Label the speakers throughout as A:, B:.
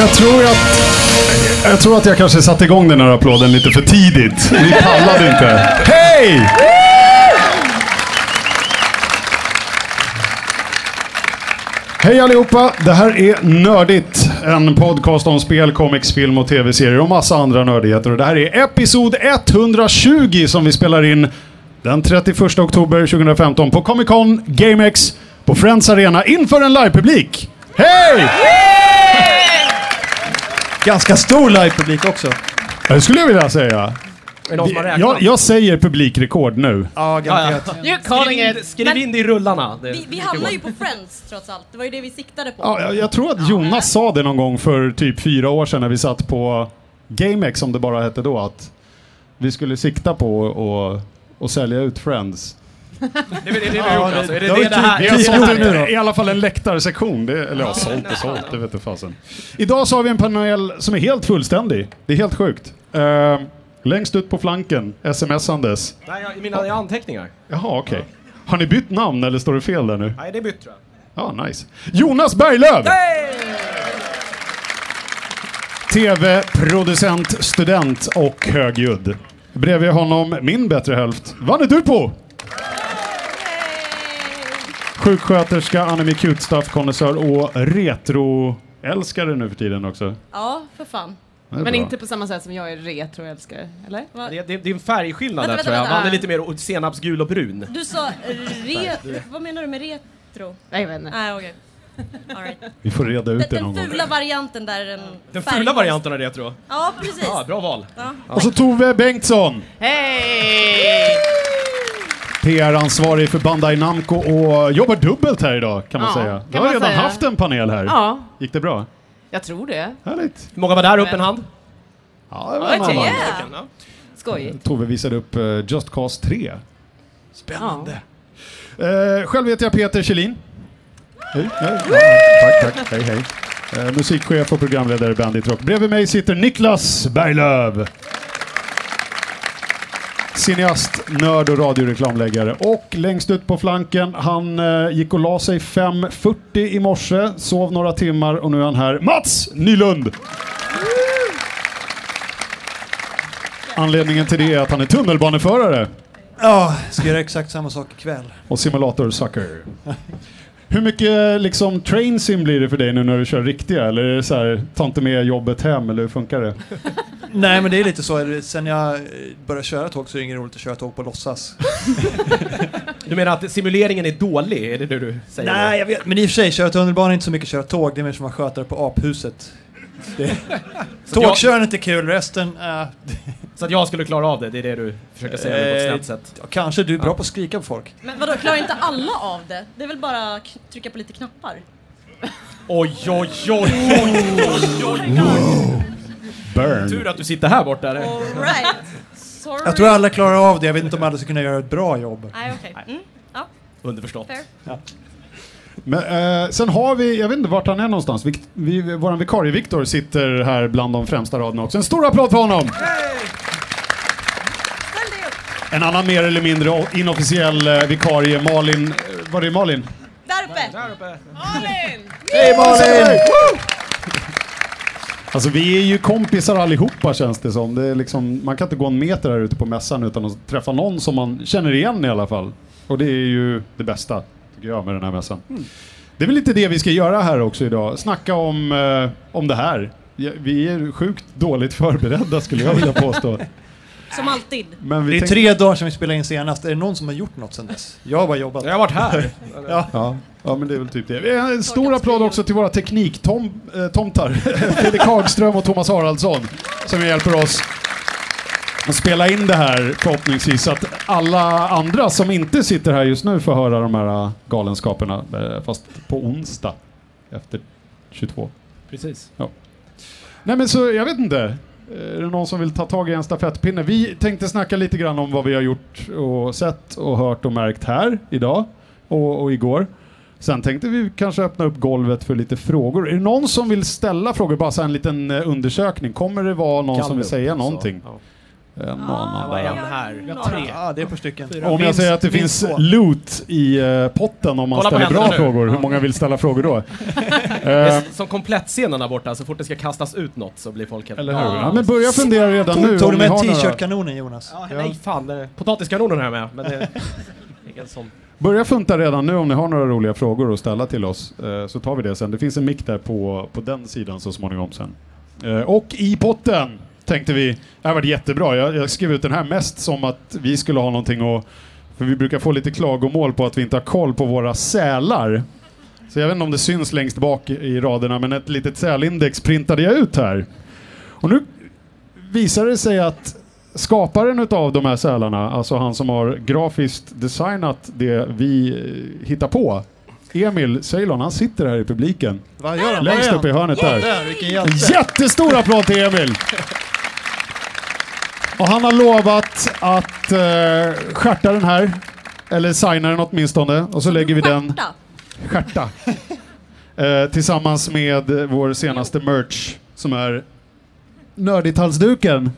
A: jag tror att... Jag tror att jag kanske satte igång den här applåden lite för tidigt. Ni pallade inte. Hej! Hej allihopa! Det här är Nördigt. En podcast om spel, comics, film och tv-serier och massa andra nördigheter. Och det här är episod 120 som vi spelar in den 31 oktober 2015 på Comic Con, GameX, på Friends Arena inför en livepublik. Hej!
B: Ganska stor livepublik också.
A: Det skulle jag vilja säga. Jag, jag säger publikrekord nu.
B: Ja, garanterat.
C: You're
D: Skriv in, skriv in det i rullarna. Det,
C: Vi, vi hamnar ju på Friends trots allt. Det var ju det vi siktade på.
A: Ja, jag, jag tror att Jonas sa det någon gång för typ fyra år sedan när vi satt på GameX, som det bara hette då, att vi skulle sikta på och, och sälja ut Friends.
D: det, det, det, det, vi har gjort, alltså. Är det,
B: det
D: det,
B: var ju
D: det, här?
A: Vi har
B: Typ
A: sålt
B: gjort nu
A: en,
B: då.
A: i alla fall en läktarsektion. Det, eller ja, sålt och sålt, det vete fasen. Idag så har vi en panel som är helt fullständig. Det är helt sjukt. Eh, längst ut på flanken, smsandes.
D: Nej, jag, mina jag har anteckningar.
A: Jaha, okej. Har ni bytt namn eller står det fel där nu?
D: Nej, det är bytt tror jag.
A: Ja, nice. Jonas Berglöf! TV-producent, student och högljudd. Bredvid honom min bättre hälft, Vanne Durpo! Sjuksköterska, anime cute stuff konnässör och retroälskare nu för tiden också.
C: Ja, för fan.
A: Det är
E: Men
A: bra.
E: inte på samma sätt som jag är retroälskare, eller?
C: Va?
D: Det, det, det är en färgskillnad
C: Vänta,
D: där
C: vänta,
D: tror jag.
C: vänta.
D: Han är lite mer o- senapsgul och brun.
C: Du sa eh, re... Vad menar du med retro?
E: Nej, jag vet inte.
C: Nej, okej. All right.
A: Vi får reda ut det någon
C: Den
A: gång.
C: fula varianten där. Den,
D: Den
C: färg-
D: fula varianten av det tror jag.
C: Ja, precis.
D: Ja, bra val.
A: Och så Tove Bengtsson!
E: Hej!
A: PR-ansvarig för Bandai Namco och jobbar dubbelt här idag kan man
E: Ja,
A: säga.
E: kan
A: Vi har
E: man
A: redan
E: säga.
A: haft en panel här.
E: Ja,
A: Gick det bra?
E: jag tror det.
A: Härligt.
D: Hur många var där? Upp en hand.
A: Ja, det var en annan. Mm,
C: Yeah.
D: Ja.
E: Skojigt.
A: Tove visade upp eh, Just Cause 3.
E: Ja.
A: Eh, själv heter jag Peter Kjellin. Hej, hej. Ja, Tack, tack. Hej, hej. Eh, musikchef och programledare i Bandit Rock. Bredvid mig sitter Niklas Berglöf. Cineast, nörd och radioreklamläggare. Och längst ut på flanken, han eh, gick och la sig 5.40 i morse, sov några timmar och nu är han här. Mats Nylund! Anledningen till det är att han är tunnelbaneförare.
B: Ja, ska göra exakt samma sak ikväll.
A: Och simulator sucker. Hur mycket liksom train sim blir det för dig nu när du kör riktiga? Eller är det så här, ta inte med jobbet hem eller hur funkar det?
B: Nej, men det är lite så. Sen jag eh, började köra tåg så är det inget roligt att köra tåg på låtsas.
D: Du menar att simuleringen är dålig? Är det det du säger?
B: Nej, jag vet. Men i och för sig, köra tunnelbana är inte så mycket att köra tåg. Det är mer som att vara skötare på aphuset. Det... Tågkörandet är kul, resten... eh,
D: Så att jag skulle klara av det? Det är det du försöker säga nu på ett snällt sätt?
B: ja, Eh, kanske du är bra på att skrika på folk.
C: Men vadå, klarar inte alla av det? Det är väl bara att k- trycka på lite knappar?
D: Oj, oj, oj, oj, oj. Tur
A: Burn.
D: att du sitter här borta. eller?
C: All right. Sorry.
B: Jag tror alla klarar av det. Jag vet inte om alla ska kunna göra ett bra jobb.
C: Nej, okej. Mm. Ja,
D: Underförstått.
C: fair.
A: Men, eh, sen har vi, jag vet inte vart han är någonstans. Vi, vi, vår vikarie Viktor sitter här bland de främsta raderna också. En stor applåd för honom!
C: Ställ dig upp.
A: En annan mer eller mindre o- inofficiell eh, vikarie, Malin. eh, Var är Malin?
C: Där uppe.
E: Malin!
A: Hej Malin! Alltså vi är ju kompisar allihopa känns det som. Det är liksom, man kan inte gå en meter här ute på mässan utan att träffa någon som man känner igen i alla fall. Och det är ju det bästa, tycker jag, med den här mässan. Det är väl lite det vi ska göra här också idag. Snacka om, eh, om det här. Ja, Vi är sjukt dåligt förberedda skulle jag vilja påstå.
C: Som alltid.
A: Men vi
B: Det är
A: tänkte-
B: tre dagar sedan vi spelade in senast. Är det någon som har gjort något sedan dess? Jag har bara jobbat.
D: Jag har varit här.
A: Ja. ja, men det är väl typ det. Eh, En stor applåd också till våra tekniktomtar. Eh, tomtar. Fredrik Hagström och Thomas Haraldsson som hjälper oss att spela in det här förhoppningsvis så att alla andra som inte sitter här just nu får höra de här eh, galenskaperna. eh, Fast på onsdag efter 22.
D: Precis.
A: Nej men så, jag vet inte. Eh, Är det någon som vill ta tag i en stafettpinne? Vi tänkte snacka lite grann om vad vi har gjort och sett och hört och märkt här idag och, och igår. Sen tänkte vi kanske öppna upp golvet för lite frågor. Är det någon som vill ställa frågor? Bara så här en liten eh, undersökning. Kommer det vara någon som vill säga någonting?
D: Ja. Ah,
A: En och annan
D: Vad är en
A: där.
D: här?
E: Vi har
D: Tre.
B: Ja, det är ett par stycken.
A: Om jag
B: Minst-
A: säger att det
B: minst
A: finns
B: två.
A: loot i eh, potten om man
D: Kolla på
A: ställer bra
D: händerna nu.
A: frågor, hur många vill ställa frågor då?
D: Det
A: Eh,
D: är s- Som komplettscenen där borta, så fort det ska kastas ut något så blir folk helt...
A: eller hur? Ja, men börja fundera redan nu.
B: Tog, tog
A: om
B: du
A: ni
B: med
A: har några-
B: t-shirt-kanonen Jonas?
D: Ja, nej fan, eh, det är potatiskanonen här med. Men det... Ingen sån.
A: Börja funta redan nu om ni har några roliga frågor att ställa till oss, eh, så tar vi det sen. Det finns en mick där på, på den sidan så småningom sen. Eh, och i potten tänkte vi, det här var jättebra, jag, jag skrev ut den här mest som att vi skulle ha någonting att, för vi brukar få lite klagomål på att vi inte har koll på våra sälar. Så jag vet inte om det syns längst bak i raderna, men ett litet sälindex printade jag ut här. Och nu visar det sig att skaparen utav de här sälarna, alltså han som har grafiskt designat det vi eh, hittar på, Emil Ceylon, han sitter här i publiken.
B: Vad gör han?
A: Längst
B: Vad är
A: upp i hörnet
B: han?
A: där.
B: Där, vilken hjälte.
A: Jättestor applåd till Emil! Och han har lovat att eh, stjärta den här, eller signa den åtminstone, och så lägger vi den
C: Skärta.
A: stjärta. Eh, tillsammans med eh, vår senaste merch som är Nördigt-halsduken.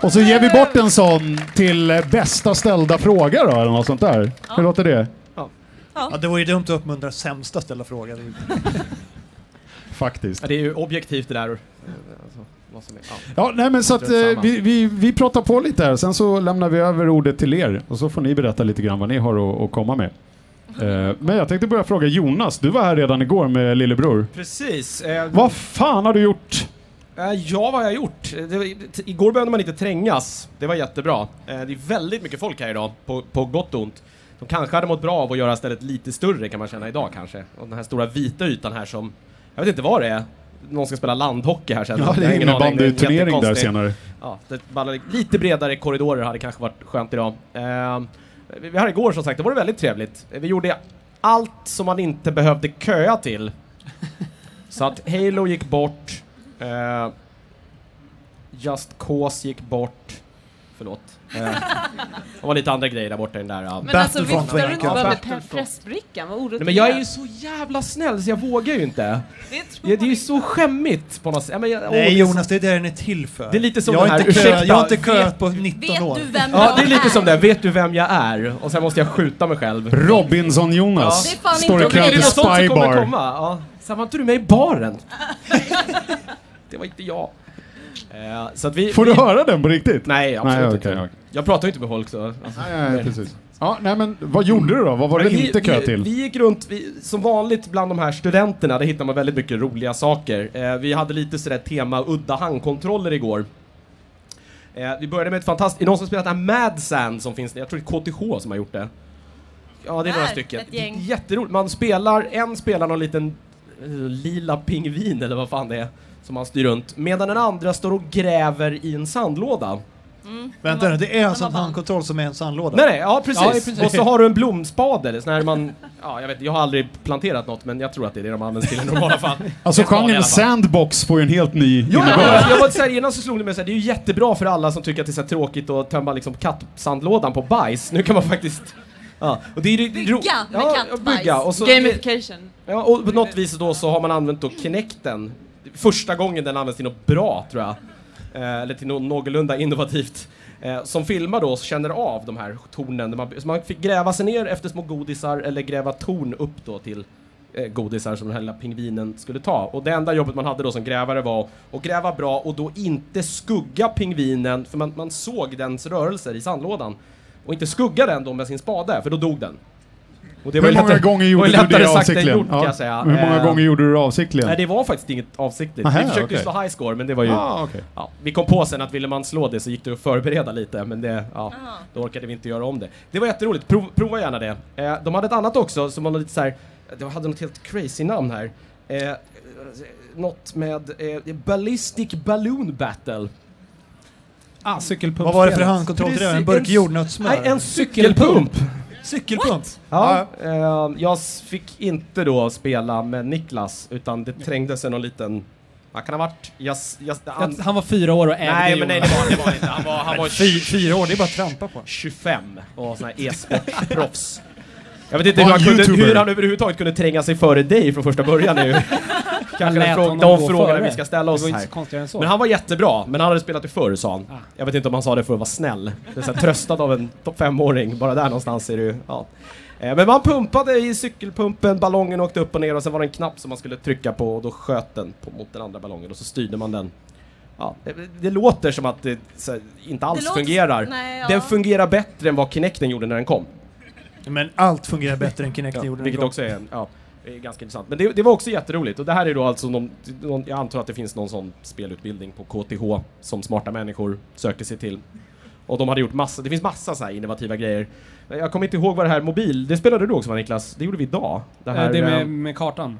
A: Och så ger vi bort en sån till eh, bästa ställda fråga då, eller något sånt där. Hur låter det?
B: Ja, det vore ju dumt att uppmuntra sämsta ställa frågan.
A: Faktiskt.
D: Ja, det är ju objektivt det där. eh, Alltså, vad som är, ja.
A: Ja, nej men så att eh,
D: Intressant.
A: vi, vi, vi pratar på lite här, sen så lämnar vi över ordet till er och så får ni berätta lite grann vad ni har att, att komma med. Eh, men jag tänkte börja fråga Jonas, du var här redan igår med lillebror.
D: Precis. Eh,
A: Vad fan har du gjort?
D: Eh, Ja, vad har jag gjort? Eh, Det, var- t- igår behövde man inte trängas. Det var jättebra. Eh, Det är väldigt mycket folk här idag, på, på gott och ont. De kanske hade mått bra av att göra stället lite större kan man känna idag kanske. Och den här stora vita ytan här som, jag vet inte vad det är. Någon ska spela landhockey här sen.
A: Ja, det
D: Jag har
A: är
D: ingen aning. Det är
A: innebandyturnering där
D: jättekonstigt.
A: senare.
D: Ja, det ballar, lite bredare korridorer hade kanske varit skönt idag. Eh, vi vi har igår som sagt, det var väldigt trevligt. Eh, Vi gjorde allt som man inte behövde köa till. Så att Halo gick bort. Eh, Just Cause gick bort. Förlåt. Eh, det var lite andra grejer där borta i den där. ja.
E: Men alltså
B: Battlefront
E: viftar
B: var
E: du inte
B: jag.
E: bara med pe-
D: Battlefront.
E: pressbrickan? Vad
D: Nej,
E: orolig
D: men jag är ju så jävla snäll så jag vågar ju inte.
E: Det
D: Det
E: tror
D: är ju så skämmigt på något sätt. Ja, men jag- åh, det är
B: Nej
D: så-
B: Jonas, det är det den är till för.
D: Det är lite som
B: jag har
D: den här,
B: inte kö-
D: ursäkta,
B: Jag har inte
D: vet-
B: köat på 19
C: Vet
B: år.
C: du vem
D: Ja, det
C: jag
D: är lite som det. Vet du vem jag är? Och sen måste jag skjuta mig själv.
A: Robinson-Jonas
C: Ja. Det är fan
A: står i
D: Jag
C: inte
D: tycker det
A: kö
D: är
A: till
D: något sånt som kommer
A: Spybar.
D: komma. Ja. Sen var inte du med i baren? det var inte jag. Eh, så att vi,
A: Får
D: vi,
A: du höra den på riktigt?
D: Nej, absolut
A: Nej,
D: inte.
A: okej, okej.
D: Jag pratar ju inte med folk så. Alltså.
A: Nej, nej, precis. Ja, nej, men vad gjorde du då? Vad var det
D: Men vi-
A: inte kö
D: vi,
A: till?
D: Vi gick runt, vi, som vanligt bland de här studenterna, där hittar man väldigt mycket roliga saker. Eh, vi hade lite sådär tema udda handkontroller igår. Eh, vi började med ett fantastiskt, är det någon som spelat det här Mad Sand som finns, jag tror det är KTH som har gjort det. Ja, det är några
C: Där,
D: stycken.
C: ett gäng.
D: Det är Jätteroligt, man spelar, en spelar någon liten eh, lila pingvin eller vad fan det är som man styr runt, medan den andra står och gräver i en sandlåda.
B: Vänta nu, det är
C: Mm.
B: alltså
C: var
B: en
C: band.
B: handkontroll som är en sandlåda?
D: Nej, nej, ja precis.
B: Ja, precis.
D: Och så har du en blomspade, eller sån här man... Ja, jag vet jag har aldrig planterat något, men jag tror att det är det de används till i normala fall.
A: Alltså
D: En spade i alla
A: genren
D: fall.
A: sandbox får ju en helt ny
D: Jo, jag,
A: innebörd.
D: jag, jag var så här, innan så slog det mig så här, det är ju jättebra för alla som tycker att det är så här tråkigt att tömma liksom kattsandlådan på bajs. Nu kan man faktiskt... Ja, och det är, ju- det är ro-
C: Bygga med
D: ja,
C: kattbajs.
D: bygga. Och så,
E: jag. Gamification.
D: ja, och på något vis då så har man använt då Kinecten. Första gången den används till något bra, tror jag. Eh, eller till något någorlunda innovativt. Eh, som filmar då och känner av de här tornen. Där man, så man fick gräva sig ner efter små godisar eller gräva torn upp då till eh, godisar som den här lilla pingvinen skulle ta. Och det enda jobbet man hade då som grävare var att gräva bra och då inte skugga pingvinen, för man, man såg dens rörelser i sandlådan. Och inte skugga den då med sin spade, för då dog den. Och det
A: Hur
D: ju
A: många
D: lättare-
A: gånger
D: var
A: gjorde
D: ju
A: du
D: lättare
A: det
D: sagt än
A: avsiktligen?
D: gjort, kan jag säga.
A: Ja. Hur många
D: Eh,
A: gånger gjorde du det
D: Nej,
A: avsiktligen?
D: det var faktiskt inget avsiktligt.
A: Aha,
D: vi försökte ju
A: okej.
D: slå high score, men det var ju...
A: Ah, okej.
D: Ja, vi kom på sen att ville man slå det så gick det att förbereda lite, men det, ja, då orkade vi inte göra om det. Det var jätteroligt, Prov, prova gärna det. Eh, de hade ett annat också som var lite så här, de hade något helt crazy namn här. Eh, något med eh, Ballistic Balloon Battle.
F: Ah, cykelpump.
B: Vad var det för handkontroll till det? En burk
D: Precis, en-
B: jordnötssmör?
D: Nej, en cykelpump!
B: cykelpump?
D: Ja, eh, jag s- fick inte då spela med Niklas, utan det trängdes en liten... Vad kan det ha varit? Jag, s- jag, han,
F: Han var fyra år och ägde
D: nej, men nej,
F: Jonas.
D: det var, det var inte. Han var, han var
B: Fy, fyra år, det är bara att trampa på.
D: 25 och sån här e-sportproffs. Jag vet inte hur
A: Var
D: han,
A: en
D: kunde,
A: YouTuber.
D: hur han överhuvudtaget kunde tränga sig före dig från första början nu. Kanske den
F: lät
D: fråga,
F: honom
D: de
F: gå
D: frågorna
F: före.
D: vi ska ställa
F: Det
D: oss
F: var inte
D: här.
F: så konstigare än så. Ah.
D: Men han var jättebra, men han hade spelat det förr sa han. Jag vet inte om han sa det för att vara snäll. Det är så här, tröstad av en topp femåring, bara där någonstans är det ju, ja. Eh, Men man pumpade i cykelpumpen, ballongen åkte upp och ner och sen var det en knapp som man skulle trycka på och då sköt den på, mot den andra ballongen och så styrde man den. Ja, det, det låter som att det så här, inte alls
C: låter-
D: fungerar.
C: nej, ja.
D: Den fungerar bättre än vad Kinecten gjorde när den kom.
B: Men allt fungerar bättre än Kinect gjorde den
D: Vilket
B: gång.
D: också är, ja, är ganska intressant. Men det, det var också jätteroligt. Och det här är då alltså någon, någon, jag antar att det finns någon sån spelutbildning på KTH som smarta människor söker sig till. Och de hade gjort massa, det finns massa så här innovativa grejer. Jag kommer inte ihåg vad det här mobil, det spelade du också va Niklas? Det gjorde vi idag. Det här,
F: Eh, Det
D: eh,
F: med, med kartan.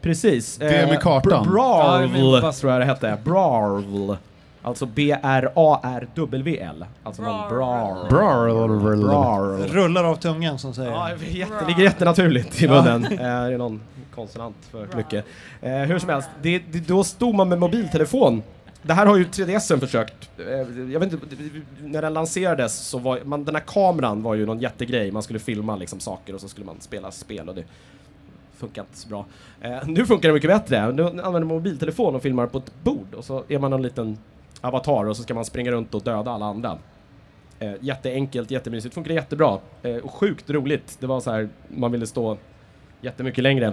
D: precis. Eh,
A: Det med kartan.
D: Br-
F: Ja, det med
D: Brarvl
F: pass-
D: tror jag det hette. Brarvl. Alltså B-R-A-R-W-L. Alltså någon
C: Brarvl.
D: brarl.
A: Bra.
D: Brarl.
B: Rullar av tungan som säger.
D: Ja, jag vet. det ligger jättenaturligt i munnen. Eh, det är någon konsonant för mycket. Eh, hur som helst, det, det, då stod man med mobiltelefon. Det här har ju 3DSen försökt. Eh, jag vet inte, när den lanserades så var man, den här kameran var ju någon jättegrej. Man skulle filma liksom saker och så skulle man spela spel och det funkar inte så bra. Eh, nu funkar det mycket bättre. Nu använder man mobiltelefon och filmar på ett bord och så är man en liten avatar och så ska man springa runt och döda alla andra. Eh, jätteenkelt, jättemysigt, funkar jättebra. Eh, och sjukt roligt. Det var så här, man ville stå jättemycket längre.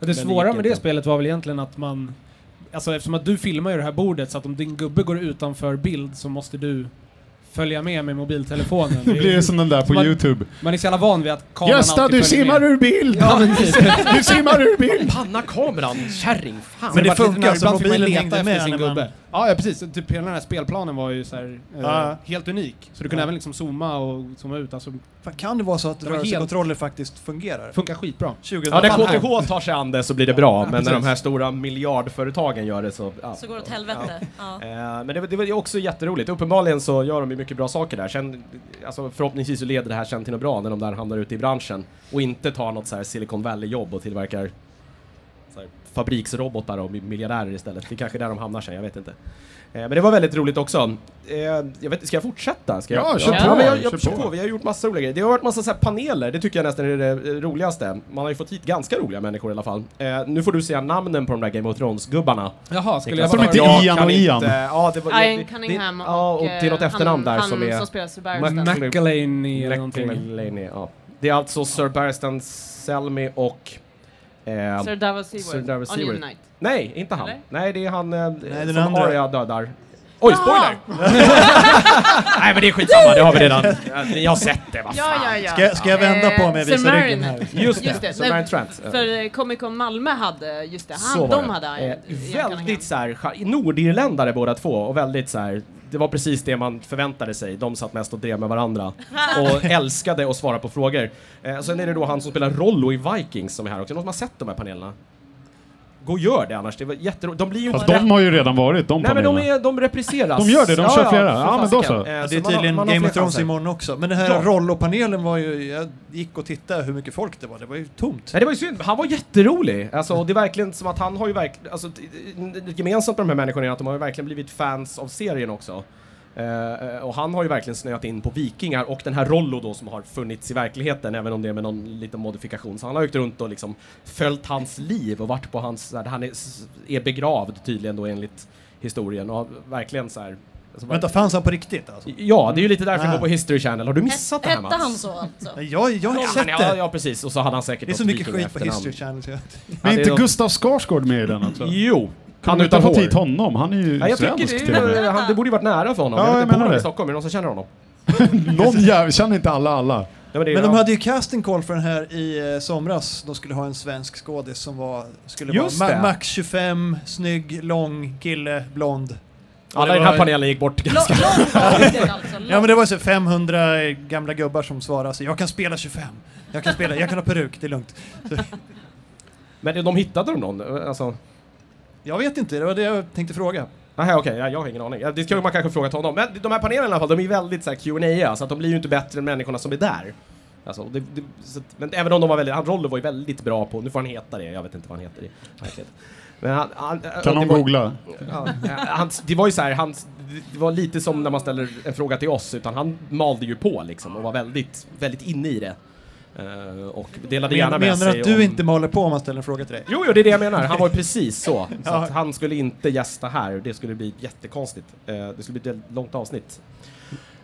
F: Det svåra
D: gick
F: med det
D: inte.
F: spelet var väl egentligen att man... Alltså eftersom att du filmar ju det här bordet så att om din gubbe går utanför bild så måste du följa med med mobiltelefonen.
A: Nu blir det som den där på
F: Man-
A: YouTube.
F: Man är så jävla van vid att kameran
A: Gösta,
F: alltid
A: du
F: följer
A: simmar
F: med.
A: ur bild!
F: Ja, men typ.
A: Du simmar ur bild!
D: Panna kameran, kärring, fan.
B: Men det
F: vart lite
B: funkar,
F: nervigt.
B: så
F: Ibland fick man
B: mobilen
F: leta
B: hängde
F: efter
B: med
F: sin
B: när man-
F: gubbe. Ja, ja, precis. Typ hela den här spelplanen var ju så här, eh,
B: Ja.
F: helt unik. Så du kunde
B: Ja.
F: även liksom zooma och zooma ut. Alltså,
B: Fan, kan det vara så att
F: var
B: rörelsekontroller faktiskt fungerar?
F: funkar skitbra.
B: 20
D: Ja, när KTH tar sig an det så blir det bra, men när de
F: precis.
D: här stora miljardföretagen gör det så... Ja.
C: Så går det åt helvete. Ja.
D: Eh, Men det, var- det var ju också jätteroligt. Uppenbarligen så gör de ju mycket bra saker där. Sen, alltså, förhoppningsvis så leder det här sen till något bra när de där hamnar ute i branschen och inte tar något så här Silicon Valley-jobb och tillverkar så här, fabriksrobotar och miljardärer istället. Det är kanske där de hamnar sen, jag vet inte. Eh, Men det var väldigt roligt också. Eh, Jag vet, ska jag fortsätta? Ska jag?
A: Ja, kör
E: på,
D: Ja, men jag,
A: kör
D: jag, kör
A: på.
D: på. Vi har gjort massa roliga grejer. Det har varit massa så här paneler, det tycker jag nästan är det eh, roligaste. Man har ju fått hit ganska roliga människor i alla fall. Eh, Nu får du säga namnen på de där Game of Thrones-gubbarna.
F: Jaha, skulle jag
D: Niklas,
A: som
F: bara...
A: inte
D: jag
A: Ian
D: kan
A: och
D: inte-
A: Ian.
D: Ja, det var,
E: Ian
D: det-
E: Cunningham
D: det-
E: och...
D: Ja, och det är något
E: eh,
D: efternamn där
E: han,
D: som är...
E: Han som spelar Sir Barristan.
D: Mac-
F: McElhaney eller någonting.
D: McElhaney, ja. Det är alltså Sir Barristan Selmy och... Eh,
E: Sir Davos
D: Sir Davos
E: Seaworth.
D: Seaworth.
E: Onion Knight.
D: nej, inte han.
E: Eller?
D: Nej, det är han eh,
B: den
D: som
B: andra.
D: Arya dödar. Oj,
E: Jaha!
D: spoiler! nej, men det är skitsamma, det har vi redan. Ja, Ni har sett det, va?
E: Ja, ja, ja.
B: Ska, ska jag vända på mig och
E: Eh, Sir
B: visa ryggen
E: Marin.
B: här?
D: Just det,
E: Just det,
D: Sir
E: nej,
D: Marion Trent.
E: För eh, Comic Con Malmö hade, just det,
D: Så
E: han,
D: var
E: de
D: det.
E: hade
D: Eh,
E: Ian- Ian Cunningham.
D: väldigt så här, char- nordirländare båda två och väldigt så här, det var precis det man förväntade sig. De satt mest och drev med varandra och älskade att svara på frågor. Eh, sen är det då han som spelar Rollo i Vikings som är här också. Någon som har sett de här panelerna? Gå och gör det annars, det var jätteroligt. De blir ju
A: Fast
D: inte
A: de har ju redan varit, de
D: Nej men de,
A: panelerna.
D: är, de repriseras.
A: De gör det, de kör flera.
D: för
A: Ja, men då
D: fasiken.
A: så.
D: Eh,
B: Ja, Alltså, Det är
D: man har-
B: tydligen
D: man har
B: Game of
D: fler
B: Thrones
D: chanser.
B: imorgon också. Men den här
D: Ja.
B: Rollo-panelen var ju... Jag gick och tittade hur mycket folk det var. Det var ju tomt.
D: Nej, det var ju synd. Han var jätterolig. Alltså, och det är verkligen som att han har ju verkligen... Alltså, t- t- gemensamt med de här människorna är att de har ju verkligen blivit fans av serien också. Eh, eh, och han har ju verkligen snöat in på vikingar och den här Rollo då som har funnits i verkligheten, även om det är med någon liten modifikation. Så han har åkt runt och liksom följt hans liv och varit på hans... Där han är, s- är begravd tydligen då enligt historien och har verkligen så här... Alltså,
B: Vänta, fanns han på riktigt alltså?
D: Ja, det är ju lite därför jag
B: Ah.
D: går på History Channel. Har du missat det här
C: Hette
D: Mats?
C: han så alltså?
B: Nej, Jag, jag har
D: Ja,
B: inte
D: men,
B: sett
D: ja,
B: det.
D: ja, precis. Och så hade han säkert
B: Det är så
D: något
B: mycket
D: viking
B: skit på
D: efternamn.
B: History Channel. så jag-
D: Ja,
A: Men
D: det
A: inte
D: är-
A: Gustav Skarsgård med i den också?
D: Jo!
A: Kan du inte ha fått hit honom? Han är ju
D: Ja, jag
A: svensk
D: tycker
A: till och
D: det,
A: med.
D: är- han, det borde ju varit nära för honom.
A: Ja,
D: jag vet
A: jag
D: inte, bor
A: menar
D: han i
A: det.
D: Stockholm? Är det någon som känner honom?
A: Någon jävel, känner inte alla alla?
D: Ja, det är-
B: Men de
D: ja.
B: hade ju casting call för den här i eh, somras. De skulle ha en svensk skådis som var, skulle
D: Just
B: vara
D: det.
B: ma- max 25, snygg, lång, kille, blond.
D: Alla i den här panelen gick bort
C: Lång
D: ganska...
C: ålder alltså.
B: Ja men det var så 500 gamla gubbar som svarade så jag kan spela 25. Jag kan spela, jag kan ha peruk, det är lugnt.
D: Men de hittade de någon? Alltså...
B: Jag vet inte, det var det jag tänkte fråga.
D: Nej, okej, ja, jag har ingen aning. Ja, Det ska man kanske fråga till honom. Men de här panelerna i alla fall, de är ju väldigt så här Q&A så att de blir ju inte bättre än människorna som är där. Alltså, det, det, så att, men även om de var väldigt, han Rollo var ju väldigt bra på, nu får han heta det, jag vet inte vad han heter i verkligheten. Men han, han,
A: Kan
D: det
A: någon
D: var-
A: googla?
D: Ja, eh, han, det var ju så här, han, det var lite som när man ställer en fråga till oss, utan han malde ju på liksom och var väldigt, väldigt inne i det. Eh, och delade
B: Men,
D: gärna med
B: menar
D: sig.
B: du att du
D: om-
B: inte maler på om man ställer en fråga till dig?
D: Jo, jo, det är det jag menar. Han var ju precis så. så
B: Ja.
D: att han skulle inte gästa här. Det skulle bli jättekonstigt. Eh, Det skulle bli ett väldigt långt avsnitt.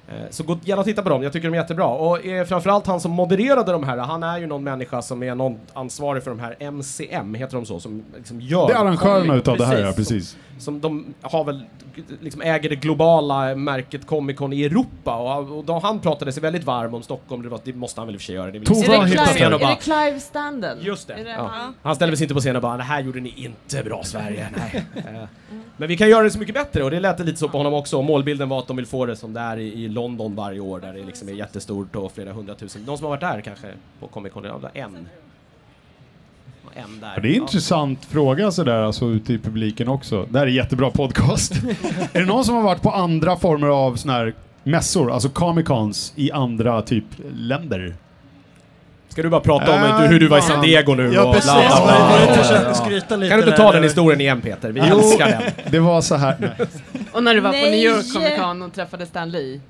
D: Eh, Så gå gärna och titta på dem. Jag tycker de är jättebra. Och eh, framförallt han som modererade de här, han är ju någon människa som är någon ansvarig för de här MCM, heter de så? Som liksom gör
A: Det är arrangörerna
D: comic-
A: utav det här, ja, precis.
D: Som de har väl, liksom äger det globala märket Comic Con i Europa och, och då, han pratade sig väldigt varm om Stockholm, det, var, det måste han väl i och för sig göra. Det är väl
A: Tove
D: ingen
E: Är
A: har
E: det
A: hittat
D: på
A: det.
E: Clive,
D: scen och
E: är
D: bara,
E: det Clive Standell?
D: Just det.
E: Är det
D: Ja.
E: han?
D: Han ställer sig inte på scenen och bara det här gjorde ni inte bra Sverige, nej. Eh, Men vi kan göra det så mycket bättre och det lät lite så på honom också. Målbilden var att de vill få det som det är i i London varje år där det liksom är jättestort och flera hundratusen. Någon som har varit där kanske på Comic Con? Ja, En. En där.
A: Ja, Det är en
D: Ja.
A: intressant fråga sådär, alltså ute i publiken också. Det här är jättebra podcast. är det någon som har varit på andra former av såna här mässor, alltså Comic Cons, i andra typ länder? Äh,
D: Ska du bara prata om hur du- hur du var i San Diego nu?
B: Ja,
D: och
B: precis.
D: bla, bla, bla,
B: Var det
D: bla,
B: inte
D: bla,
B: försökte
D: bla.
B: skryta lite
D: Kan du inte
B: där,
D: ta den
B: eller?
D: historien igen Peter? Vi
A: Jo.
D: älskar den.
A: Det var så här. Nej.
E: Och när du var på
C: Nej.
E: New York Comic Con och träffade Stan Lee.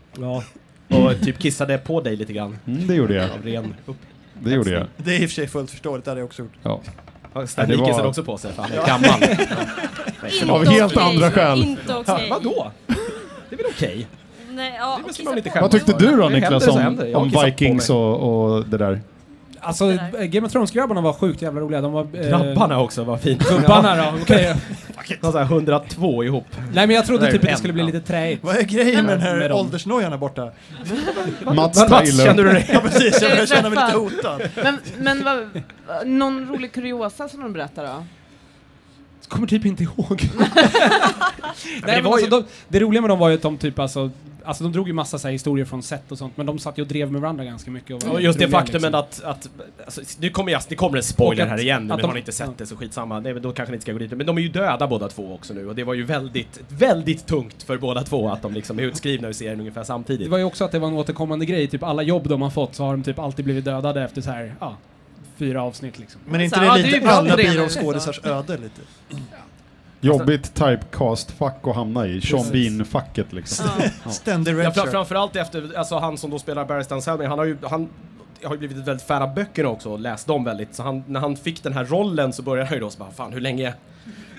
D: Och typ kissade på dig lite grann.
A: Mm, det gjorde jag.
D: Av ren upp.
A: Det gjorde jag.
B: Det är i och för sig fullt förståeligt, det hade jag också gjort.
A: Ja.
D: Stanley
A: Det var-
D: kissade också på sig för han är gammal. Nej, förlåt.
A: Av helt andra skäl.
C: Inte okej.
D: Vadå? Det är väl okej?
C: Nej, ja,
D: Det
C: och
D: ska man
C: kissa
D: inte
C: på.
A: Vad tyckte du då
D: Det händer
A: Niklas
D: så
A: om,
D: händer. Jag har
A: om
D: kissat på
A: Vikings
D: mig.
A: och, och det där?
F: Alltså, eh, Game of Thrones-grabbarna var sjukt jävla roliga. De var... eh,
D: Grabbarna också, vad fint.
F: Gubbarna då, okej.
D: De var så här 102 ihop.
F: Nej men jag trodde
D: Nej,
F: typ att det
D: en,
F: skulle bli
D: ja.
F: lite träigt.
B: Vad är grejen med den
F: Med
B: här
F: dem.
B: åldersnojan här borta?
A: Mats
D: Mats, känner
A: Tyler.
D: du dig?
B: Ja precis, jag börjar
E: Ska vi
B: känna mig lite
E: träffa?
B: hotad.
E: Men, men vad, någon rolig kuriosa som de berättar då?
F: Kommer typ inte ihåg. Nej,
D: det
F: men
D: var
F: alltså,
D: ju-
F: de, det roliga med dem var ju att de typ alltså, alltså de drog ju massa så här historier från set och sånt men de satt ju och drev med varandra ganska mycket. Och var
D: Och just det
F: roliga,
D: faktumet
F: liksom.
D: att... att alltså, nu kommer jag, det kommer en spoiler
F: Och att-
D: här igen, men
F: att de-
D: har ni inte sett
F: ja.
D: det så skitsamma. Nej, men då kanske ni inte ska gå dit. Men de är ju döda båda två också nu och det var ju väldigt, väldigt tungt för båda två att de liksom är utskrivna ur serien ungefär
F: Det
D: samtidigt.
F: var ju också att det var en återkommande grej, typ alla jobb de har fått så har de typ alltid blivit dödade efter så här, ja, fyra avsnitt liksom.
B: Men är inte
E: Så, ja, det
B: det
E: är ju
B: lite
E: bra
B: alla
E: för det nu,
B: birollskådisars öde lite?
A: Jobbigt
D: Alltså-
A: typecast-fack att hamna i. Sean Bean-facket liksom.
B: Ständig
D: Ja, fra-
B: redshirt.
D: framförallt efter, alltså han som då spelar Barry Stanselmi, han har ju, han har ju blivit väldigt fan av böckerna också och läst dem väldigt. Så han, när han fick den här rollen så började han ju då så bara, fan hur länge,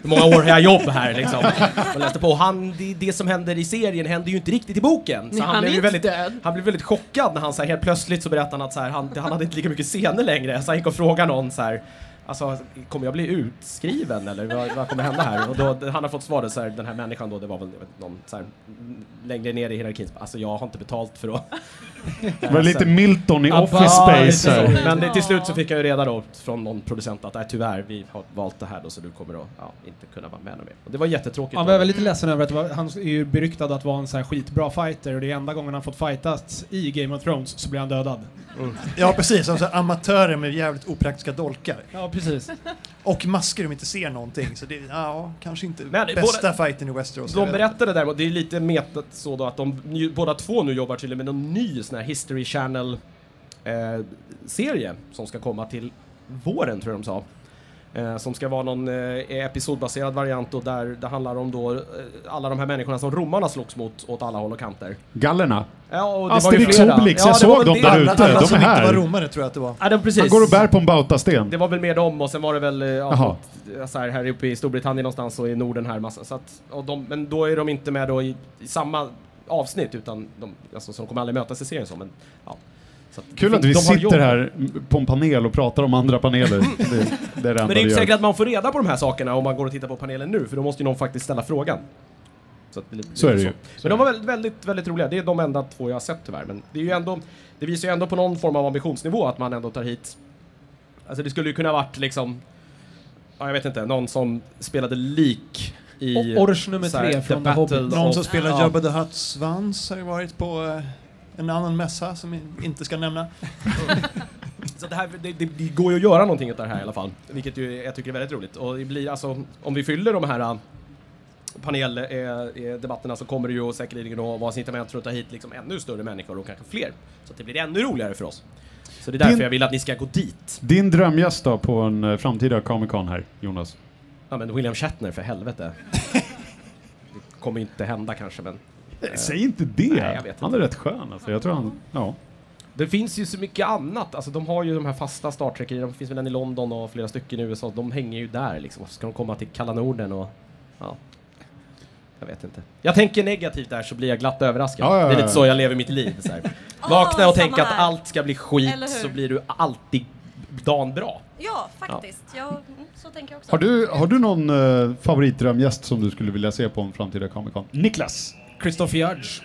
D: hur många år har jag jobb här liksom? Och läste på. Och han, det, det som händer i serien händer ju inte riktigt i boken. Så
E: Nej, han är
D: ju
E: inte
D: väldigt,
E: död.
D: han blev väldigt chockad när han så här, helt plötsligt så berättade han att så här, han, han hade inte lika mycket scener längre. Så han gick och frågade någon så här, Alltså, kommer jag bli utskriven eller vad, vad kommer hända här? Och då, han har fått svaret så här, den här människan då, det var väl jag vet, någon så här, m- längre ner i hierarkin. så bara, Alltså jag har inte betalt för att...
A: Det var lite Milton i Office
D: Ja,
A: Space
D: lite
A: här.
D: så. Men det- till slut så fick jag ju reda då från någon producent att nej, tyvärr, vi har valt det här då så du kommer att ja, inte kunna vara med och mer. Och det var jättetråkigt.
F: Han
D: då.
F: var väl lite ledsen över att det var, han är ju beryktad att vara en så här skitbra fighter och det är enda gången han fått fightas i Game of Thrones så blir han dödad.
B: Ja precis, alltså amatörer med jävligt opraktiska dolkar.
F: Ja precis.
B: Och masker de inte ser någonting, så det är ja, kanske inte
D: Men
B: bästa fighten i Westeros. jag
D: De
B: vet.
D: berättade däremot, det är lite metat så då att de ju, båda två nu jobbar tydligen med någon ny sån här History Channel eh, serie som ska komma till våren tror jag de sa. Eh, som ska vara någon eh, episodbaserad variant och där det handlar om då eh, alla de här människorna som romarna slogs mot åt alla håll och kanter.
A: Gallerna.
D: Ja, och det
A: Asterix
D: var ju flera.
A: Obelix, jag
D: det var
A: liksom, såg
D: väl
A: dem
D: det-
A: där
B: alla,
A: ute,
B: alla
A: de
B: som
A: är här.
B: inte var romare tror jag att det var.
D: Ja, de, precis.
A: Han går och bär på en bautasten.
D: Det var väl med dem och sen var det väl eh,
A: Jaha.
D: ja, något, eh, så här, här uppe i Storbritannien någonstans och i Norden här. Massa, så att, och de, men då är de inte med då i, i samma avsnitt utan de, alltså, så de kommer aldrig mötas i serien så. Men, ja. så att,
A: Kul
D: det
A: att
D: fin-
A: vi
D: de har jobb.
A: sitter här på en panel och pratar om andra paneler. Det, det är det enda
D: Men det är
A: vi
D: inte
A: gör.
D: säkert att man får reda på de här sakerna om man går och tittar på panelen nu för då måste ju någon faktiskt ställa frågan. Så, att det,
A: Så är det ju. Så
D: Men de var väldigt, väldigt, väldigt roliga. Det är de enda två jag har sett tyvärr. Men det, är ju ändå, det visar ju ändå på någon form av ambitionsnivå att man ändå tar hit... Alltså det skulle ju kunna varit liksom... Ja, jag vet inte. Någon som spelade lik i...
F: O- Ors nummer
D: så här,
F: tre
D: The
F: från The
D: Battle
F: Hobbit.
B: Någon
D: of-
B: som spelar
D: Ja.
B: Jabba the Hutt svans har ju varit på eh, en annan mässa som vi inte ska nämna.
D: Så det, här, det, det, det går ju att göra någonting åt det här i alla fall, vilket ju, jag tycker är väldigt roligt. Och det blir, alltså, om vi fyller de här äh, paneldebatterna eh, så kommer det ju säkerligen att vara incitament för att ta hit liksom ännu större människor och kanske fler. Så att det blir ännu roligare för oss. Så det är därför
A: Din-
D: jag vill att ni ska gå dit.
A: Din drömgäst då på en eh, framtida Comic Con här, Jonas?
D: Ja men William Shatner för helvete. Det kommer inte hända kanske men. eh,
A: Säg inte det!
D: Nej, jag vet
A: han är rätt skön alltså. Jag tror han... Ja.
D: Det finns ju så mycket annat. Alltså, de har ju de här fasta Star trek De finns väl en i London och flera stycken i USA. De hänger ju där liksom. Varför ska de komma till kalla Norden och... Ja. Jag vet inte. Jag tänker negativt där så blir jag glatt överraskad.
A: Ja, ja, ja,
D: Det är lite
A: ja.
D: så jag lever mitt liv. Så här.
C: Ah,
D: Vakna och tänk
C: samma
D: att
C: här.
D: allt ska bli
C: Eller
D: skit
C: hur?
D: så blir du alltid dagen bra.
C: Ja, faktiskt. Jag, mm, så tänker jag också.
A: Har du, har du någon eh, favoritdrömgäst som du skulle vilja se på en framtida Comic Con? Niklas!
F: Christopher Judge.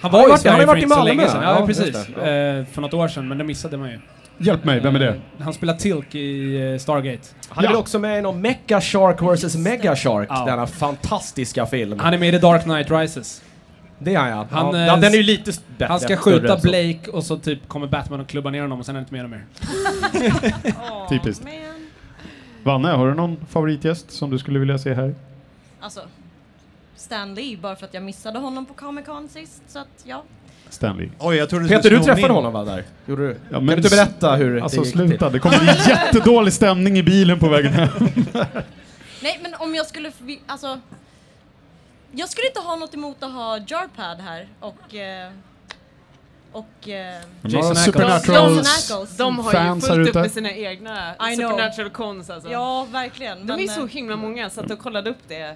F: Han
D: Ja,
F: var ju i
D: just det, han har
F: Sverige för
D: varit i
F: inte så
D: Malmö.
F: länge sedan. Ja,
D: Ja,
F: precis.
D: just
F: Eh, för något år sedan, men det missade man ju.
A: Hjälp mig, vem är det?
F: Eh, Han spelar Tilk i eh, Stargate.
D: Han är
A: Ja.
D: väl också med i någon Mecha Shark vs Mega Shark,
F: Ja.
D: denna fantastiska film.
F: Han är med i The Dark Knight Rises.
D: det är han ja.
F: Han,
D: ja,
F: eh,
D: ja, den är ju lite s- bättre.
F: Han ska
D: större
F: skjuta
D: än så.
F: Blake och så typ kommer Batman och klubbar ner honom och sen är det inte med honom mer.
C: Åh,
A: Typiskt.
C: men-
A: Vanne, har du någon favoritgäst som du skulle vilja se här?
C: Alltså, Stan Lee, bara för att jag missade honom på Comic Con sist. Så att, ja.
A: Stanley.
B: Oj, jag trodde
D: Peter,
B: skulle
D: du
B: sno
D: träffade
B: min.
D: honom va? Där? Gjorde du?
A: men
D: kan du inte
A: s-
D: berätta hur
A: Alltså
D: det gick
A: sluta,
D: till?
A: det kommer bli jättedålig stämning i bilen på vägen hem.
C: Nej, men om jag skulle... vi- Alltså, jag skulle inte ha något emot att ha Jarpad här och... eh, Och... eh,
A: Några
F: Jason
A: supernatural
C: Ackles. Johnson Ackles.
E: De har
A: Fans
E: ju
A: här
E: fullt upp
A: ute.
E: med sina egna
C: I know.
E: supernatural cons alltså.
C: Ja, verkligen.
E: De är
C: men,
E: ju så
C: eh,
E: himla många så att de kollade upp det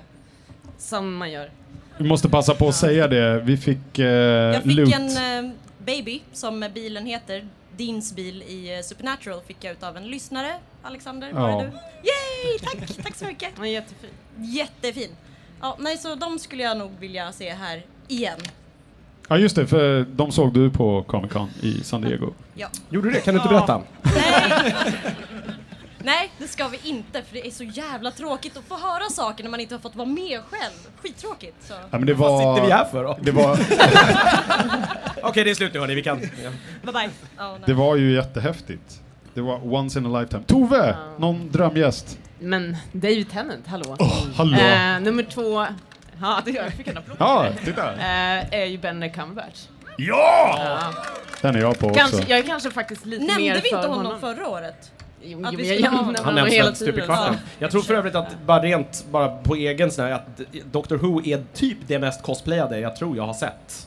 E: som man gör.
A: Vi måste passa på att säga det. Vi fick, eh,
C: Jag fick
A: loot.
C: en eh, baby, som bilen heter, Deans bil i eh, Supernatural, fick jag utav en lyssnare. Alexander, var
A: Ja.
C: det du? Yay! Tack, tack så mycket.
E: Han är jättefin.
C: Jättefin. Ja, nej, så de skulle jag nog vilja se här igen.
A: Ja just det, för de såg du på Comic Con i San Diego.
C: Ja.
D: Gjorde du det? Kan du inte berätta?
C: Nej, det ska vi inte för det är så jävla tråkigt att få höra saker när man inte har fått vara med själv. Skittråkigt. Så.
A: Ja, men det
D: Vad
A: var...
D: sitter vi här för då?
A: Det var,
D: Okej, det är slut nu hörni, vi kan... Ja.
C: Bye bye. Ja,
A: det
C: nej.
A: var ju jättehäftigt. Det var once in a lifetime. Tove! Någon drömgäst?
E: Men David Tennant, hallå.
A: Åh, hallå!
E: Eh, nummer två, ja det gör jag, fick en applåd.
A: Ja, titta!
E: Eh, är ju Benedict Cumberbatch.
A: Ja!
E: Ja.
A: Den är jag på också.
E: Kanske, jag är kanske faktiskt lite mer
C: Nämnde vi
E: för
C: inte honom,
E: honom.
C: förra året?
E: Jo,
C: Att
E: jo,
C: vi
E: men jag
C: skulle ha
E: jämnar
D: Han
E: honom
D: nämns
E: hela
D: väl stup i
E: tiden.
D: kvarten.
C: Ja.
D: Jag tror för övrigt att, bara rent, bara på egen sån här, att Doctor Who är typ det mest cosplayade jag tror jag har sett.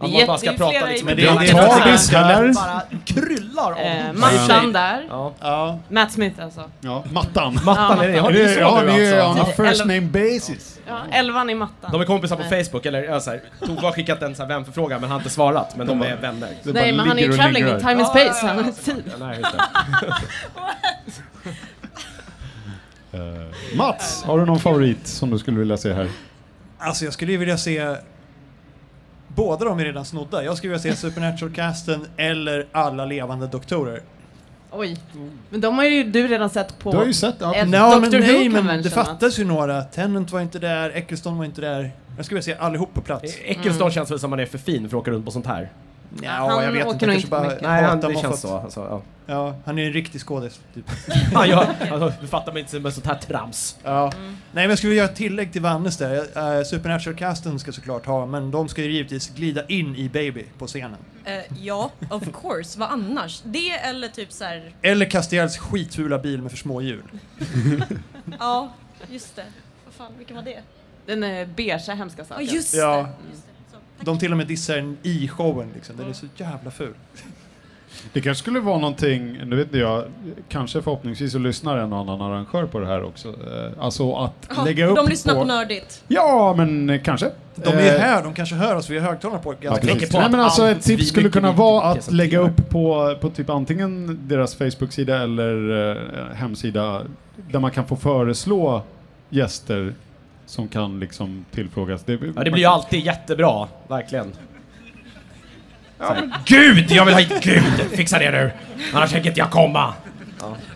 D: Att man
E: Jätte-
D: bara ska
E: det är
D: prata
E: flera
D: liksom
E: i-
D: med
E: Det är
D: hela
E: en
D: hela
A: tagis
D: tiden.
A: här.
D: bara kryllar av
E: Eh,
D: cosplay.
E: Mattan där.
D: Ja.
B: Ja,
E: Matt Smith alltså.
A: Ja, mattan.
D: Mattan, är det? Har
A: Är
D: ni
A: det,
D: så
A: ja,
D: nu
A: ni är
D: alltså?
A: on a first
E: Eller-
A: name basis.
E: Ja, elvan i mattan.
D: De är kompisar på Facebook, eller ja, så här, Tove har skickat en så här vänförfrågan men han har inte svarat, men de är vänner.
A: Det
E: Nej
A: bara
E: men han är
A: ligger
E: ju
A: och
E: traveling
A: lingrar.
E: in time and space. Han har tid.
D: Nej, just det.
A: Eh, Mats, har du någon favorit som du skulle vilja se här?
B: alltså jag skulle ju vilja se... Båda de är redan snodda. Jag skulle vilja se Supernatural-casten eller alla levande doktorer.
E: Oj. Men de har ju du redan sett på...
A: Du har ju sett... Ja,
E: Ett-
B: Nej, men,
E: Doctor Who
B: nej, men det
E: Convention,
B: fattas ju några. Tennant var inte där, Eccleston var inte där. Jag skulle vilja se allihop på plats.
D: Eccleston känns väl som han är för fin för att åka runt på sånt här.
B: Ja,
E: han åker nog inte mycket.
D: Nej, han,
B: hatar
D: det känns
B: Moffat.
D: så. Alltså, ja.
B: Ja, han är en riktig skådis. Typ.
D: Han gör, alltså, du fattar mig inte med sånt här trams.
B: Ja. Nej, men jag skulle vilja göra ett tillägg till Vannes där. Eh, Supernatural-casten ska såklart ha, men de ska ju givetvis glida in i Baby på scenen.
C: Eh, ja, of course. Vad annars? Det eller typ så här...
B: Eller Castells skitfula bil med för små hjul.
C: Ja, just det. Vad fan, vilken var det?
E: Den är beigea hemska
C: Ja,
E: saken.
C: just
B: Ja.
C: det. Just det. Så, tack.
B: De till och med dissar den i showen liksom. Den är så jävla ful.
A: Det kanske skulle vara någonting, nu vet inte jag, kanske förhoppningsvis så lyssnar en och annan arrangör på det här också. Eh, Alltså att
C: Ja,
A: lägga upp
C: de lyssnar på,
A: på
C: Nördigt.
A: Ja, men eh, kanske.
B: De är ju här, de kanske hör oss. Vi har högtalare på
A: Ja,
B: ganska
D: tänker
A: precis.
D: på
A: Nej,
D: att
A: men alltså
D: allt
A: ett tips
D: blir
A: skulle kunna
D: mycket
A: vara
D: mycket
A: att lägga
D: senare.
A: upp på, på typ antingen deras Facebook-sida eller eh, hemsida där man kan få föreslå gäster som kan liksom tillfrågas. Det,
D: Ja, det blir ju alltid jättebra, verkligen. Så här, Gud, jag vill ha hit Gud! Fixa det nu! Annars tänker inte jag komma!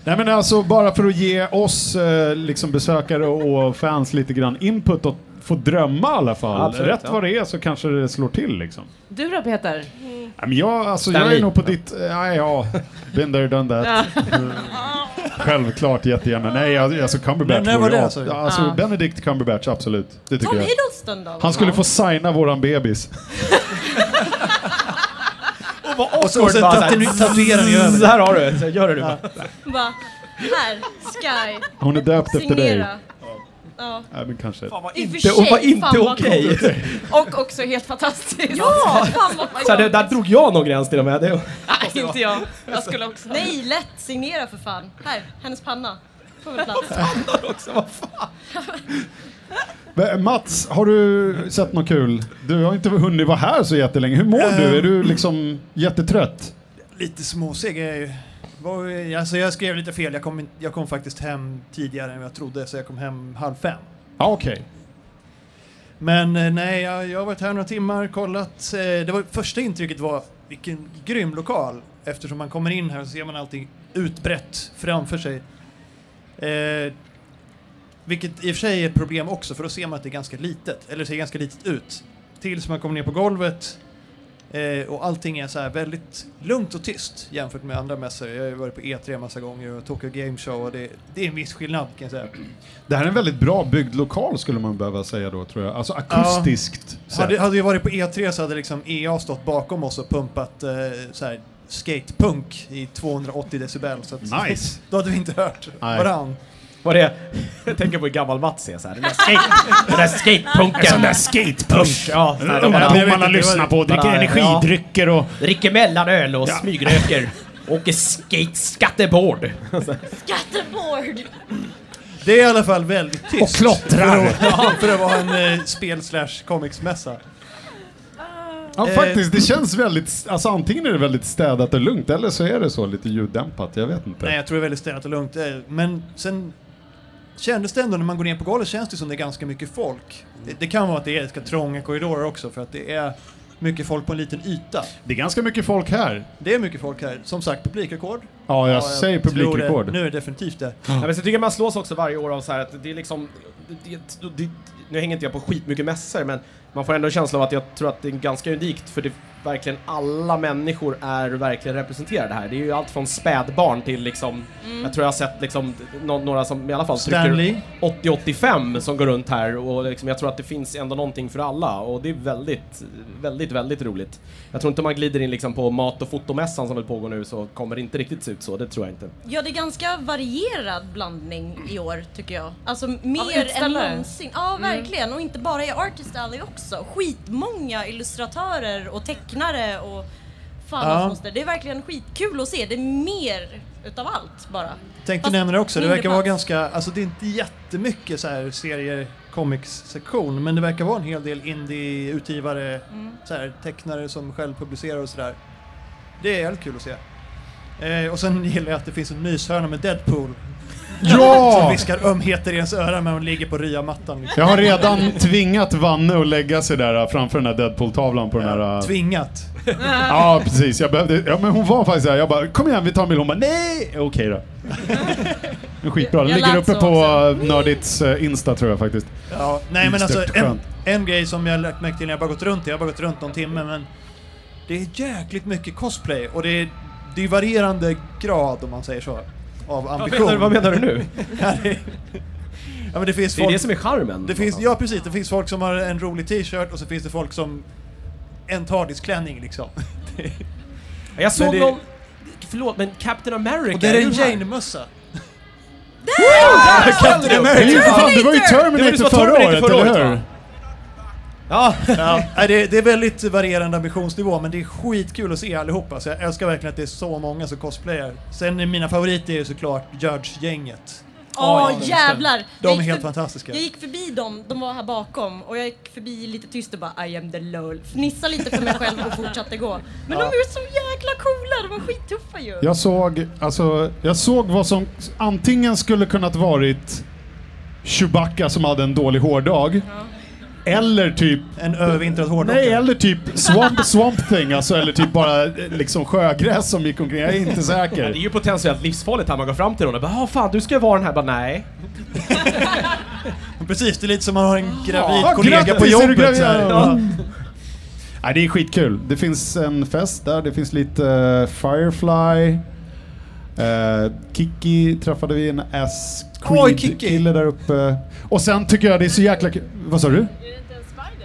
A: Nej men alltså bara för att ge oss eh, liksom besökare och fans lite grann input och få drömma i alla fall.
D: Ja, absolut,
A: Rätt
D: ja.
A: vad det är så kanske det slår till liksom.
E: Du då Peter?
A: Nej, men jag, alltså,
D: Stanley.
A: jag är nog på ditt... Nej, ja. Been there, done that. Mm. Självklart jättegärna. Nej, jag- alltså Cumberbatch
B: Men när var
A: vore
B: det,
A: as-
B: alltså?
A: Ja, alltså
E: Ja.
A: Benedict Cumberbatch, absolut. Det tycker
C: Tom
A: jag.
C: Hiddleston då?
A: Han skulle få signa våran bebis.
D: Och vad
B: Och så- och sen tatu- tatuerar ni över.
D: Så här har du, så gör det nu bara.
C: Bara, här, Sky,
A: Hon är döpt efter dig.
C: signera. Ja.
A: Nej, men kanske.
C: I och för
D: Det och var
C: sig, fan
D: inte
C: vad coolt.
D: okej!
E: Och också helt fantastiskt.
C: Ja, fan vad
D: Så här, det- Där drog jag någon gräns till och med. Det,
E: Nej, Fick inte jag. Jag skulle också ha.
C: Nej, lätt! Signera för fan. Här, hennes panna. På väl plats.
A: Men Mats, har du sett något kul? Du har inte hunnit vara här så jättelänge. Hur mår du? Är du liksom jättetrött?
B: Lite småseg är jag ju. Var ju- Alltså jag skrev lite fel, jag kom, in- jag kom faktiskt hem tidigare än jag trodde så jag kom hem halv fem.
A: Ja, okej.
B: Men eh, nej, jag, jag har varit här några timmar, kollat. Eh, Det var, första intrycket var vilken grym lokal. Eftersom man kommer in här så ser man allting utbrett framför sig. Eh, vilket i och för sig är ett problem också, för då ser man att det är ganska litet, eller ser ganska litet ut. Tills man kommer ner på golvet eh, och allting är så här väldigt lugnt och tyst jämfört med andra mässor. Jag har ju varit på E3 massa gånger och Tokyo Game Show och det, det är en viss skillnad kan jag säga.
A: Det här är en väldigt bra byggd lokal skulle man behöva säga då, tror jag. Alltså akustiskt sett.
B: Hade, hade vi varit på E3 så hade liksom EA stått bakom oss och pumpat eh, så här, skatepunk i 280 decibel. Så att,
A: Nice!
B: då hade vi inte hört
A: Nej.
B: varann.
D: Var det, jag tänker på hur gammal Mats är såhär. Den där, skate, den där skatepunken.
A: Alltså,
D: Sån där skatepunk. Ja,
A: Mm.
D: sån där,
A: Ungdomarna lyssnar på, dricker
D: Ja, ja.
A: energidrycker och...
D: dricker mellanöl och smygröker. Åker skate, skateboard.
C: Skateboard!
B: Det är i alla fall väldigt tyst.
A: Och klottrar.
B: För att, för att vara en eh, spel slash comicsmässa. Eh,
A: Ja, faktiskt. Det känns väldigt... Alltså antingen är det väldigt städat och lugnt eller så är det så lite ljuddämpat. Jag vet inte.
B: Nej, jag tror det är väldigt städat och lugnt. eh, Men sen kändes det ändå när man går ner på golvet känns det som det är ganska mycket folk. Det, det kan vara att det är ganska trånga korridorer också för att det är mycket folk på en liten yta.
A: Det är ganska mycket folk här.
B: Det är mycket folk här. Som sagt, publikrekord.
A: Ja, jag
B: Ja,
A: säger
B: tror det.
A: publikrekord.
B: Nu är det definitivt det.
D: Ja, men så tycker jag man slås också varje år av så här att det är liksom... Det, det, det, nu hänger inte jag på skitmycket mässor, men man får ändå en känsla av att jag tror att det är ganska unikt för det verkligen alla människor är verkligen representerade här. Det är ju allt från spädbarn till liksom... Jag tror jag har sett liksom nå- några som i alla fall
B: Stanley.
D: trycker 80-85 som går runt här och liksom, jag tror att det finns ändå någonting för alla och det är väldigt, väldigt, väldigt roligt. Jag tror inte man glider in liksom på mat och fotomässan som väl pågår nu så kommer det inte riktigt se ut så, det tror jag inte.
C: Ja, det är ganska varierad blandning i år tycker jag. Alltså mer än
E: utställare.
C: någonsin. Ja, verkligen. Och inte bara i Artist Alley också. Skitmånga illustratörer och tecknare och fan
B: Ja.
C: vad som måste. Det är verkligen skitkul att se. Det är mer utav allt bara.
B: Tänkte
C: Fast
B: nämna det också, det
C: mindre
B: verkar vara
C: plats.
B: ganska, alltså det är inte jättemycket så här serier comics-sektion, men det verkar vara en hel del indie-utgivare, så här, tecknare som själv publicerar och sådär. Det är jävligt kul att se. Eh, och sen gillar jag att det finns en myshörna med Deadpool som
A: Ja!
B: viskar ömheter i ens öra när man ligger på ryamattan. Liksom.
A: Jag har redan tvingat Vanne att lägga sig där äh, framför den här Deadpool-tavlan på den här... äh,
B: Tvingat.
A: Ja, precis. Jag behövde, ja, men hon var faktiskt där. Jag bara, kom igen, vi tar en bild. Hon bara, nej! Okej då. Men Skitbra. Den
C: Jag
A: ligger
C: lät
A: uppe
C: så
A: på
C: också.
A: äh, Nördits äh, Insta tror jag faktiskt.
B: Ja, nej men alltså
A: Ostört
B: en,
A: skönt.
B: en grej som jag lagt märke till när jag bara gått runt, jag har bara gått runt någon timme men det är jäkligt mycket cosplay och det är, det är varierande grad om man säger så. Av ambition.
D: du nu?
B: Ja, det- ja men det finns
D: Det är
B: folk,
D: det som är charmen.
B: det finns, ja precis, det finns folk som har en rolig t-shirt och så finns det folk som en tardisklänning liksom.
D: Jag såg
B: Men det-
D: någon... Förlåt, men Captain America...
B: Och där är en
D: du här?
B: Jane-mössa.
A: Det, är ju för fan, det var ju
D: Det var
A: Terminator
D: det som var
A: förra
D: Terminator
A: året,
D: förra
A: eller
D: året,
A: hur?
D: va? Ja,
B: Ja, nej, det, det är väldigt varierande ambitionsnivå, men det är skitkul att se allihopa. Så jag älskar verkligen att det är så många som cosplayar. Sen är mina favoriter är ju såklart Judge-gänget.
C: Åh
F: just det.
C: jävlar!
B: De
C: Jag
B: är
C: gick
B: helt
C: för-
B: fantastiska.
C: Jag gick förbi dem, de var här bakom och jag gick förbi lite tyst och bara I am the lol. Fnissade lite för mig själv och fortsatte gå. Men de är så jäkla coola, de var skittuffa ju.
A: Jag såg, alltså, jag såg vad som antingen skulle kunnat varit Chewbacca som hade en dålig hårdag. Eller typ...
B: En övervintrad
A: Nej,
B: hårdrockare.
A: eller typ Swamp, swamp Thing, alltså, eller typ bara eh, liksom sjögräs som gick omkring. Jag är inte
D: det är
A: säker.
D: ju potentiellt livsfarligt här man går fram till någon och bara "Ah, fan du ska ju vara den här. Bara, nej.
B: Precis, det är lite som man har en gravid
A: Ja,
B: kollega på
A: grattis, är du
B: jobbet.
A: gravid?
B: Så här.
A: Ja.
B: Ja.
A: Nej, det är skitkul. Det finns en fest där, det finns lite eh, Firefly. eh, Kiki träffade vi, en ass
B: Oj,
A: creed
B: Kiki.
A: kille där uppe. Och sen tycker jag det är så jäkla kul. Vad sa du?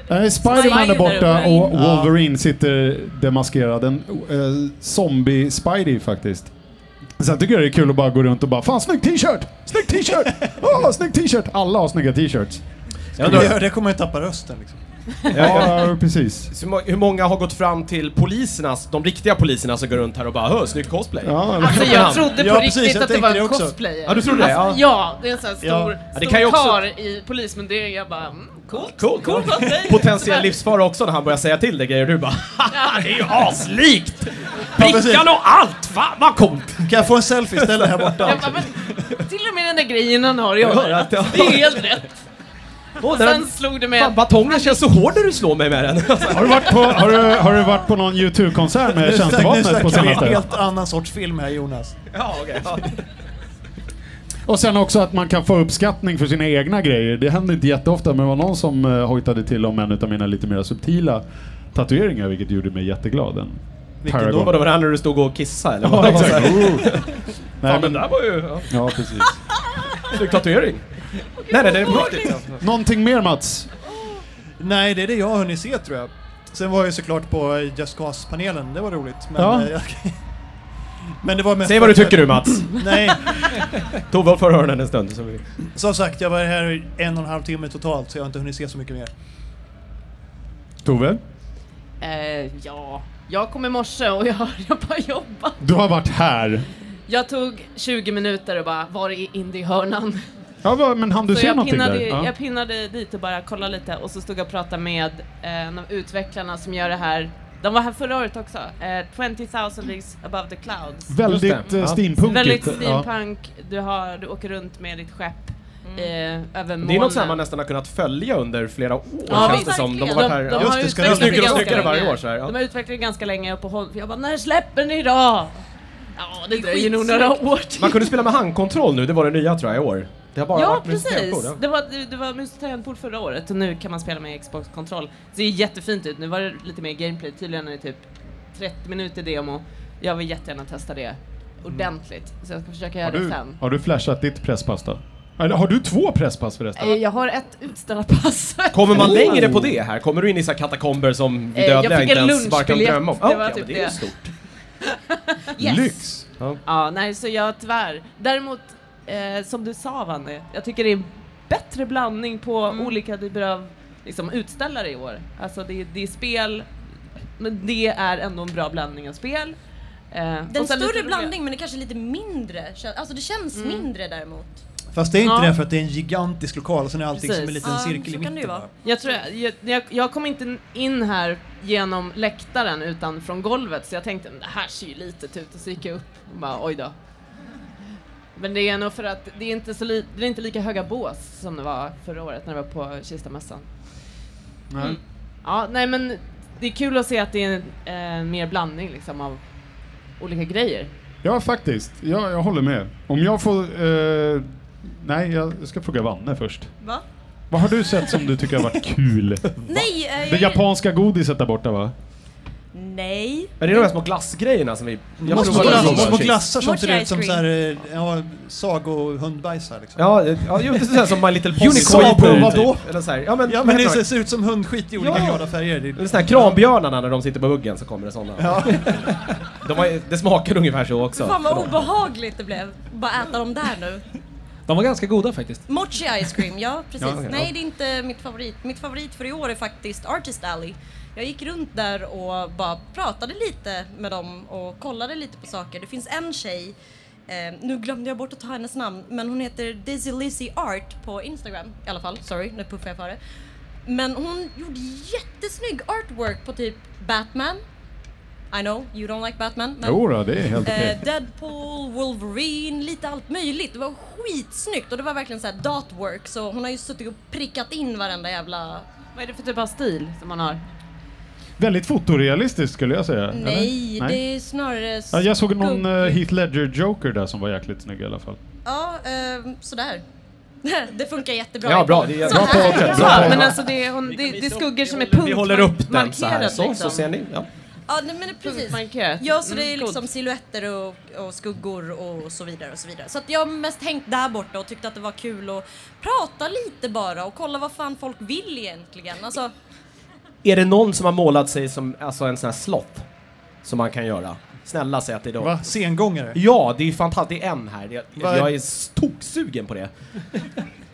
A: Nej, Spiderman är
E: Spider
A: borta
E: där uppe.
A: och Wolverine sitter demaskerad. En eh, zombie-Spidey faktiskt. Sen tycker jag det är kul att bara gå runt och bara Fan snygg t-shirt! Snygg t-shirt! Åh, snygg t-shirt! Alla har snygga t-shirts.
D: Jag
B: Det,
D: undrar,
B: det kommer jag tappa rösten liksom.
A: Ja, precis.
D: Så hur må- hur många har gått fram till poliserna, de riktiga poliserna som går runt här och bara “Hör, snygg cosplay”?
A: Ja, eller-
E: Alltså jag trodde på
B: Ja, precis,
E: riktigt
B: jag
E: att det
B: tänkte
E: var
B: det
E: en
B: också.
E: cosplayer.
D: Ja, du trodde det?
E: Alltså, ja, det är en sån här stor,
B: Ja.
D: Ja, det
E: stor
D: kan ju också-
E: karl i polismyndigheten. Jag bara, mm, coolt.
D: Cool,
E: Cool cosplay.
D: Potentiell
E: Tyvärr.
D: livsfara också när han börjar säga till dig grejer och du bara “Haha, det är ju aslikt!
B: precis.
D: Prickarna och allt! Va, vad coolt!”
B: Kan jag få en selfie istället här borta?
E: Jag bara, men, till och med den där grejen han har i honom. Det är helt rätt. Och
D: den
E: sen
D: har-
E: slog det mig
D: Fan,
E: att
D: batongen känns så hård när du slår mig med den.
A: Har du varit på, har du, har du varit på någon YouTube-konsert med
B: Nu snack- nu
A: tjänstevapnet på
B: snackar vi en
A: senaste?
B: helt annan sorts film här Jonas.
D: ja, okej.
A: Och sen också att man kan få uppskattning för sina egna grejer. Det händer inte jätteofta, men det var någon som eh, hojtade till om en av mina lite mer subtila tatueringar, vilket gjorde mig jätteglad. En
B: Vilken
A: Paragon.
D: Då var det här när du stod och kissade eller?
A: Ja,
D: vad?
A: exakt. Oh. Nej,
D: Fan, den
A: men,
D: där var ju... Ja,
A: ja, precis.
D: snygg tatuering. Nej, nej, det är på riktigt.
A: Någonting mer Mats?
B: Nej, det är det jag har hunnit se tror jag. Sen var jag ju såklart på Just Cause-panelen, det var roligt. Men,
A: Ja.
B: eh, jag- men det var mest
D: Säg vad du tycker du Mats.
B: Nej,
D: Tove har förhörnen en stund. Så vi...
B: som sagt jag var här i en och en halv timme totalt så jag har inte hunnit se så mycket mer.
A: Tove?
E: Eh, ja, jag kom i morse och jag, jag bara jobbade.
A: Du har varit här.
E: Jag tog 20 minuter och bara, var är indiehörnan?
A: Ja, vad- men hann du
E: så
A: se
E: jag
A: någonting
E: pinnade,
A: där? Ja.
E: jag pinnade dit och bara kollade lite och så stod jag och pratade med eh, en av utvecklarna som gör det här. De var här förra året också. Eh, 20,000 leagues above the clouds.
A: Väldigt
D: det.
A: eh,
D: Ja.
A: steampunkigt.
E: Väldigt
A: Ja.
E: steampunk, du, har, du åker runt med ditt skepp
A: Mm.
E: eh, över månen.
D: Det är något som man nästan har kunnat följa under flera år
E: Ja,
D: känns det
E: verkligen.
D: som. De har varit här...
E: de
D: ja.
E: har
B: det, ska
E: utvecklat det
B: jag- snyggare och
E: ganska
D: snyggare varje
E: länge.
D: år så här, ja.
E: De har utvecklat det ganska länge och på håll, för jag bara, när släpper ni då? Ja, det dröjer nog några år till.
D: Man kunde spela med handkontroll nu, det var det nya tror jag i år. Det har bara
E: Ja,
D: varit med
E: precis.
D: spelkort, ja.
E: Det var, det, det var mus och tangentbord förra året och nu kan man spela med Xbox-kontroll. Det ser jättefint ut. Nu var det lite mer gameplay. Tydligen är det typ 30 minuter demo. Jag vill jättegärna testa det ordentligt.
D: Mm.
E: Så jag ska försöka göra
A: Har
E: det
A: du,
E: sen.
A: har du flashat ditt presspass då? Eller har du två presspass förresten?
E: Eh, Jag har ett utställarpass.
D: Kommer man längre på det här? Kommer du in i så här katakomber som vi
E: Eh, jag
D: dödliga
E: fick
D: inte
E: en
D: ens varken
E: lunchbiljett.
D: drömma om?
E: Det
D: Ah,
E: var
D: okej,
E: typ
D: men det är ju
E: det.
D: stort.
A: Lyx!
E: Ja, nej, så jag tyvärr. Däremot, eh, som du sa Vanne, jag tycker det är en bättre blandning på
C: Mm.
E: olika typer av liksom, utställare i år. Alltså det, det är spel, men det är ändå en bra blandning av spel. Eh,
C: Den
E: och sen lite
C: större
E: roliga-
C: blandning men det kanske är lite mindre. kän- Alltså det känns mindre däremot.
B: Fast det är inte
E: Ja.
B: det för att det är en gigantisk lokal och sen är allting som en
E: Precis.
B: liten
C: Ja,
B: cirkel i
C: så kan det ju
B: mitten.
C: vara.
B: bara.
E: Jag, tror, jag, jag, jag kom inte in här genom läktaren utan från golvet så jag tänkte "Men det här ser ju litet ut och så gick jag upp och bara oj då. Men det är nog för att det är inte, så li, det är inte lika höga bås som det var förra året när det var på Kistamässan.
A: Nej.
E: Ja, nej men det är kul att se att det är en eh, mer blandning liksom av olika grejer.
A: Ja, faktiskt. Ja, jag håller med. Om jag får... Eh, nej, jag ska fråga Vanne först.
C: Va?
A: Vad har du sett som du tycker har varit kul?
C: Nej! eh,
A: Det
C: jag-
A: japanska godiset där borta va?
C: Nej.
D: Men det är de här små glassgrejerna som vi... Jag
B: Små,
D: provade
C: glass-
D: dem
B: glass,
D: bara.
B: små glassar som
C: Mochi
B: ser ut
C: ice
B: som
C: cream.
B: så här, eh, ja, sagohundbajs här liksom.
D: Ja, eh, ja, jo, det är sådär som My Little Pony
B: Unicorn,
D: Saber,
B: vadå?
D: typ. Eller så här. Ja, men,
B: Ja
D: vad
B: men
D: heter
B: det
D: de?
B: ser- ser ut som hundskit i olika
D: Ja.
B: glada färger. Det-
D: Det är sådana här kranbjörnarna när de sitter på huggen så kommer det sådana. De har, det smakar ungefär så också.
C: Fan vad
D: för dem.
C: obehagligt det blev. Bara äta dem där nu.
F: De var ganska goda faktiskt.
C: Mochi ice cream, ja precis.
D: Ja, okej,
C: Nej
D: ja.
C: det är inte mitt favorit. Mitt favorit för i år är faktiskt Artist Alley. Jag gick runt där och bara pratade lite med dem och kollade lite på saker. Det finns en tjej, eh, nu glömde jag bort att ta hennes namn, men hon heter Dizzy Lizzy Art på Instagram i alla fall. Sorry, nu puffar jag för det. Men hon gjorde jättesnygg artwork på typ Batman. I know, you don't like Batman. Men
A: Jo då, det är helt okej.
C: Eh, Deadpool, Wolverine, lite allt möjligt. Det var skitsnyggt och det var verkligen så här dotwork så hon har ju suttit och prickat in varenda jävla...
E: Vad är det för typ av stil som man har?
A: Väldigt fotorealistiskt skulle jag säga. eller?
C: Nej, det är snarare...
A: Ja, jag såg någon eh,
C: skuggigt.
A: Heath Ledger Joker där som var jäkligt snygg i alla fall.
C: Ja, eh, sådär. det funkar jättebra.
D: Ja, bra. Det är
A: Bra på
C: här.
A: bra
E: Ja,
A: på
E: men alltså det är, hon, det, det är skuggor som är punktmarkerat
D: Vi håller upp den så här, så, så ser ni. Ja.
C: Ja, nej, men det- precis.
E: Punktmarkerat.
C: Ja, så det är
E: Mm, coolt.
C: liksom silhuetter och, och skuggor och så vidare och så vidare. Så att jag har mest hängt där borta och tyckte att det var kul att prata lite bara och kolla vad fan folk vill egentligen. Alltså,
D: Är det någon som har målat sig som alltså en sån här slott? Som man kan göra? Snälla säg att det är de.
B: Va? Sengångare?
D: Ja, det är fantastiskt. Det är en här. Jag,
B: Va?
D: jag är s- toksugen på det.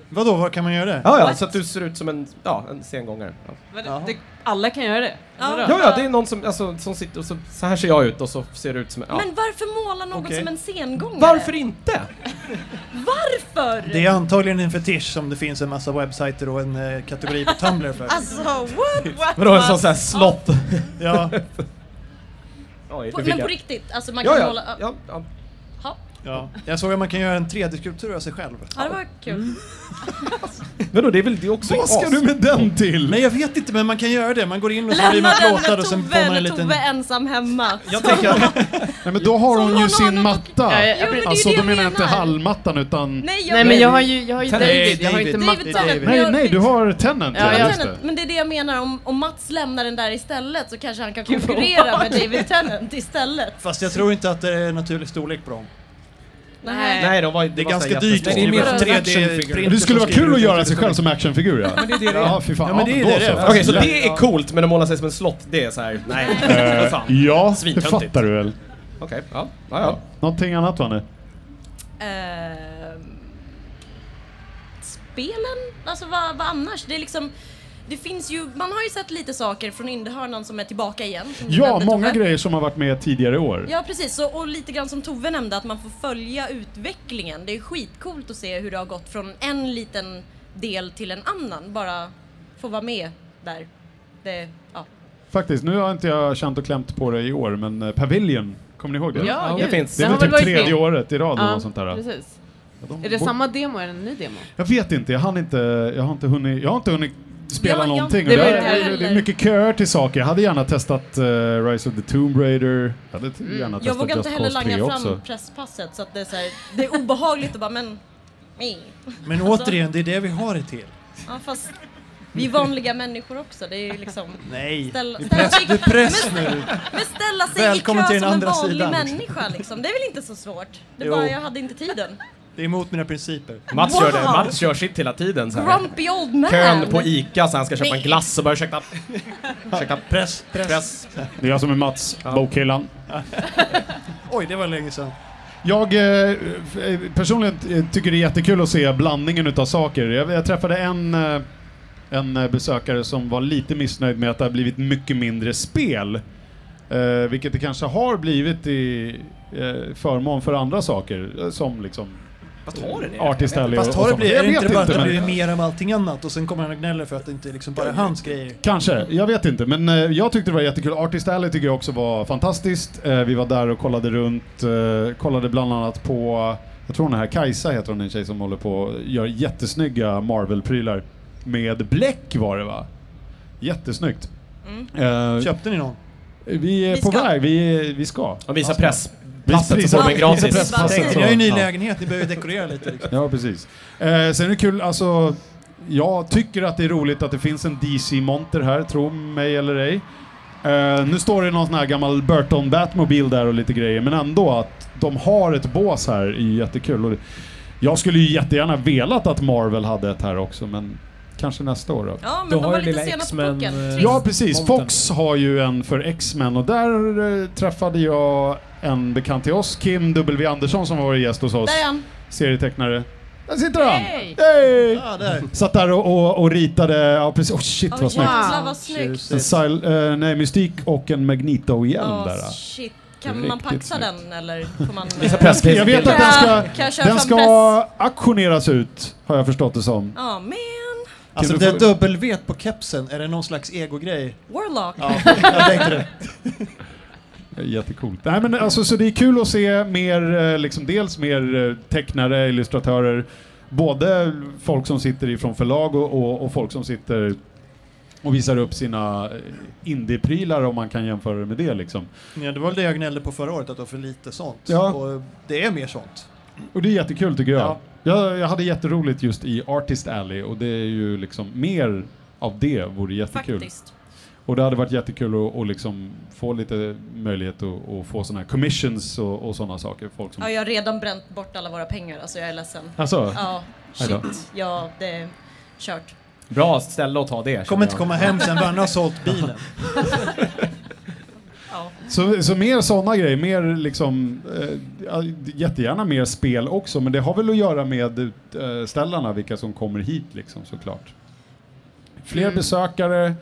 B: Vadå, vad kan man göra det?
D: Ja, ja,
E: What?
D: så att du ser ut som en, ja, en sengångare. Ja.
E: Vadå?
B: Jaha.
E: Det, alla kan göra det.
C: Ja.
E: Vadå?
D: ja, ja, det är någon som, alltså, som sitter och så, så här ser jag ut och så ser det ut som en... Ja.
C: Men varför måla någon
B: Okej.
C: som en sengångare?
D: Varför inte?
C: Varför?
B: Det är antagligen en fetisch som det finns en massa webbsajter och en eh, kategori på Tumblr för.
C: Alltså, what? what
D: Vadå, en sån
C: what?
D: sån här slott?
B: Ja,
D: Oj,
C: På,
D: det fick
C: men på
D: jag.
C: riktigt, alltså man
D: Ja,
C: kan
D: ja,
C: måla... Ja.
D: ja, ja.
B: ja. Jag såg att man kan göra en 3D-skulptur av sig själv.
C: ja, det var kul.
A: Mm.
D: Vadå, det är väl det är också
A: Vad ska
D: as-
A: du med den till?
B: Nej, jag vet inte, men man kan göra det. Man går in och så blir man
C: Lämna den
B: plåtad och sen
C: med
B: får man
C: Tove,
B: en
C: liten...
B: liten...
C: Tove ensam hemma.
B: Jag tänker att
A: Nej, men då har
C: Som
A: hon ju
C: hon har
A: sin
C: någon-
A: matta.
E: Ja, ja.
C: Jo, men det är ju
A: Alltså,
C: det
A: då menar jag inte
C: menar.
A: hallmattan utan...
C: Nej, jag
E: Nej men jag har ju, jag har ju
D: Nej,
E: David, jag har ju inte
B: David.
E: Matta.
C: David Tennant.
E: Nej,
A: Nej,
C: jag-
A: nej, du har Tenant.
E: Ja,
A: Ja,
E: jag-
A: just det.
C: Tennant, men det är det jag menar, om, om Mats lämnar den där istället så kanske han kan
E: Gud, vad
C: konkurrera med David Tennant istället.
B: Fast jag tror inte att det är naturlig storlek på dem.
E: Nej.
D: Nej, de var, det
B: Det är
D: var
B: ganska
D: såna
B: dyrt.
D: jättestora.
F: Det är mer
B: en
F: som
B: 3D-printer
A: Men det skulle vara
B: som
A: kul
B: skriver
A: att
B: ut
A: göra
B: en
A: sig själv som actionfigur ja.
F: Men det är det det är.
A: Ja, fy fan.
B: Ja, men det är
A: då
B: det det är.
A: så.
D: Okej, så det
B: Ja.
D: är coolt, men att måla sig som en slott, det är så här. nej. Vad fan. Okej,
A: Eh, Ja, det
D: Svintöntigt.
A: fattar du väl.
D: ja, ja, ja.
A: Någonting annat Vanne?
C: Ehm, spelen? Alltså vad, vad annars? Det är liksom... Det finns ju, man har ju sett lite saker från Indiehörnan som är tillbaka igen. som du
A: Ja,
C: nämnde,
A: många
C: Tove.
A: grejer som har varit med tidigare år.
C: Ja precis, så, och lite grann som Tove nämnde att man får följa utvecklingen. Det är skitcoolt att se hur det har gått från en liten del till en annan. Bara få vara med där. Det, ja.
A: Faktiskt, nu har inte jag känt och klämt på det i år, men eh, Pavilion, kommer ni ihåg det?
E: Ja,
D: det
E: gud.
D: finns.
A: Det
E: Den
A: är
E: har
A: väl
E: väl
A: typ
E: varit
A: tredje
E: med.
A: året i rad eller
E: Ja,
A: något sånt där. ja.
E: precis.
A: Ja, de
E: Är det
A: bor-
E: samma demo eller en ny demo?
A: Jag vet inte, jag hann inte, jag har inte hunnit, jag har inte hunnit spela
C: Ja, jag-
A: någonting.
E: det
A: och
E: var
A: det,
E: ju det
A: är,
C: heller.
A: det är mycket köer till saker. Jag hade gärna testat eh, Rise of the Tomb Raider. Jag hade
E: Mm.
A: t- gärna
C: Jag
A: testat
C: vågar inte
A: Just
C: heller
A: Cause 3
C: langa
A: också.
C: fram presspasset så att det är, så här, det är obehagligt att bara men... Nej. Alltså,
B: Men återigen, det är det vi har det till.
C: Ja, fast vi är vanliga människor också. Det är ju liksom...
B: Nej,
C: Ställa,
B: du
C: ställa sig,
B: press, du press nu.
C: men ställa sig
B: Välkommen
C: i
B: till
C: kö
B: den
C: som en
B: andra
C: vanlig
B: sidan.
C: människa liksom. Det är väl inte så svårt? Det är
B: Jo.
C: bara jag hade inte tiden.
B: Det är emot mina principer.
D: Mats gör det,
C: Wow.
D: Mats kör sitt hela tiden så här.
C: Grumpy old man!
D: Kön på ICA så han ska köpa en
C: Nej.
D: glass och bara ursäkta, ursäkta,
B: Press, press.
D: press.
A: Det är jag som är Mats, bokhyllan.
B: Oj, det var länge sedan.
A: Jag eh, eh, personligen eh, tycker det är jättekul att se blandningen utav saker. Jag, jag träffade en, eh, en eh, besökare som var lite missnöjd med att det har blivit mycket mindre spel. Eh, vilket det kanske har blivit i eh, förmån för andra saker. eh, Som liksom
D: Vad tar det?
A: Artist Alley och,
B: Fast har
A: och
B: det
A: sånt.
B: blivit, är
A: Jag
B: det inte
A: vet
B: bara att
A: inte,
B: det
A: men-
B: blivit mer av allting annat och sen kommer han och gnäller för att det inte liksom bara är hans grejer?
A: Kanske, jag vet inte. Men eh, jag tyckte det var jättekul. Artist Alley tycker jag också var fantastiskt. Eh, vi var där och kollade runt, eh, kollade bland annat på, jag tror den här Kajsa heter hon, en tjej som håller på och gör jättesnygga Marvel-prylar. Med bläck var det va? Jättesnyggt.
C: Mm.
A: Eh,
B: Köpte ni någon?
A: vi är
C: Vi
A: på
C: ska.
A: väg, vi, vi ska.
D: De visar
A: Visar-
D: presspasset så får de en
A: visar
D: gratis.
A: presspasset,
C: Tänkte,
A: så-
B: Ni har ju ny
A: ja.
B: lägenhet, ni behöver ju dekorera lite. Liksom.
A: Ja, precis. Eh, sen är det kul, alltså... Jag tycker att det är roligt att det finns en DC-monter här, tro mig eller ej. Eh, nu står det någon sån här gammal Burton Batmobil där och lite grejer, men ändå att de har ett bås här är ju jättekul. Och det- jag skulle ju jättegärna velat att Marvel hade ett här också, men kanske nästa år då.
C: Ja, men
F: Du
C: de
F: har
C: var
F: ju
C: lite
F: lilla
C: sena på
F: X-Men,
C: pucken.
F: eh,
C: Trist.
A: Ja, precis.
F: Monten.
A: Fox har ju en för X-Men och där eh, träffade jag en bekant till oss, Kim W. Andersson, som var gäst hos oss
C: Där är han.
A: serietecknare. Där sitter han!
E: Yay!
A: Hey!
B: Ja, där.
A: Satt där och, och, och ritade, ja precis, oh shit
C: Åh
A: vad snyggt.
C: jävlar
E: Wow.
C: vad snyggt.
A: En sil- eh, nej, mystik och en Magneto-hjälm
C: Åh
A: där.
C: shit. Kan
A: Riktigt
C: man paxa
A: snyggt.
C: den eller får man...
A: Jag vet att den
C: Kan jag- kan
A: ska,
C: jag köra
A: den
C: fram
A: ska auktioneras ut, har jag förstått det som.
C: Ja, men...
B: Alltså
A: Kan
B: det
A: du få-
B: W på kepsen, är det någon slags egogrej?
C: Warlock.
B: Ja, jag tänkte det.
A: Jättecoolt. Nej, men alltså, så det är kul att se mer, eh, liksom, dels mer eh, tecknare, illustratörer, både folk som sitter ifrån förlag och, och, och folk som sitter och visar upp sina eh, indieprylar om man kan jämföra det med det liksom.
B: Ja, det var väl det jag gnällde på förra året, att det var för lite sånt.
A: Ja.
B: Och det är mer sånt.
A: Och det är jättekul tycker jag.
B: Ja.
A: jag. Jag hade jätteroligt just i Artist Alley och det är ju liksom mer av det vore jättekul.
C: Faktiskt.
A: Och det hade varit jättekul att, att liksom få lite möjlighet att, att få sådana här commissions och, och sådana saker. Folk som...
C: Ja, jag har redan bränt bort alla våra pengar, alltså jag är ledsen.
A: Alltså,
C: Ja,
A: Aj då.
C: shit. Ja, det är kört.
D: Bra ställe att ta det. känner
B: Kommer inte
D: jag.
B: komma hem sen, Vanna har sålt bilen.
C: Ja.
A: Så, så mer sådana grejer, mer liksom, eh, ja, jättegärna mer spel också, men det har väl att göra med utställarna, vilka som kommer hit liksom såklart. Fler
D: Mm.
A: besökare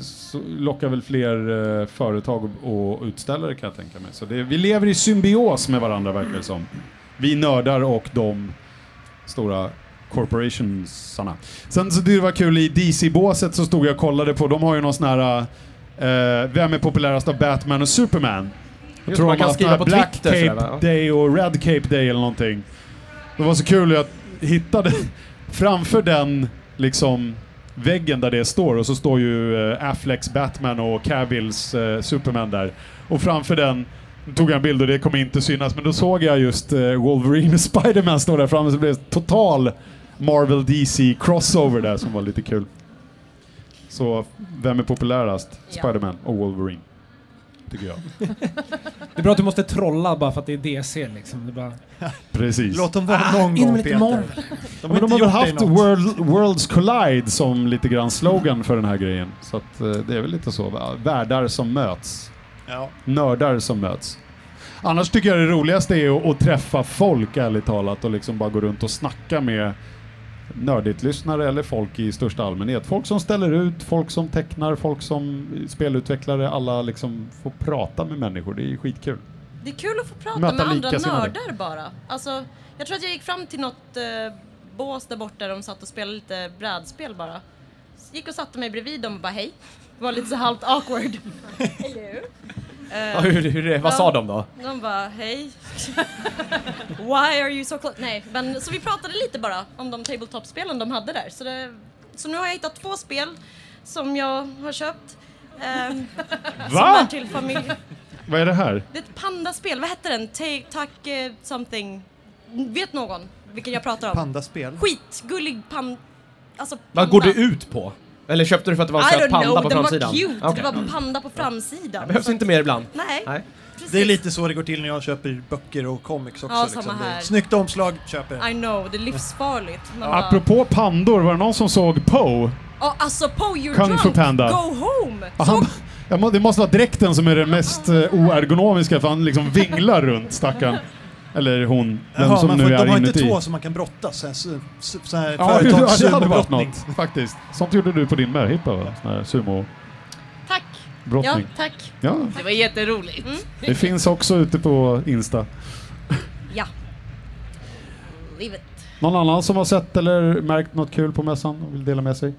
A: så lockar väl fler eh, företag och, och utställare kan jag tänka mig. Så det, vi lever i symbios med varandra verkar det som. Vi nördar och de stora corporationsarna. Sen så det var kul, i DC-båset så stod jag och kollade på, de har ju någon sån här eh, vem är populärast av Batman och Superman? Jag
D: Just,
A: tror
D: man
A: de
D: kan
A: har haft
D: skriva
A: den här
D: på
A: Black
D: Twitter sådär,
A: Cape
D: va?
A: Day och Red Cape Day eller någonting. Det var så kul, jag hittade framför den liksom väggen där det står och så står ju eh, Afflecks Batman och Cavills eh, Superman där. Och framför den tog jag en bild och det kommer inte synas men då såg jag just eh, Wolverine och Spiderman stå där framme så det blev total Marvel DC crossover där som var lite kul. Så vem är populärast?
C: Ja.
A: Spiderman och Wolverine. Tycker jag.
F: Det är bra att du måste trolla bara för att det är DC liksom. Det är bara...
A: Precis.
B: Låt dem vara någon
F: in
B: gång
F: med lite
B: Peter.
F: Marvel.
B: De
A: Men
B: har
A: de
B: inte
A: har
B: gjort
A: väl
B: haft
A: haft
B: dig något.
A: World, Worlds Collide som lite grann slogan för den här grejen. Så att, eh, det är väl lite så. va? Världar som möts.
B: Ja.
A: Nördar som möts. Annars tycker jag det roligaste är att, att träffa folk ärligt talat och liksom bara gå runt och snacka med nördigt-lyssnare eller folk i största allmänhet. Folk som ställer ut, folk som tecknar, folk som spelutvecklare. Alla liksom får prata med människor. Det är ju skitkul.
C: Det är kul att få prata
A: Möta
C: med andra
A: likasinnade.
C: nördar bara. Alltså, jag tror att jag gick fram till något eh, bås där borta där de satt och spelade lite brädspel bara. Så Gick och satte mig bredvid dem och bara hej. Var lite så halvt awkward. Hello.
D: Ja, hur, hur, är- vad sa de då?
C: De bara hej. Why are you so close? Nej, men så vi pratade lite bara om de tabletop-spelen de hade där. Så, det, så nu har jag hittat två spel som jag har köpt. ehm, som är
A: Va?
C: till familj.
A: Vad är det här?
C: Det är ett pandaspel, vad hette den? Ta- Tack eh, something. Vet någon vilken jag pratar om?
B: Pandaspel.
C: Skitgullig pan... Alltså panda.
D: Vad går det ut på? Eller köpte du för att det var en
C: I
D: söt
C: don't
D: panda
C: know,
D: på
C: den var
D: framsidan?
C: cute.
D: Okej.
C: Det var panda på framsidan.
D: Behövs inte mer ibland.
C: Nej,
D: Nej.
C: precis.
B: Det är lite så det går till när jag köper böcker och comics också.
C: Ja,
B: liksom.
C: samma
B: Det är
C: här.
B: Snyggt omslag, köper.
C: I know, det är livsfarligt. Man bara-
A: Apropå pandor, var det någon som såg Poe?
C: Ja, alltså Poe, you're
A: Kung
C: drunk!
A: Fu Panda.
C: Go home!
D: Ah,
A: Ja, Han, jag må, det måste vara dräkten som är den mest eh, oergonomiska för han liksom vinglar runt stackaren. Eller hon, vem
B: Jaha,
A: som
B: man
A: nu
B: får,
A: är
B: de har
A: inuti.
B: inte två som man kan brottas. Så här, su- su- så här
A: ja, det det hade varit
B: företagssumobrottning.
A: något faktiskt. Sånt gjorde du på din möhippa va? Sån här sumobrottning.
C: Tack! Ja, tack.
A: Ja.
E: Det var jätteroligt.
A: det finns också ute på Insta.
C: Ja. Live it.
A: Någon annan som har sett eller märkt något kul på mässan och vill dela med sig?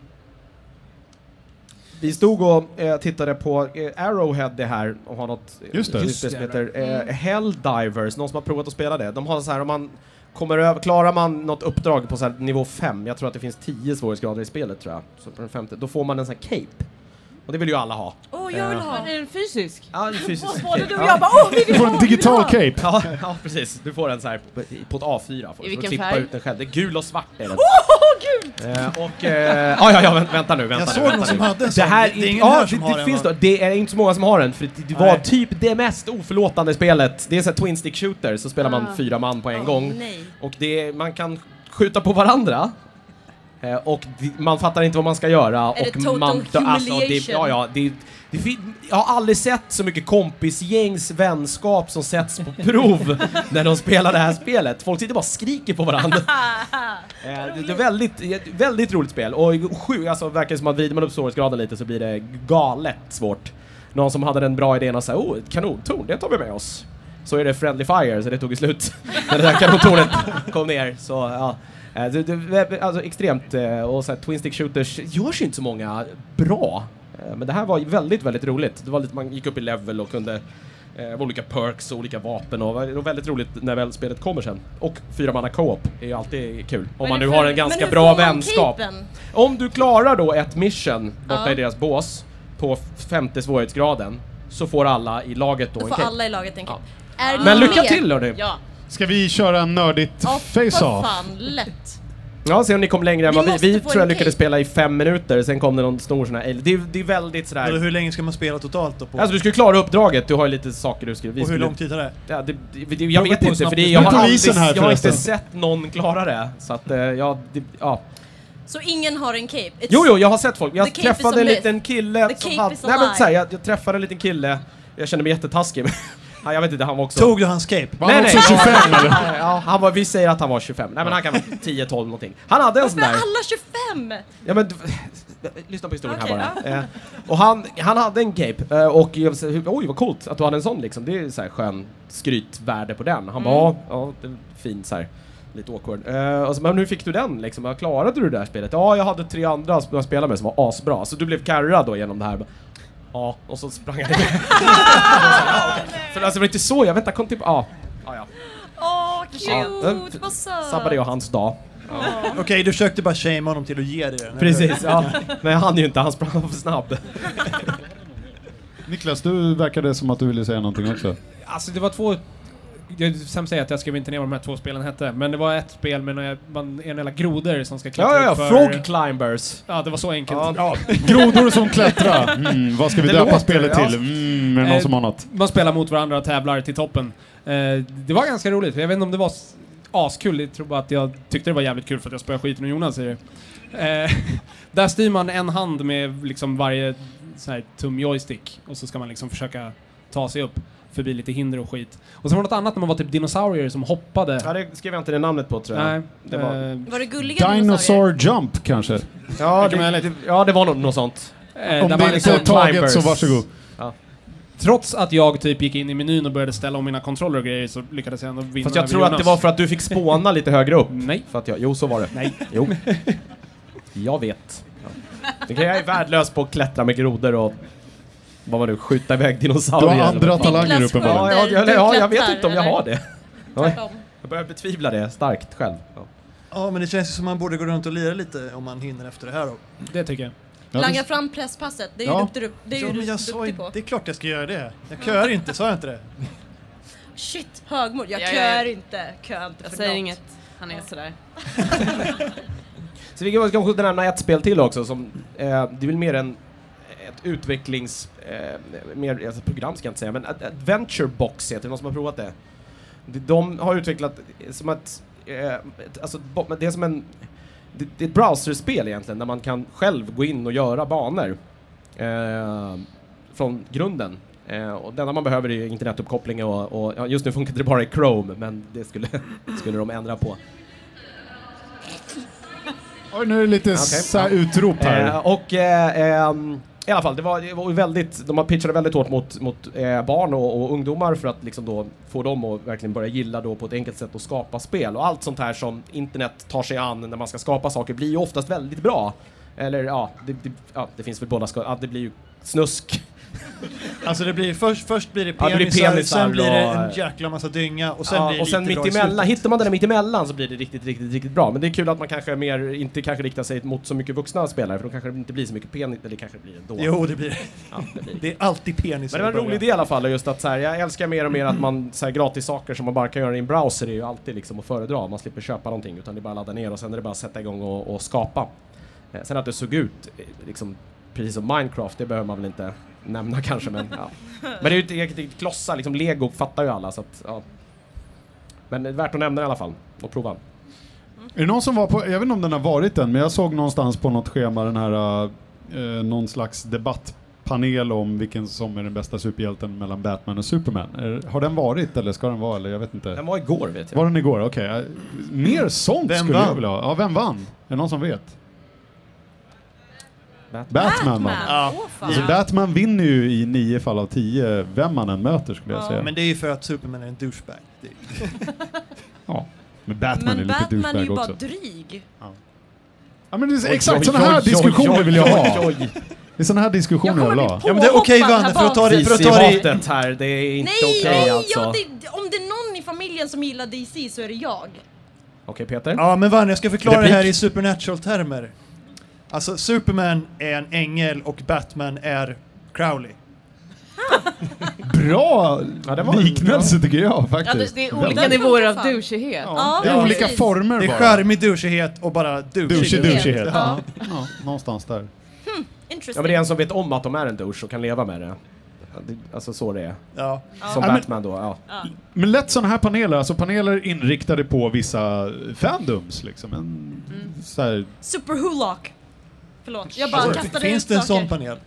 D: Vi stod och eh, tittade på eh, Arrowhead det här och har något eh,
A: Just det.
D: nytt spel som heter eh,
C: Mm.
D: Helldivers, någon som har provat att spela det. De har så här om man kommer över, klarar man något uppdrag på så här nivå 5, jag tror att det finns 10 svårighetsgrader i spelet tror jag, så på den femte, då får man en sån här cape. Och det vill ju alla ha. Eh.
C: Åh, jag vill ha.
E: Är den fysisk?
D: Ja, en fysisk
C: Både
D: cape.
C: du och jag
D: Ja.
C: bara åh, vi
A: Du
C: vill
A: får
C: ha!
A: en
C: vi vill
A: digital
C: ha."
A: cape!
D: Ja, ja, precis. Du får en så här på, på ett A4. Får, du.
E: I
D: Så
E: vilken
D: klippa
E: färg?
D: ut den själv. Det är gul och svart är den.
C: Åh, gud!
D: Eh, och... Eh, ja, ja, ja, vänt- vänta nu, vänta
B: Jag
D: nu,
B: såg
D: vänta
B: någon som
D: nu.
B: hade en
D: Det
B: sån.
D: här,
B: det är ingen
D: ja,
B: här
D: det,
B: som
D: det,
B: har en,
D: finns
B: va?
D: då. Det är inte så många som har den, för det var
B: Nej.
D: typ det mest oförlåtande spelet. Det är så här twin stick shooter, så spelar man fyra man på en
C: Ah. Åh,
D: gång.
C: nej.
D: Och det, man kan skjuta på varandra. Eh, och di- man fattar inte vad man ska göra.
C: Är det
D: och
C: total
D: man, alltså, det,
C: humiliation?
D: ja, ja, det, det, fin- jag har aldrig sett så mycket kompisgängs vänskap som sätts på prov när de spelar det här spelet. Folk sitter bara och skriker på varandra. Eh, det, det är väldigt, eh, väldigt roligt spel. Och sju, alltså verkar det som att vrider man upp svårighetsgraden lite så blir det galet svårt. Någon som hade den bra idén att säga oh, ett kanontorn, det tar vi med oss. Så är det Friendly Fire, så det tog ju slut när det där kanontornet kom ner. Så, ja. Eh, det, det, alltså extremt, eh, och så här, Twin Stick Shooters görs ju inte så många bra. Eh, Men det här var väldigt, väldigt roligt. Det var lite, man gick upp i level och kunde eh, av olika perks och olika vapen och det var väldigt roligt när väl spelet kommer sen. Och fyra manna co-op är ju alltid kul. Om
C: Men
D: man nu
C: hur-
D: har en
C: men
D: ganska
C: hur
D: bra
C: får man
D: vänskap.
C: capen?
D: Om du klarar då ett mission borta
C: Ja.
D: i deras bås på f- femte svårighetsgraden så får alla i laget då,
C: Då
D: en
C: får
D: cape.
C: alla i laget en cape. Är ni
D: Men lycka
C: med?
D: till hörni! Ja.
E: Ja.
A: Ska vi köra en nördigt
C: Ja, för
A: face-off?
C: fan, lätt.
D: se om ni kom längre än
C: Vi
D: vad vi...
C: måste
D: Vi
C: få
D: tror jag
C: en
D: lyckades
C: cape.
D: spela i fem minuter, sen kom det någon stor sån här... Det är, det är väldigt
A: Mm.
B: Eller
A: Alltså,
D: sådär...
B: hur länge ska man spela totalt då? På?
D: Alltså du ska ju klara uppdraget, du har ju lite saker du ska... Vi
B: och hur
D: skulle-
B: lång tid tar det?
D: Ja, det, det, det, jag
F: Beror
D: vet
F: på hur
D: inte, för
F: snabbt
D: det,
F: du
D: jag har,
A: spelar.
D: aldrig,
A: Polisen här
D: jag har inte
A: förresten.
D: sett någon klara det. Så att, eh, ja, det, ja.
C: Så ingen har en cape? It's-
D: Jo, jo, jag har sett folk.
C: The
D: Jag
C: cape is a
D: träffade en
C: myth.
D: liten kille
C: The
D: som
C: cape
D: hade...
C: is a
D: Nej, men
C: lie.
D: så här, jag, jag träffade en liten kille Jag kände mig jättetaskig. men- Ja, jag vet inte, han var också...
B: Tog du hans cape?
A: Var han också 25 eller?
D: Ja, han var, vi säger att han var 25. Nej men han kan vara 10, 12 någonting. Han hade en
C: Varför
D: sån
C: är
D: där...
C: alla 25?
D: Ja, men, d- lyssna på historien
C: Okej,
D: här bara. Eh, och han, han hade en cape eh, och jag sa, oj vad coolt att du hade en sån liksom. Det är så här skön skrytvärde på den. Han bara,
C: Mm.
D: "Ja, ja, det är fin så här. Lite awkward. Eh, och så, men hur fick du den liksom? "Ja, Klarade du det där spelet? Ja, jag hade tre andra som jag spelade med som var asbra. Så du blev karrad då genom det här? Ja, och så sprang han iväg. För alltså det var inte så, jag väntar kom typ, ja. Ja, ja.
C: Åh,
D: Ja,
C: cute! Vad söt!
D: Sabbade jag hans dag.
B: Okej, du försökte bara shamea honom till att ge dig den.
D: Precis, ja. Men han är ju inte, han sprang för snabb.
A: Niklas, du verkade som att du ville säga någonting också.
F: Alltså det var två... Jag sen säger att jag skrev inte ner vad de här två spelen hette, men det var ett spel med några, man, en jävla grodor som ska klättra
D: Ja, ja, ja.
F: upp för-
D: Frog climbers.
F: Ja, det var så enkelt.
D: Ja.
A: Grodor som klättrar. Mm, vad ska vi
D: Det
A: döpa
D: låter,
A: spelet
D: ja.
A: till? Mm, är det någon
F: Eh,
A: som har något?
F: Man spelar mot varandra och tävlar till toppen. Eh, det var ganska roligt, jag vet inte om det var s- askul, jag tror bara att jag tyckte det var jävligt kul för att jag spöade skiten ur Jonas i det. Eh, där styr man en hand med liksom varje sån här tumjoystick och så ska man liksom försöka ta sig upp förbi lite hinder och skit. Och sen var det något annat när man var typ dinosaurier som hoppade.
D: Ja, det skrev jag inte det namnet på tror jag.
F: Nej,
D: det var...
F: eh,
C: Var det gulliga dinosaurier?
A: Dinosaur Jump kanske?
D: Ja,
F: Mycket
D: det,
F: möjligt.
D: det, ja, det var nog något sånt.
F: Eh,
A: Om
F: där
A: det
F: man
A: inte
F: liksom-
A: är taget så
D: climbers.
A: varsågod.
F: Trots att jag typ gick in i menyn och började ställa om mina kontroller och grejer så lyckades jag ändå vinna
D: Fast jag
F: över
D: tror att
F: Jonas.
D: det var för att du fick spåna lite högre upp.
F: Nej.
D: För att jag, jo, så var det.
F: Nej.
D: Jo. Jag vet. Ja. Okay, jag är värdelös på att klättra med grodor och vad var det, skjuta iväg
A: Du
D: dinosaurier.
A: har
D: eller
A: andra
D: vad fan.
A: talanger
C: Niklas
A: uppenbarligen.
D: Ja, ja, ja,
C: Du
D: ja, jag vet
C: klättrar,
D: inte om jag
C: eller?
D: har det. Nej,
C: Tvärtom.
D: jag börjar betvivla det starkt själv. Ja.
B: Ja, men det känns ju som man borde gå runt och lira lite om man hinner efter det här. då.
F: Det tycker jag.
A: Ja,
C: Langa
A: det-
C: fram presspasset, det är ju
A: Ja.
C: duktig, det är ju
B: Ja,
C: du
B: men jag sa ju,
C: duktig på.
B: det är klart jag ska göra det. Jag köar inte, sa jag inte det?
C: Shit, högmod. Jag
E: Ja, ja, ja.
C: kör inte. Kör inte
E: Jag
C: för
E: säger
C: något.
E: inget. Han är sådär.
D: Så vi kan kanske nämna ett spel till också som, eh, det är väl mer en ett utvecklings... Eh, mer, alltså program ska jag inte säga, men Ad- Adventure Box heter det, någon som har provat det? De, de har utvecklat eh, som att... Eh, ett- alltså, bo- men det är som en... Det, det är ett browserspel egentligen, där man kan själv gå in och göra banor. Eh, från grunden. Eh, och det enda man behöver är ju internetuppkoppling och, och ja, just nu funkar det bara i Chrome, men det skulle, skulle de ändra på.
A: Oj, nu är det lite så här utrop här.
D: Eh, och eh, ehm, i alla fall, det var, det var ju väldigt, de har pitchade väldigt hårt mot, mot eh, barn och, och ungdomar för att liksom då få dem att verkligen börja gilla då på ett enkelt sätt att skapa spel. Och allt sånt här som internet tar sig an när man ska skapa saker blir ju oftast väldigt bra. Eller ja, det, det, ja, det finns väl båda, ska, ja, det blir ju snusk.
B: Alltså det blir, först, först blir det
D: Ja,
B: penisar,
D: det blir penisar
B: sen blir det
D: och-
B: en jäkla massa dynga och sen
D: ja,
B: blir det
D: och sen
B: lite bra i
D: mittemellan,
B: slutet.
D: hittar man den där mittemellan så blir det riktigt, riktigt, riktigt bra. Men det är kul att man kanske mer, inte kanske riktar sig mot så mycket vuxna spelare för då kanske det inte blir så mycket penis, eller det kanske blir ändå.
B: Jo, det blir det.
D: Ja, det blir.
B: Det är alltid penisar
D: Men det var
B: i
D: en
B: början.
D: rolig idé i alla fall, och just att så här, jag älskar mer och mer att man så här, gratis saker som man bara kan göra i en browser är ju alltid liksom att föredra. Man slipper köpa någonting utan det är bara att ladda ner och sen är det bara att sätta igång och, och skapa. Eh, sen att det såg ut eh, liksom, precis som Minecraft, det behöver man väl inte nämna kanske men ja. Men det är ju ett eget eget klossar, liksom Lego fattar ju alla så att ja. Men det är värt att nämna i alla fall och prova.
A: Är det någon som var på, jag vet inte om den har varit än, men jag såg någonstans på något schema den här, eh, någon slags debattpanel om vilken som är den bästa superhjälten mellan Batman och Superman. Är, har den varit eller ska den vara eller jag vet inte.
D: Den var igår vet jag.
A: Var den igår? Okej. eh, Mer sånt
B: Vem
A: skulle jag
B: vann?
A: vilja ha. Ja, vem vann? Är det någon som vet?
D: Batman.
A: Batman vann.
C: Batman? Åh fan.
A: Alltså Batman vinner ju i nio fall av tio vem man än möter skulle jag
C: Ja,
A: säga.
B: Men det är ju för att Superman är en douchebag. Det-
A: ja. men Batman är
C: Men
A: lite
C: Batman är ju
A: douchebag
C: bara
A: också.
C: dryg.
A: Ja, men det är
D: Oj,
A: exakt
D: oj,
A: sådana här
D: oj, oj,
A: diskussioner
D: oj,
A: vill jag ha.
D: oj, oj.
A: Det är sådana här diskussioner jag vill ha.
B: Ja, men det är okej,
C: påhoppad här
B: Vanne, för att ta
C: bak.
B: det- för att ta det i-
D: DC-hatet här, det är inte
C: Nej,
D: okej
C: nej
D: alltså.
C: ja,
D: Okej
C: det, om det är någon i familjen som gillar DC så är det jag.
D: Peter?
B: Ja, men Vann, jag ska förklara
D: Replik.
B: det här i supernatural-termer. Alltså, Superman är en ängel och Batman är Crowley.
A: Bra
D: Ja, det var-
A: liknelse tycker jag
E: Ja,
A: faktiskt.
E: det, det är
A: Väldigt-
E: olika
C: funkar
E: nivåer av
C: fan.
E: douchighet.
A: Ja, det är
C: Ja,
A: olika
C: precis.
A: former
B: Det är
A: bara.
B: charmig douchighet och bara
A: Douche,
B: douchig.
A: douche
C: Douchighet.
A: helt.
C: Ja.
A: Ja. Ja, någonstans där.
D: Ja
C: Interesting.
D: men det är en som vet om att de är en douche och kan leva med det. Ja, det- Alltså så det är.
B: Ja.
D: Som
A: Ja, men-
D: Batman då, ja.
A: Men lätt sådana här paneler, alltså paneler inriktade på vissa fandoms liksom. En, så här,
E: Mm.
C: Super Hulock. Förlåt, jag bara
B: Alltså,
C: kastade
B: finns
C: ut
B: det en
C: saker.
B: sån panel?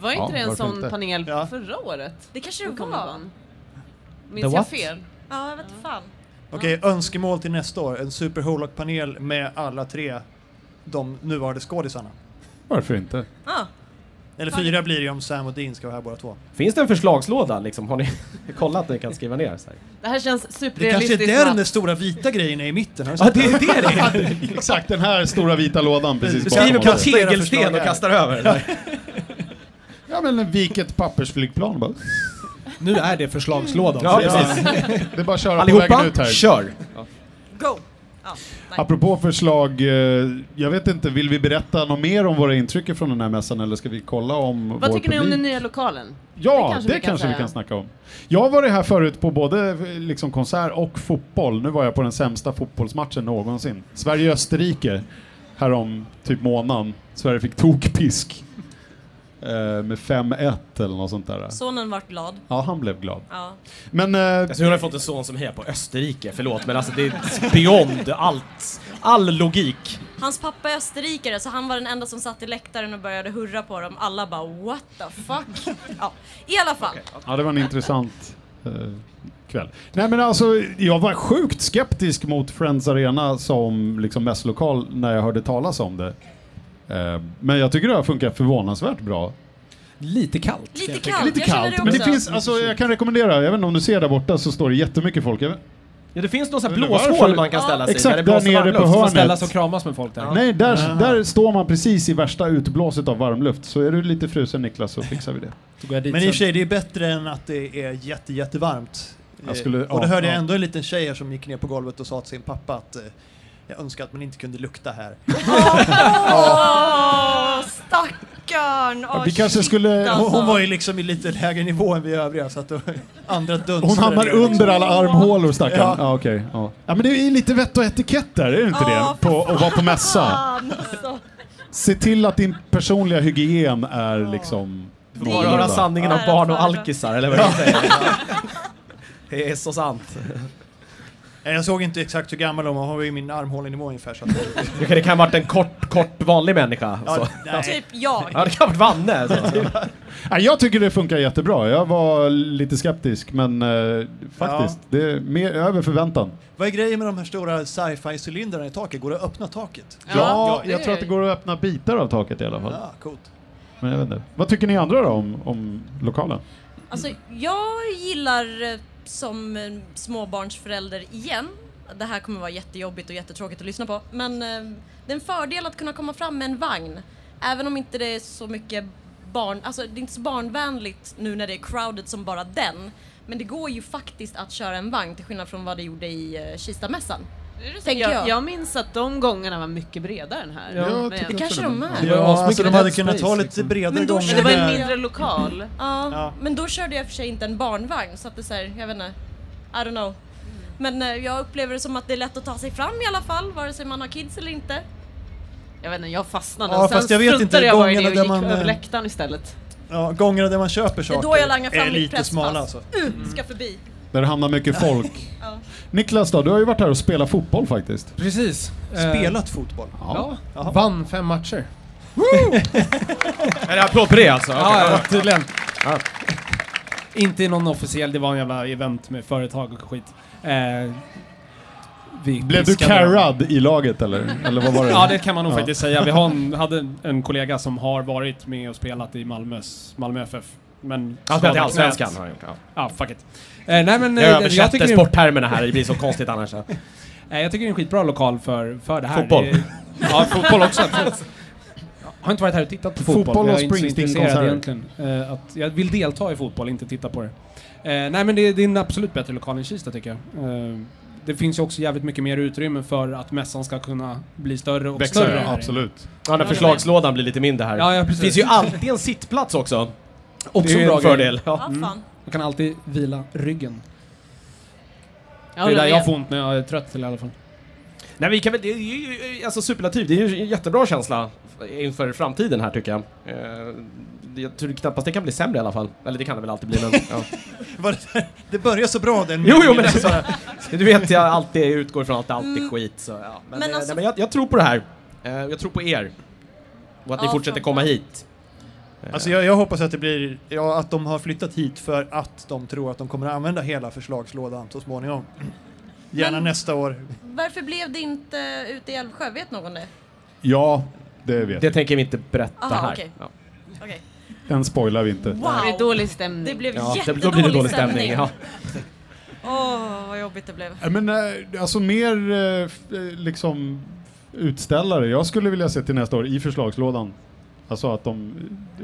E: Var inte
A: Ja,
E: det en
A: varför
E: sån
A: inte?
E: panel
B: Ja.
E: förra året?
C: Det kanske
E: Då
C: det
E: kom
C: var.
E: någon. Minns
D: The
E: jag
D: what?
E: fel?
C: Ja, jag vet inte fan.
B: Okej, önskemål till nästa år. En Super Holock-panel med alla tre de nuvarande skådisarna.
A: Varför inte?
C: Ja,
B: Eller fyra blir det om Sam och Dean ska vara här båda två.
D: Finns det en förslagslåda liksom? Har ni kollat ni kan skriva ner? Så här?
E: Det här känns
B: Det kanske är
E: superrealistiskt.
B: där den
E: Mats.
B: där stora vita grejen är i mitten. Har du
D: Ja,
B: sett
D: det är det det är!
A: Exakt den här stora vita lådan precis
D: Du
A: bakom
D: skriver på en
A: oss.
B: Kasta era
D: tegelsten och
B: förslag här.
D: kastar över. eller?
A: Ja men en viket pappersflygplan bara.
F: Nu är det förslagslådan.
D: Ja, precis.
A: Det är bara att köra på vägen ut
D: Allihopa,
A: här.
D: kör!
C: go! Ja, nej.
A: Apropå förslag, eh, jag vet inte, vill vi berätta något mer om våra intryck från den här mässan eller ska vi kolla om vår
E: Vad tycker ni om
A: publik?
E: den nya lokalen?
A: Ja, det
E: Det
A: kanske,
E: kanske
A: vi,
E: vi
A: kan
E: kan säga.
A: snacka om. Jag var här förut på både eh, liksom, konsert och fotboll. Nu var jag på den sämsta fotbollsmatchen någonsin. Sverige-Österrike härom typ månaden. Sverige fick tokpisk. Eh, med 5-1 eller något sånt där.
C: Sonen vart glad.
A: Ja, han blev glad.
C: Ja.
A: Men eh,
D: Alltså, hon har fått en son som hejar på Österrike, förlåt men alltså det är beyond allt, all logik.
C: Hans pappa är österrikare så han var den enda som satt i läktaren och började hurra på dem. Alla bara what the fuck. Ja, i alla fall.
A: Ja, det var en intressant eh, kväll. Nej, men alltså, jag var sjukt skeptisk mot Friends Arena som liksom mässlokal när jag hörde talas om det. Eh, men jag tycker det har funkat förvånansvärt bra.
F: Lite kallt.
C: Lite kallt,
A: Lite
C: jag känner
A: kallt,
C: det
A: men
C: också.
A: det finns, alltså, jag kan rekommendera, jag vet inte om du ser där borta så står det jättemycket folk. Jag vet,
D: Ja, det finns någon sån här
A: Men
D: blåshål
A: varför-
D: man kan ställa sig i,
A: Exakt,
D: det blåser
A: där nere
D: varm
A: på
D: luft.
A: hörnet.
F: Man ställa sig och kramas med folk där. Ah.
A: Nej, där, där står man precis i värsta utblåset av varmluft. Så är du lite frusen Niklas så fixar vi det.
F: Då går jag dit
B: Men i och för
F: sen.
B: sig, det är bättre än att det är jätte, jättevarmt.
A: Jag skulle-
B: Eh, och då
A: ja,
B: hörde jag
A: ja.
B: ändå en liten tjej här som gick ner på golvet och sa till sin pappa att eh, jag önskar att man inte kunde lukta här.
C: Åh, stackarn! Åh,
A: vi kanske
C: shit,
A: skulle-
B: Hon,
C: alltså.
B: hon var ju liksom i lite lägre nivå än vi övriga så att då, andra dunstrade.
A: Hon hamnar
B: ner, liksom.
A: under alla armhålor stackarn. Ja.
B: Ja.
A: okej. Ja. ja, men det är ju lite vett och etikett där, är det inte
C: Ja,
A: det? På, att vara på mässa.
C: Fan, alltså.
A: Se till att din personliga hygien är liksom...
D: Bara höra sanningen om
C: Ja.
D: barn och alkisar eller vad det säger. Det är så sant.
B: Nej, Jag såg inte exakt hur gammal hon var, hon var ju min armhålenivå ungefär. Så att,
D: Det kan, det kan ha varit en kort, kort vanlig människa. alltså. Så.
B: ja, nej.
C: Typ jag.
D: Ja, det kan ha varit Vanne. Så.
A: Nej, jag tycker det funkar jättebra. Jag var lite skeptisk, men eh, faktiskt, det är mer över förväntan.
B: Vad är grejen med de här stora sci-fi-cylindrarna i taket? Går det att öppna taket?
A: Ja,
E: det
A: jag
E: är-
A: tror att det går att öppna bitar av taket i alla fall.
B: Ja, coolt.
A: Men jag vet inte. Vad tycker ni andra då om, om lokalen?
C: Alltså, jag gillar eh, som eh, småbarnsförälder igen. Det här kommer vara jättejobbigt och jättetråkigt att lyssna på. Men eh, det är en fördel att kunna komma fram med en vagn. Även om inte det är så mycket barn... Alltså det är inte så barnvänligt nu när det är crowded som bara den. Men det går ju faktiskt att köra en vagn till skillnad från vad det gjorde i eh, Kistamässan. Tänker jag.
E: Jag, jag minns att de gångarna var mycket bredare än här.
A: Ja, jag
E: men,
A: tycker
C: Det
E: jag-
C: kanske de är.
F: var
B: Ja, alltså,
F: asmycket
B: de hade
F: dead
B: kunnat
F: space,
B: ta lite
F: liksom.
B: bredare
C: Men då
E: men
B: gånger.
E: det var en
B: där.
E: mindre lokal.
C: Ja,
B: Ja.
C: men då körde jag i och för sig inte en barnvagn så att det är så här, jag vet inte. I don't know. Men eh, jag upplever det som att det är lätt att ta sig fram i alla fall, vare sig man har kids eller inte.
E: Jag vet inte, jag fastnade.
B: Ja,
E: Sen
B: fast jag vet
E: struntade
B: inte,
E: jag bara i det
B: gångerna
E: och
B: där
E: gick
B: man,
E: över
B: eh,
E: läktaren istället.
B: Ja, gångerna där man köper
C: Det är
B: saker
C: då jag langar fram
B: är
C: mitt
B: lite
C: presspass.
B: smala alltså.
A: Mm.
C: Uh, ska förbi.
A: Där det hamnar mycket folk. Niklas då, du har ju varit här och spelat fotboll faktiskt.
F: Precis. Eh,
B: Spelat fotboll.
F: Ja. Vann fem matcher.
D: Är det applåd på det alltså? Okej.
F: Ja, ja, tydligen. Inte i någon officiell, det var en jävla event med företag och skit. Eh, vi
A: Blev du
F: piskade dem.
A: carrad i laget eller? Eller vad var det?
F: Ja, det kan man nog faktiskt säga. Vi har en, hade en- en kollega som har varit med och spelat i Malmös, Malmö FF. Men
D: Han har spelat i
F: skadad
D: Allsvenskan.
F: knät.
D: har han gjort, ja.
F: Ja, fuck it. Eh, nej, men, eh,
D: Jag
F: jag,
D: översätter
F: tycker det,
D: sporttermerna här, det blir så konstigt annars. ja.
F: nej, jag tycker det är en skitbra lokal för, för det här.
D: Fotboll.
F: Det, ja, fotboll också. absolut. Jag har inte varit här och tittat på fotboll.
A: Fotboll
F: för jag
A: och
F: är inte så
A: Springsteen-konserter.
F: intresserad egentligen. Eh, att jag vill delta i fotboll, inte titta på det. Eh, nej, men det, det är en absolut bättre lokal än Kista tycker jag. Eh, det finns ju också jävligt mycket mer utrymme för att mässan ska kunna bli större och
A: Växer,
F: större.
A: ja, absolut.
D: Ja, när förslagslådan blir lite mindre här.
F: Ja, ja,
D: det
F: precis.
D: finns ju alltid en sittplats också. Också
F: en
D: en
F: bra grej.
D: fördel. Ja.
C: Ja, fan.
F: Man kan alltid vila ryggen.
E: Jag
F: det är
E: håller
F: där
E: med.
F: jag får ont när jag är trött till i alla fall.
D: Nej, vi kan väl, det är ju alltså, superlativ, det är ju en jättebra känsla inför framtiden här tycker jag. Eh, det- Jag tror knappast det kan bli sämre i alla fall. Eller det kan det väl alltid bli men... Ja.
B: Var det, där? det börjar så bra den
D: Jo, jo men alltså, Du vet jag alltid jag utgår från att det alltid är skit så ja. Men,
C: Men
D: eh,
C: alltså-
D: nej, men jag, jag tror på det här. Eh, Jag tror på er. Och att
C: Ja,
D: ni fortsätter komma hit. Eh,
B: Alltså jag, jag hoppas att det blir, ja, att de har flyttat hit för att de tror att de kommer att använda hela förslagslådan så småningom. Gärna
C: Men-
B: nästa år.
C: Varför blev det inte ute i Älvsjö? Vet någon det?
A: Ja, det vet
D: Det
A: jag.
D: tänker vi inte berätta
C: Aha,
D: här.
C: okej.
D: Ja.
C: Okej.
A: Den spoilar vi inte.
E: Det blir
C: Wow!
E: dålig stämning.
C: Det blev
D: Ja, det-
C: jättedålig
D: då blir det dålig stämning.
C: stämning.
D: Ja.
C: Åh, vad jobbigt det blev.
A: Ja, Men eh, alltså mer eh, f- eh, liksom utställare. Jag skulle vilja se till nästa år i förslagslådan. Alltså att de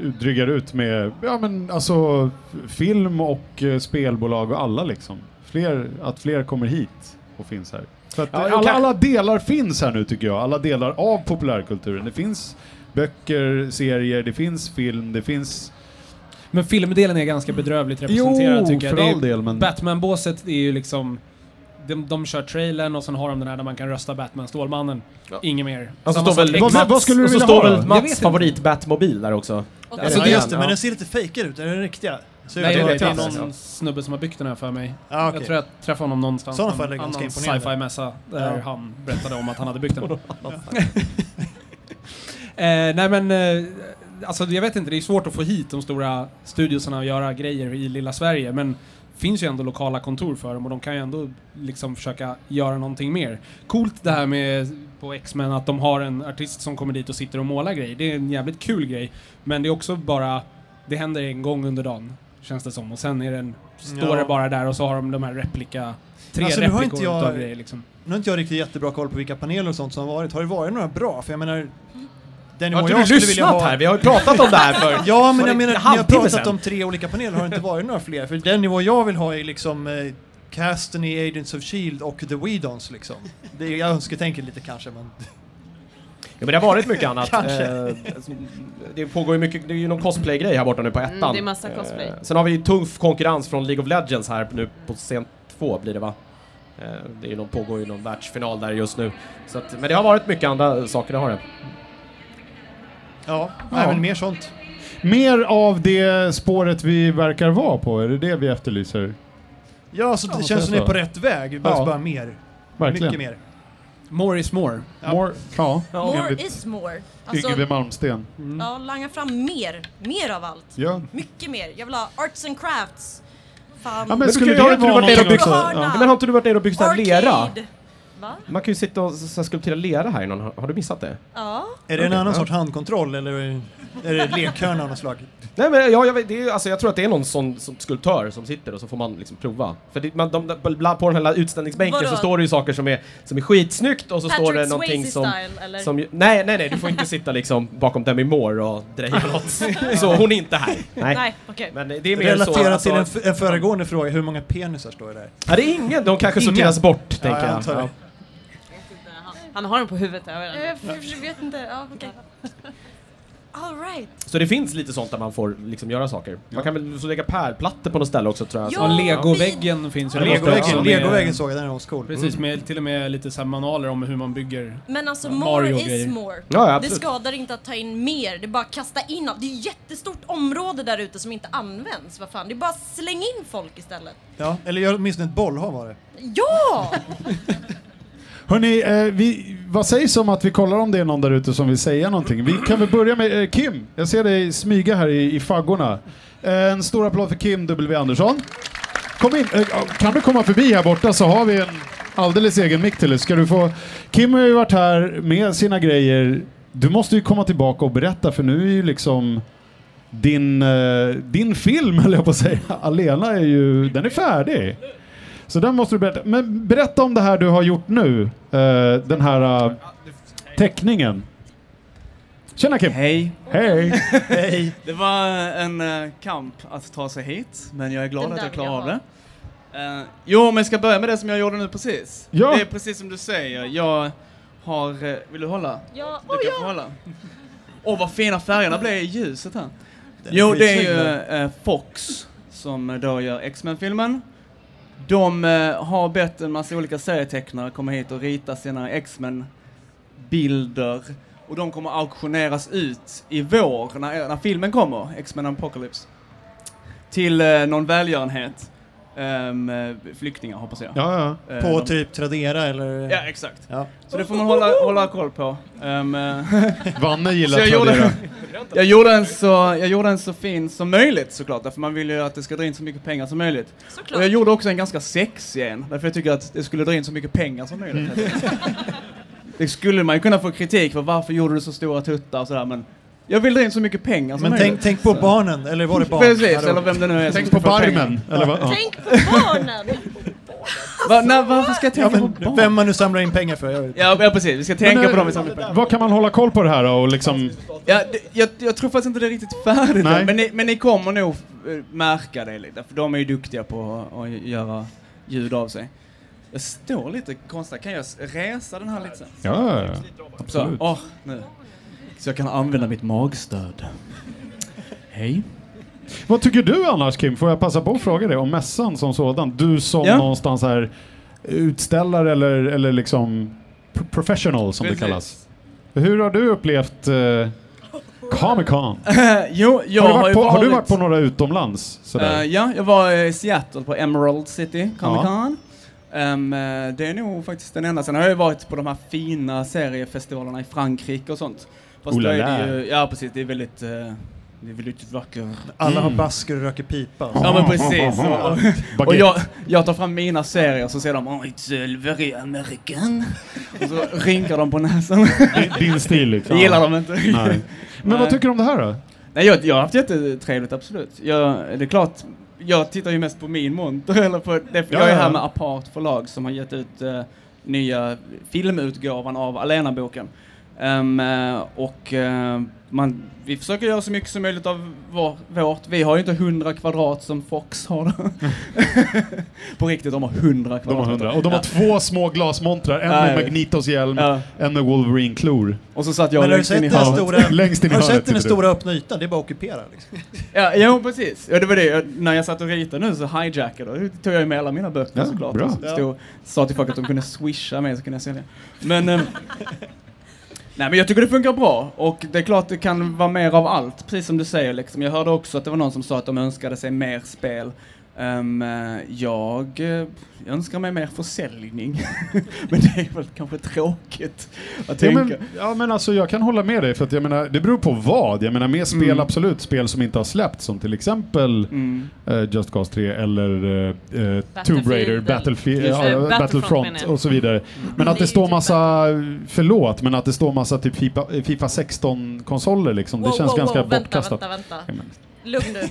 A: eh, drygar ut med ja, men alltså, film och eh, spelbolag och alla liksom. Fler, att fler kommer hit och finns här. Så att,
D: Ja,
A: eh,
D: jag
A: alla,
D: kan-
A: alla delar finns här nu tycker jag. Alla delar av populärkulturen. Det finns böcker, serier, det finns film, det finns...
F: Men filmdelen är ganska bedrövligt representerad
A: Jo,
F: tycker jag.
A: för
F: Det är-
A: all del, men-
F: Batman-båset är ju liksom... De, de kör trailern och sen har de den här där man kan rösta Batman, Stålmannen. Inget mer.
D: Och så
F: Samma
D: Alltså, står
F: sak-
D: väl
A: Vad-
D: Mats,
A: vad skulle du
D: och så
A: vilja
D: står
A: ha då?
D: väl
F: Jag vet
D: Mats
F: inte.
D: favorit Batmobil där också.
C: Och
D: Alltså,
B: Ja,
D: det-
B: just det,
D: ja.
B: men den ser lite fejkad ut, är den riktiga? Så
F: Nej, det,
B: jag vet
F: är
B: inte.
F: någon snubbe som har byggt den här för mig.
B: Ja, okej.
F: Jag tror jag träffade honom någonstans.
B: Sådana
F: på en
B: fall är det ganska
F: annan
B: imponerande.
F: sci-fi mässa där
B: Ja.
F: han berättade om att han hade byggt den. eh, nej men, eh, alltså jag vet inte, det är svårt att få hit de stora studiosarna och göra grejer i lilla Sverige, men det finns ju ändå lokala kontor för dem och de kan ju ändå liksom försöka göra någonting mer. Coolt det här med på X-Men att de har en artist som kommer dit och sitter och målar grejer. Det är en jävligt kul grej, men det är också bara, det händer en gång under dagen, känns det som. Och sen är den, står
B: Ja.
F: det bara där och så har de de här replika, tre
B: Alltså, nu har
F: replikor
B: inte jag-
F: utav grejer liksom.
B: Nu har inte jag riktigt jättebra koll på vilka paneler och sånt som har varit. Har det varit några bra? För jag menar... Den
D: Har
B: nivå
D: inte du
B: jag skulle vilja
D: lyssnat
B: ha...
D: här? Vi har ju pratat om det här för
B: Ja, men
D: för en
B: jag menar, när jag
D: halvtimme
B: pratat
D: sedan.
B: om tre olika paneler har det inte varit några fler. För den nivå jag vill ha är liksom eh, casten i Agents of Shield och The Weedons liksom. Det är, jag önsketänker lite kanske, men...
D: Ja, men det har varit mycket annat.
B: Kanske.
D: Eh, alltså, det pågår ju mycket, det är ju någon cosplay-grej här borta nu på ettan.
E: Mm, det är massa cosplay.
D: Eh, sen har vi ju tuff konkurrens från League of Legends här nu på scen två blir det va? Eh, det är ju någon, pågår ju någon världsfinal där just nu. Så att, men det har varit mycket andra saker, det har det.
B: Ja, Nej, men mer sånt.
A: Mer av det spåret vi verkar vara på, är det det vi efterlyser?
B: Ja, så det
A: Ja,
B: känns som ni
A: så.
B: är på rätt väg. Det behövs
A: Ja.
B: bara mer.
A: Verkligen.
B: Mycket mer.
F: More is more.
B: Ja.
A: More, ja.
C: More
A: enligt
C: is more. Alltså,
A: Yngve Malmsten.
C: ja, langa fram mer. Mer av allt.
A: Mm. Ja.
C: Mycket mer. Jag vill ha arts and crafts. Fan.
A: Ja, men
D: Men
A: skulle
D: du kan-
A: det
D: har inte du
A: vara
D: varit nere och
A: någonting
D: byggt,
C: också?
D: ja. men har inte du varit nere och byggt sån här lera?
C: Arcade. Va?
D: Man kan ju sitta och s- s- skulptera lera här i någon, har, har du missat det?
C: Ja.
B: Är det en annan sorts handkontroll eller är det- är det lekhörna av något slag?
D: Nej men ja, jag, vet, det är, alltså, jag tror att det är någon sån, sån skulptör som sitter och så får man liksom prova. För det, man, de, de, bland- på den här utställningsbänken
C: Vadå?
D: så står det ju saker som är, som är skitsnyggt och så står
C: Patrick
D: det någonting som...
C: Swayze-style, eller?
D: som ju- nej, nej, nej, du får inte sitta liksom bakom Demi Moore och dreja något. så hon är inte här. Nej.
C: Nej, okej.
D: Men det är mer så...
B: Relaterat
D: alltså-
B: till en, f- en föregående fråga, hur många penisar står det där?
D: Ja, det är ingen, de kanske
B: Ingen.
D: sorteras bort, tänker
B: jag
D: jag.
B: antar det.
D: Ja.
E: Han, han har den på huvudet. Jag vet inte.
C: Eh, för- Jag vet inte. Ja, okej. All right.
D: Så det finns lite sånt där man får liksom göra saker. Man kan väl så lägga pärlplattor på något ställe också tror jag.
C: Ja.
D: Så-
F: Alltså, Och legoväggen finns ju där borta också
B: Legoväggen,
F: med-
B: legoväggen såg jag, den är ascool. Mm.
F: Precis, med till och med lite så här manualer om hur man bygger.
C: Men alltså,
F: Ja,
C: more is
F: Mario-grejer.
C: more.
D: Ja, ja,
C: det
D: absolut.
C: skadar inte att ta in mer, det är bara att kasta in allt. Det är ett jättestort område där ute som inte används. Vad fan, det är bara att slänga in folk istället.
B: Ja, eller gör åtminstone ett bollhav var det.
C: Ja!
A: Hörni, eh, vi, vad sägs om att vi kollar om det är någon där ute som vill säga någonting? Vi kan väl börja med eh, Kim. Jag ser dig smyga här i, i faggorna. Eh, en stor applåd för Kim W Andersson. Kom in. Eh, kan du komma förbi här borta så har vi en alldeles egen mick till dig. Ska du få... Kim har ju varit här med sina grejer. Du måste ju komma tillbaka och berätta för nu är ju liksom din, eh, din film, höll jag på att säga, Alena är ju, den är färdig. Så den måste du berätta. Men berätta om det här du har gjort nu. eh, den här eh, teckningen. Tjena Kim!
G: Hej!
A: Hej!
G: Hej! Det var en eh, kamp att ta sig hit, men jag är glad
C: Den
G: att
C: där
G: jag
C: vill jag
G: klarade
C: ha.
G: av det. Eh, jo, men jag ska börja med det som jag gjorde nu precis.
A: Ja.
G: Det är precis som du säger, jag har... eh, vill du hålla?
C: ja.
G: Du
C: Oh,
G: kan
C: ja.
G: få hålla. Åh, vad fina färgerna blev i ljuset här.
B: Den
G: Jo, det är
B: skitsnygg,
G: ju
B: den.
G: eh, Fox som eh, då gör X-Men-filmen. De eh, har bett en massa olika serietecknare komma hit och rita sina X-Men-bilder. Och de kommer auktioneras ut i vår, när, när filmen kommer, X-Men Apocalypse. Till eh, någon välgörenhet. Ehm, eh, flyktingar, hoppas jag.
A: Ja, ja.
G: Eh,
B: På
G: de-
B: typ Tradera eller?
G: Ja, exakt.
B: Ja.
G: Så det får man hålla, hålla koll på. Ehm, eh,
A: Vanne gillar
G: så jag
A: Tradera.
G: gjorde, jag, gjorde en så, jag gjorde en så fin som möjligt såklart, därför man vill ju att det ska dra in så mycket pengar som möjligt.
C: Såklart.
G: Och jag gjorde också en ganska sexig en, därför jag tycker att det skulle dra in så mycket pengar som möjligt.
B: Mm.
G: det skulle man ju kunna få kritik för, varför gjorde du så stora tuttar och sådär, men jag vill dra in så mycket pengar som
B: Men
G: möjligt.
B: tänk, tänk på barnen, eller var det barn?
G: Precis,
B: Hallå.
G: eller vem det nu är som
A: Tänk
G: ska
A: på
G: få pengar.
A: Barmen. Eller vad? Ja.
C: Tänk på barnen!
G: Va, nej, varför ska jag
B: Ja,
G: tänka på
B: men
G: barn?
B: vem man nu samlar in pengar för. Jag vet. inte.
G: Ja, ja precis, vi ska tänka
A: Men,
G: på dem i
A: eh,
G: samma pengar.
A: Vad kan man hålla koll på det här då? Och liksom,
G: Ja, det, jag, jag tror faktiskt inte det är riktigt färdigt
A: Nej.
G: än, men ni, men ni kommer nog eh, märka det lite, för de är ju duktiga på att, att göra ljud av sig. Jag står lite konstigt, kan jag s- resa den här lite sen?
A: ja, ja.
G: Så,
A: absolut.
G: åh, nu. Så jag kan använda mitt magstöd. Hej.
A: Vad tycker du annars Kim? Får jag passa på att fråga dig om mässan som sådan? Du som
G: Ja.
A: någonstans här utställare eller, eller liksom p- professional som det kallas. Hur har du upplevt eh, Comic Con?
G: jo, jag
A: Har, du
G: har,
A: varit
G: ju
A: på-
G: varit,
A: har du varit på några utomlands? Sådär?
G: Eh, ja, jag var i Seattle på Emerald City Comic
A: Ja.
G: Con. Ehm, eh, det är nog faktiskt den enda. Sen har jag ju varit på de här fina seriefestivalerna i Frankrike och sånt. Fast
A: Oh
G: då
A: la
G: är det
A: la.
G: ju, ja precis, det är väldigt, eh, det är väldigt vacker.
B: Alla
A: Mm.
B: har basker och röker pipa.
G: Ja men precis. Och, och
A: Baguette.
G: jag, jag tar fram mina serier och så säger de oh, it's eh, very American. Och så rynkar de på näsan.
A: Din, din stil
G: Det
A: liksom?
G: gillar de inte.
A: Nej. Men vad
G: Nej.
A: tycker du om det här då?
G: Nej, jag, jag har haft jättetrevligt, absolut. Jag, det är klart, jag tittar ju mest på min monter, eller på det,
A: Ja,
G: jag är
A: ja.
G: här med Apart förlag som har gett ut eh, nya filmutgåvan av Alena-boken. Ehm, eh, och eh, man, vi försöker göra så mycket som möjligt av vår, vårt. Vi har ju inte 100 kvadrat som Fox har. på riktigt, de har 100 kvadrat.
A: De har hundra. Och de har
G: Ja.
A: två små glasmontrar, en med
G: Nej.
A: Magnetos hjälm,
G: Ja.
A: en med Wolverine-klor.
G: Och så satt jag
B: Men har du
G: längst in i
B: sett det här
G: hörnet.
B: Stora-
A: Längst in i
B: Har du
A: hörnet.
B: sett den
A: sitter du.
B: stora öppna ytan? Det är bara att ockupera. Liksom.
G: Ja, jo, precis. Ja, det var det. Jag, när jag satt och ritade nu så hijackade jag. Då tog jag ju med alla mina böcker
A: Ja,
G: såklart.
A: bra.
G: Och så Stod, sa till folk att de kunde swisha mig så kunde jag sälja. Men... ehm, nej, men jag tycker det funkar bra. Och det är klart det kan vara mer av allt, precis som du säger. Liksom. Jag hörde också att det var någon som sa att de önskade sig mer spel. Ehm, eh, jag eh, önskar mig mer försäljning. men det är väl kanske tråkigt att
A: Ja
G: tänka.
A: men, ja men alltså jag kan hålla med dig för att jag menar det beror på vad. Jag menar med spel
G: Mm.
A: absolut, spel som inte har släppts som till exempel
G: Mm.
A: eh, Just Cause 3 eller eh, eh, Tomb
E: Battlefield.
A: Raider, Battlefield,
G: Just det,
A: ja,
E: Battlefront menar
A: Battlefront
E: jag.
A: och så vidare. Men att
C: Det är
A: det
C: ju
A: står
C: typ
A: massa, förlåt, men att det står massa typ FIFA, FIFA 16 konsoler liksom, det
C: Wow,
A: känns
C: wow,
A: ganska
C: wow, vänta,
A: bortkastat.
C: Vänta, vänta,
A: Ja, men-
C: Lugn nu.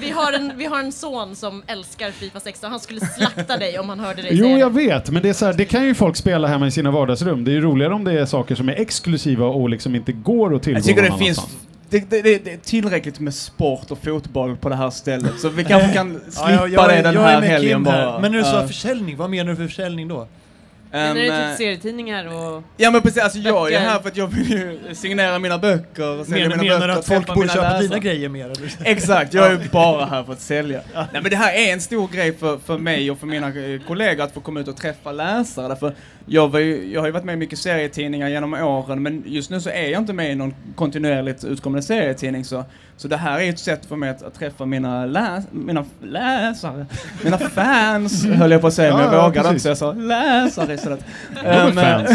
C: Vi har, en, vi har en son som älskar Fifa 16. Han skulle slakta dig om han hörde dig
A: Jo,
C: säga
A: jag
C: det.
A: vet, men det är så här, det kan ju folk spela hemma i sina vardagsrum. Det är ju roligare om det är saker som är exklusiva och liksom inte går att tillgå
G: Jag tycker
A: någon
G: det finns
A: annanstans.
G: det, det, det, det är tillräckligt med sport och fotboll på det här stället, så vi kanske kan
B: Ja,
G: slippa
B: jag, jag,
G: det
B: är-
G: den
B: jag är
G: här
B: med
G: helgen
B: Kim
G: bara.
B: här. Men när du sa
G: Ja.
B: försäljning, vad menar du för försäljning då?
E: Men är det
G: Ehm,
E: typ serietidningar och...
G: ja men precis, alltså jag är ju
E: böcker?
G: här för att jag vill ju signera mina böcker och sälja
B: eh, Menar,
G: mina
B: menar
G: böcker
B: du
G: och
B: att folk
G: träffa
B: borde
G: mina
B: köpa
G: läsare?
B: dina grejer mer? Eller?
G: Exakt, jag är ju bara här för att sälja. Nej men det här är en stor grej för, för mig och för mina eh, kollegor att få komma ut och träffa läsare. Därför jag, var ju, jag har ju varit med i mycket serietidningar genom åren men just nu så är jag inte med i någon kontinuerligt utkommande serietidning så, så det här är ju ett sätt för mig att, att träffa mina, läs, mina läsare, mina fans höll jag på att säga men
A: Ja,
G: jag
A: ja,
G: vågade inte
A: precis.
G: så jag sa läsare istället.
A: är
G: Ehm,
A: fans.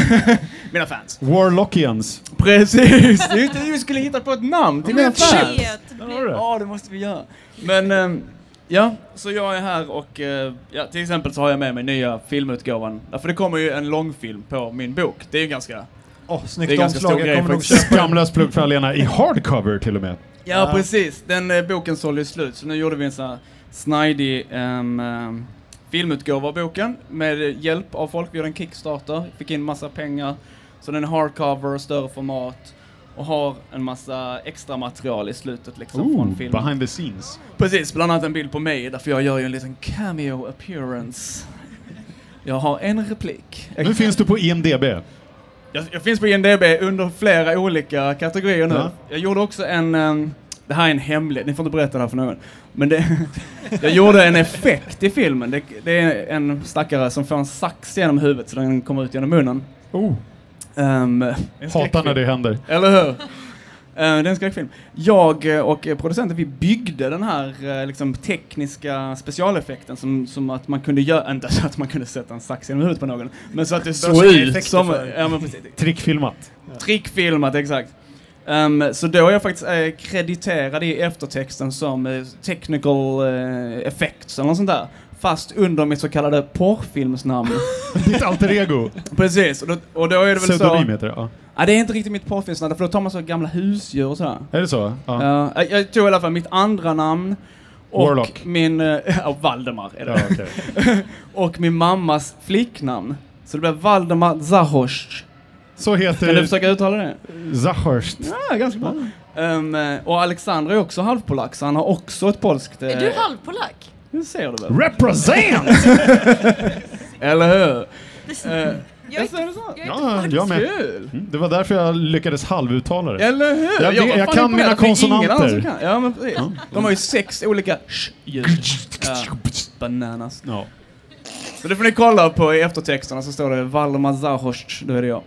G: mina fans.
A: Warlockians.
G: Precis! Det är ju inte- Vi skulle hitta på ett namn till mina
C: Men
G: fans!
C: shit!
A: Där har du det.
G: Ja, det måste vi göra. Men, ehm, ja, så jag är här och eh, ja, till exempel så har jag med mig nya filmutgåvan. Därför det kommer ju en långfilm på min bok. Det är ju ganska...
B: Åh,
G: Det är
B: snyggt
G: ganska
B: omslag.
G: stor grej
B: Jag kommer nog
G: faktiskt.
B: köpa den.
A: Skamlös plugg för Alena i hardcover till och med.
G: Ja, precis. Den eh, boken sålde ju slut, så nu gjorde vi en sån här snidig ehm, ehm, filmutgåva av boken med hjälp av folk. Vi gjorde en Kickstarter, fick in massa pengar. Så den är hardcover, större format och har en massa extra material i slutet liksom
A: Ooh,
G: från filmen.
A: behind the scenes.
G: Precis, bland annat en bild på mig, därför jag gör ju en liten cameo appearance. Jag har en replik.
A: Nu
G: Jag,
A: finns du på IMDB.
G: jag, jag finns på IMDB under flera olika kategorier nu.
A: Ja.
G: Jag gjorde också en... ehm, det här är en hemlighet, ni får inte berätta det här för någon. Men det, jag gjorde en effekt i filmen. Det, det är en stackare som får en sax genom huvudet så den kommer ut genom munnen.
A: Oh,
G: Um,
A: hatar när det händer.
G: eller hur? Eh, det är en skräckfilm. Jag eh, och eh, producenten, vi byggde den här eh, liksom, tekniska specialeffekten som, som att man kunde göra, inte så att man kunde sätta en sax genom huvudet på någon, men så att det såg
B: såg
G: ut
B: effekter
G: som,
B: för.
G: ja men precis,
A: Trickfilmat.
G: Mm. trickfilmat exakt. Eh, Ehm, så då är jag faktiskt eh, krediterad i eftertexten som eh, technical eh, effects eller något sånt där. Fast under mitt så kallade porrfilmsnamn.
A: Ditt alter ego.
G: Precis, och då, och då är det väl
A: Pseudonym
G: så...
A: heter det, ja.
G: Ja, det är inte riktigt mitt porrfilmsnamn, för då tar man så gamla husdjur och sådär.
A: Är det så? Ja.
G: Ja, jag- Eh, jag tog i alla fall mitt andra namn. Och
A: Warlock.
G: min... eh, Ja, Valdemar är det.
A: Ja, okej.
G: Och min mammas flicknamn. Så det blev Valdemar Zahosh.
A: Så
G: Kan du
A: heter
G: försöka uttala det?
A: Zahorst.
G: Ja, ganska bra. Ehm, eh, och Alexander är också halvpolack, så han har också ett polskt... eh,
C: Är du halvpolack?
G: Det ser du väl?
A: Represent!
G: Eller hur?
C: Det-
G: Eh,
C: Jag är
G: jag ser
C: inte-
G: det så.
C: jag är inte
A: Ja, jag med.
G: Kul!
A: Mm, Det var därför jag lyckades halvuttala det.
G: Eller hur?
A: Jag vet-
G: var
A: jag
G: fan
A: kan
G: imponerad.
A: mina
G: Det finns ingen annan
A: konsonanter.
G: som kan. Ja, men precis. De har ju sex olika sh-ljud. Ja. Bananas.
A: Ja.
G: Så det får ni kolla på i eftertexterna så står det Valdemar Zahosh, då är det jag.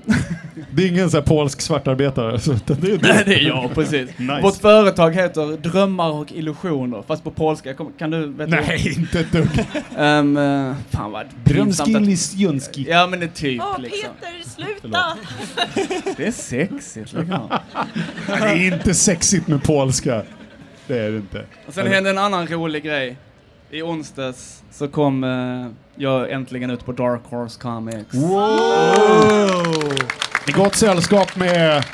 A: Det är ingen så här polsk svartarbetare. Så utan det är
G: Nej,
A: du.
G: det är jag, precis.
A: Nice.
G: Vårt företag heter Drömmar och illusioner, fast på polska. Kom, kan du? Vet
A: Nej, inte ett dugg.
G: Du? Ehm, eh, fan vad pinsamt att...
A: Ljunski.
G: Ja men det är typ
C: Åh,
G: liksom.
C: Peter, sluta!
G: Det är sexigt liksom.
A: Det är inte sexigt med polska. Det är det inte.
G: Och sen hände en annan rolig grej. I onsdags så kom eh, jag äntligen ut på Dark Horse Comics.
A: I gott sällskap med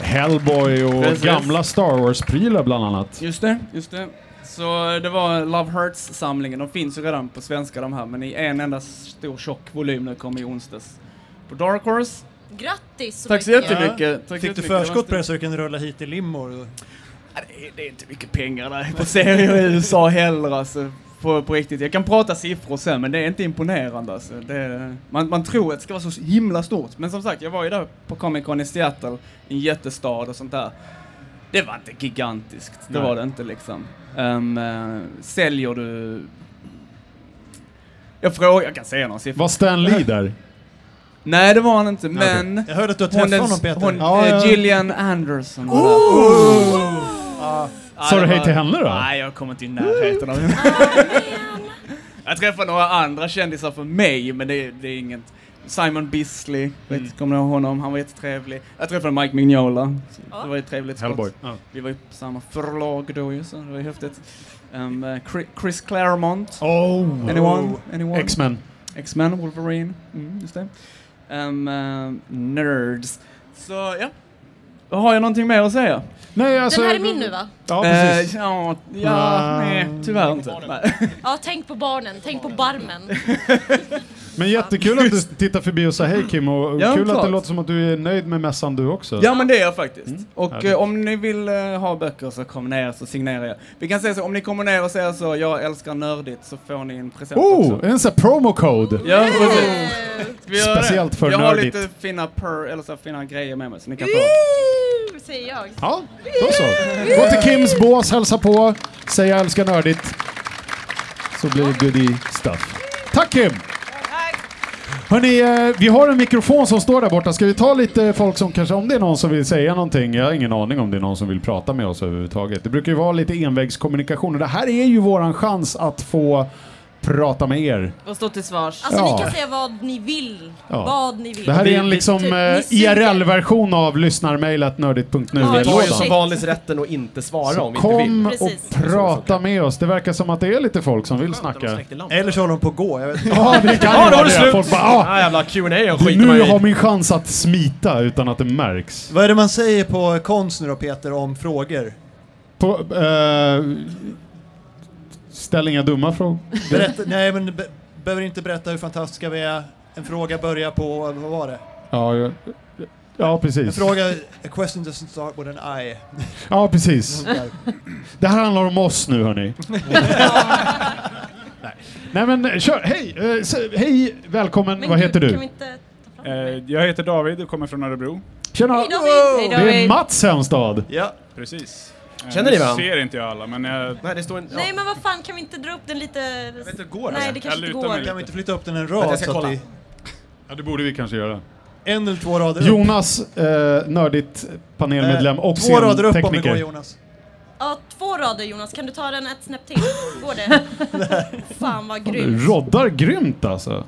A: Hellboy och
G: Precis.
A: gamla Star Wars-prylar bland annat.
G: Just det, just det. Så eh, det var Love Hurts-samlingen. De finns ju redan på svenska de här, men i en enda stor tjock volym när det kom i onsdags. På Dark Horse.
C: Grattis så
G: Tack så
C: mycket.
G: jättemycket. Tack så
B: Fick du
G: jättemycket. Det var
B: förskott på det så du kunde rulla hit i limor? och-
G: Ja, det, är, det är inte mycket pengar där på serier i USA heller alltså. På, på riktigt. Jag kan prata siffror sen, men det är inte imponerande alltså. det är, man, man tror att det ska vara så himla stort. Men som sagt, jag var ju där på Comic Con i Seattle, en jättestad och sånt där. Det var inte gigantiskt, det
A: Nej.
G: var det inte liksom. Ehm, eh, säljer du... Jag frågar, jag kan säga några siffror.
A: Var Stan Lee där?
G: Nej, det var han inte,
A: Nej, okej.
G: men...
B: Jag hörde att du har
G: Hon,
B: träffat
G: den,
B: honom Peter.
G: hon
A: Ja,
G: eh,
A: ja. Oh!
G: Gillian Anderson. var där.
B: Ah.
G: Ja,
A: Sa
G: det
A: du hej
G: var-
A: till henne då?
G: Nej, jag kom inte i närheten av henne. jag träffade några andra kändisar för mig, men det, det är inget. Simon Bisley, vet,
A: Mm.
G: inte, kommer ni ihåg honom? Han var jättetrevlig. Jag träffade Mike Mignola, så det var ju ett trevligt skott.
A: Hellboy. Ja.
G: Vi var ju på samma förlag då ju, så det var ju häftigt. Ehm, eh, Chri- Chris Claremont.
A: Oh!
G: Anyone? Anyone?
A: X-Men.
G: X-Men, Wolverine. Mm, just det. Ehm, eh, nerds. Så ja. Har jag någonting mer att säga?
A: Nej, alltså,
C: Den här är min nu va?
A: Ja,
G: Eh,
A: precis. Mm.
G: ja,
A: Ah.
G: ja nej, tyvärr inte. Nej.
C: Ja, tänk på barnen, tänk på barmen.
A: Men jättekul att du tittar förbi och sa hej Kim och
G: Ja,
A: kul att det
G: klart.
A: låter som att du är nöjd med mässan du också.
G: Ja men det är jag faktiskt. Och
A: Mm. härligt.
G: eh, om ni vill eh, ha böcker så kom ner så signerar jag. Vi kan säga så, om ni kommer ner och säger så, jag älskar nördigt, så får ni en present
A: Oh,
G: också.
A: är det en sån här promo code?
G: Ja, precis. Ska vi göra det?
A: Speciellt för
G: jag
A: nördigt.
G: har lite fina per, eller så här fina grejer med mig så ni kan få.
C: Woo, Säger jag.
A: Ja, då så. Gå till Kims bås, hälsa på, säg jag älskar nördigt. Så blir det goodie stuff. Tack Kim! Hörni, eh, vi har en mikrofon som står där borta. Ska vi ta lite folk som kanske, om det är någon som vill säga någonting. Jag har ingen aning om det är någon som vill prata med oss överhuvudtaget. Det brukar ju vara lite envägskommunikation och det här är ju våran chans att få prata med er.
E: Och stå till svars.
C: Alltså
A: Ja.
C: ni kan säga vad ni vill.
A: Ja.
C: Vad ni vill.
A: Det här är en
D: Vi-
A: liksom
C: typ,
A: eh,
C: vi suger.
A: IRL-version av lyssnarmailet nördigt.nu.
C: Ja,
D: Vi har ju
A: lådan.
D: som vanligt rätten att inte svara om vi inte vill.
A: Kom och
C: Precis.
A: prata med oss. Det verkar som att det är lite folk som vill snacka.
B: Eller så håller de på att gå. Jag vet. inte.
A: Ja, det kan ju
D: Ja, då
A: vara
D: var det
A: det.
D: slut!
A: Folk bara, ah,
D: ah, jävla Q&A skiter man
A: nu
D: ju i.
A: har min chans att smita utan att det märks.
B: Vad är det man säger på konst nu då Peter om frågor?
A: På, eh, ställ inga dumma frågor.
B: Berätta, nej men be, behöver inte berätta hur fantastiska vi är. En fråga börjar på, vad var det?
A: Ja, ja, ja,
B: En
A: precis.
B: fråga, a question doesn't start with an I.
A: Ja, precis.
B: Där.
A: Det här handlar om oss nu, hörni. Nej, men kör. Hej, eh, s- hej välkommen.
C: Men
A: Vad
C: gud,
A: heter
C: Kan vi
A: du?
C: inte ta fram
H: Eh,
C: mig?
H: Jag heter David och kommer från Örebro.
A: Tjena!
C: Hej David!
A: Det är
E: David.
A: Mats Hemstad.
B: Ja,
H: Precis. Eh,
D: Känner ni varandra?
H: Nu ser inte jag alla, men
A: eh,
H: jag...
D: Nej, det står en...
C: Nej men vad fan kan vi inte dra upp den lite... Jag
H: vet inte, går det?
C: Nej det kanske
H: Jag
C: inte
H: lutar mig
C: går.
B: kan vi inte flytta upp den en
D: Vänta,
B: rad
D: jag ska
B: så att
D: kolla.
B: vi,
A: Ja, det borde vi kanske göra.
B: en eller två rader upp? Eh,
A: Jonas, eh, nördigt panelmedlem och
B: Två rader upp om det går
A: scentekniker.
B: Jonas.
C: Ja, två rader Jonas. Kan du ta den ett snäpp till? Går det? Fan vad
A: Mm.
C: grymt.
A: Roddar grymt alltså.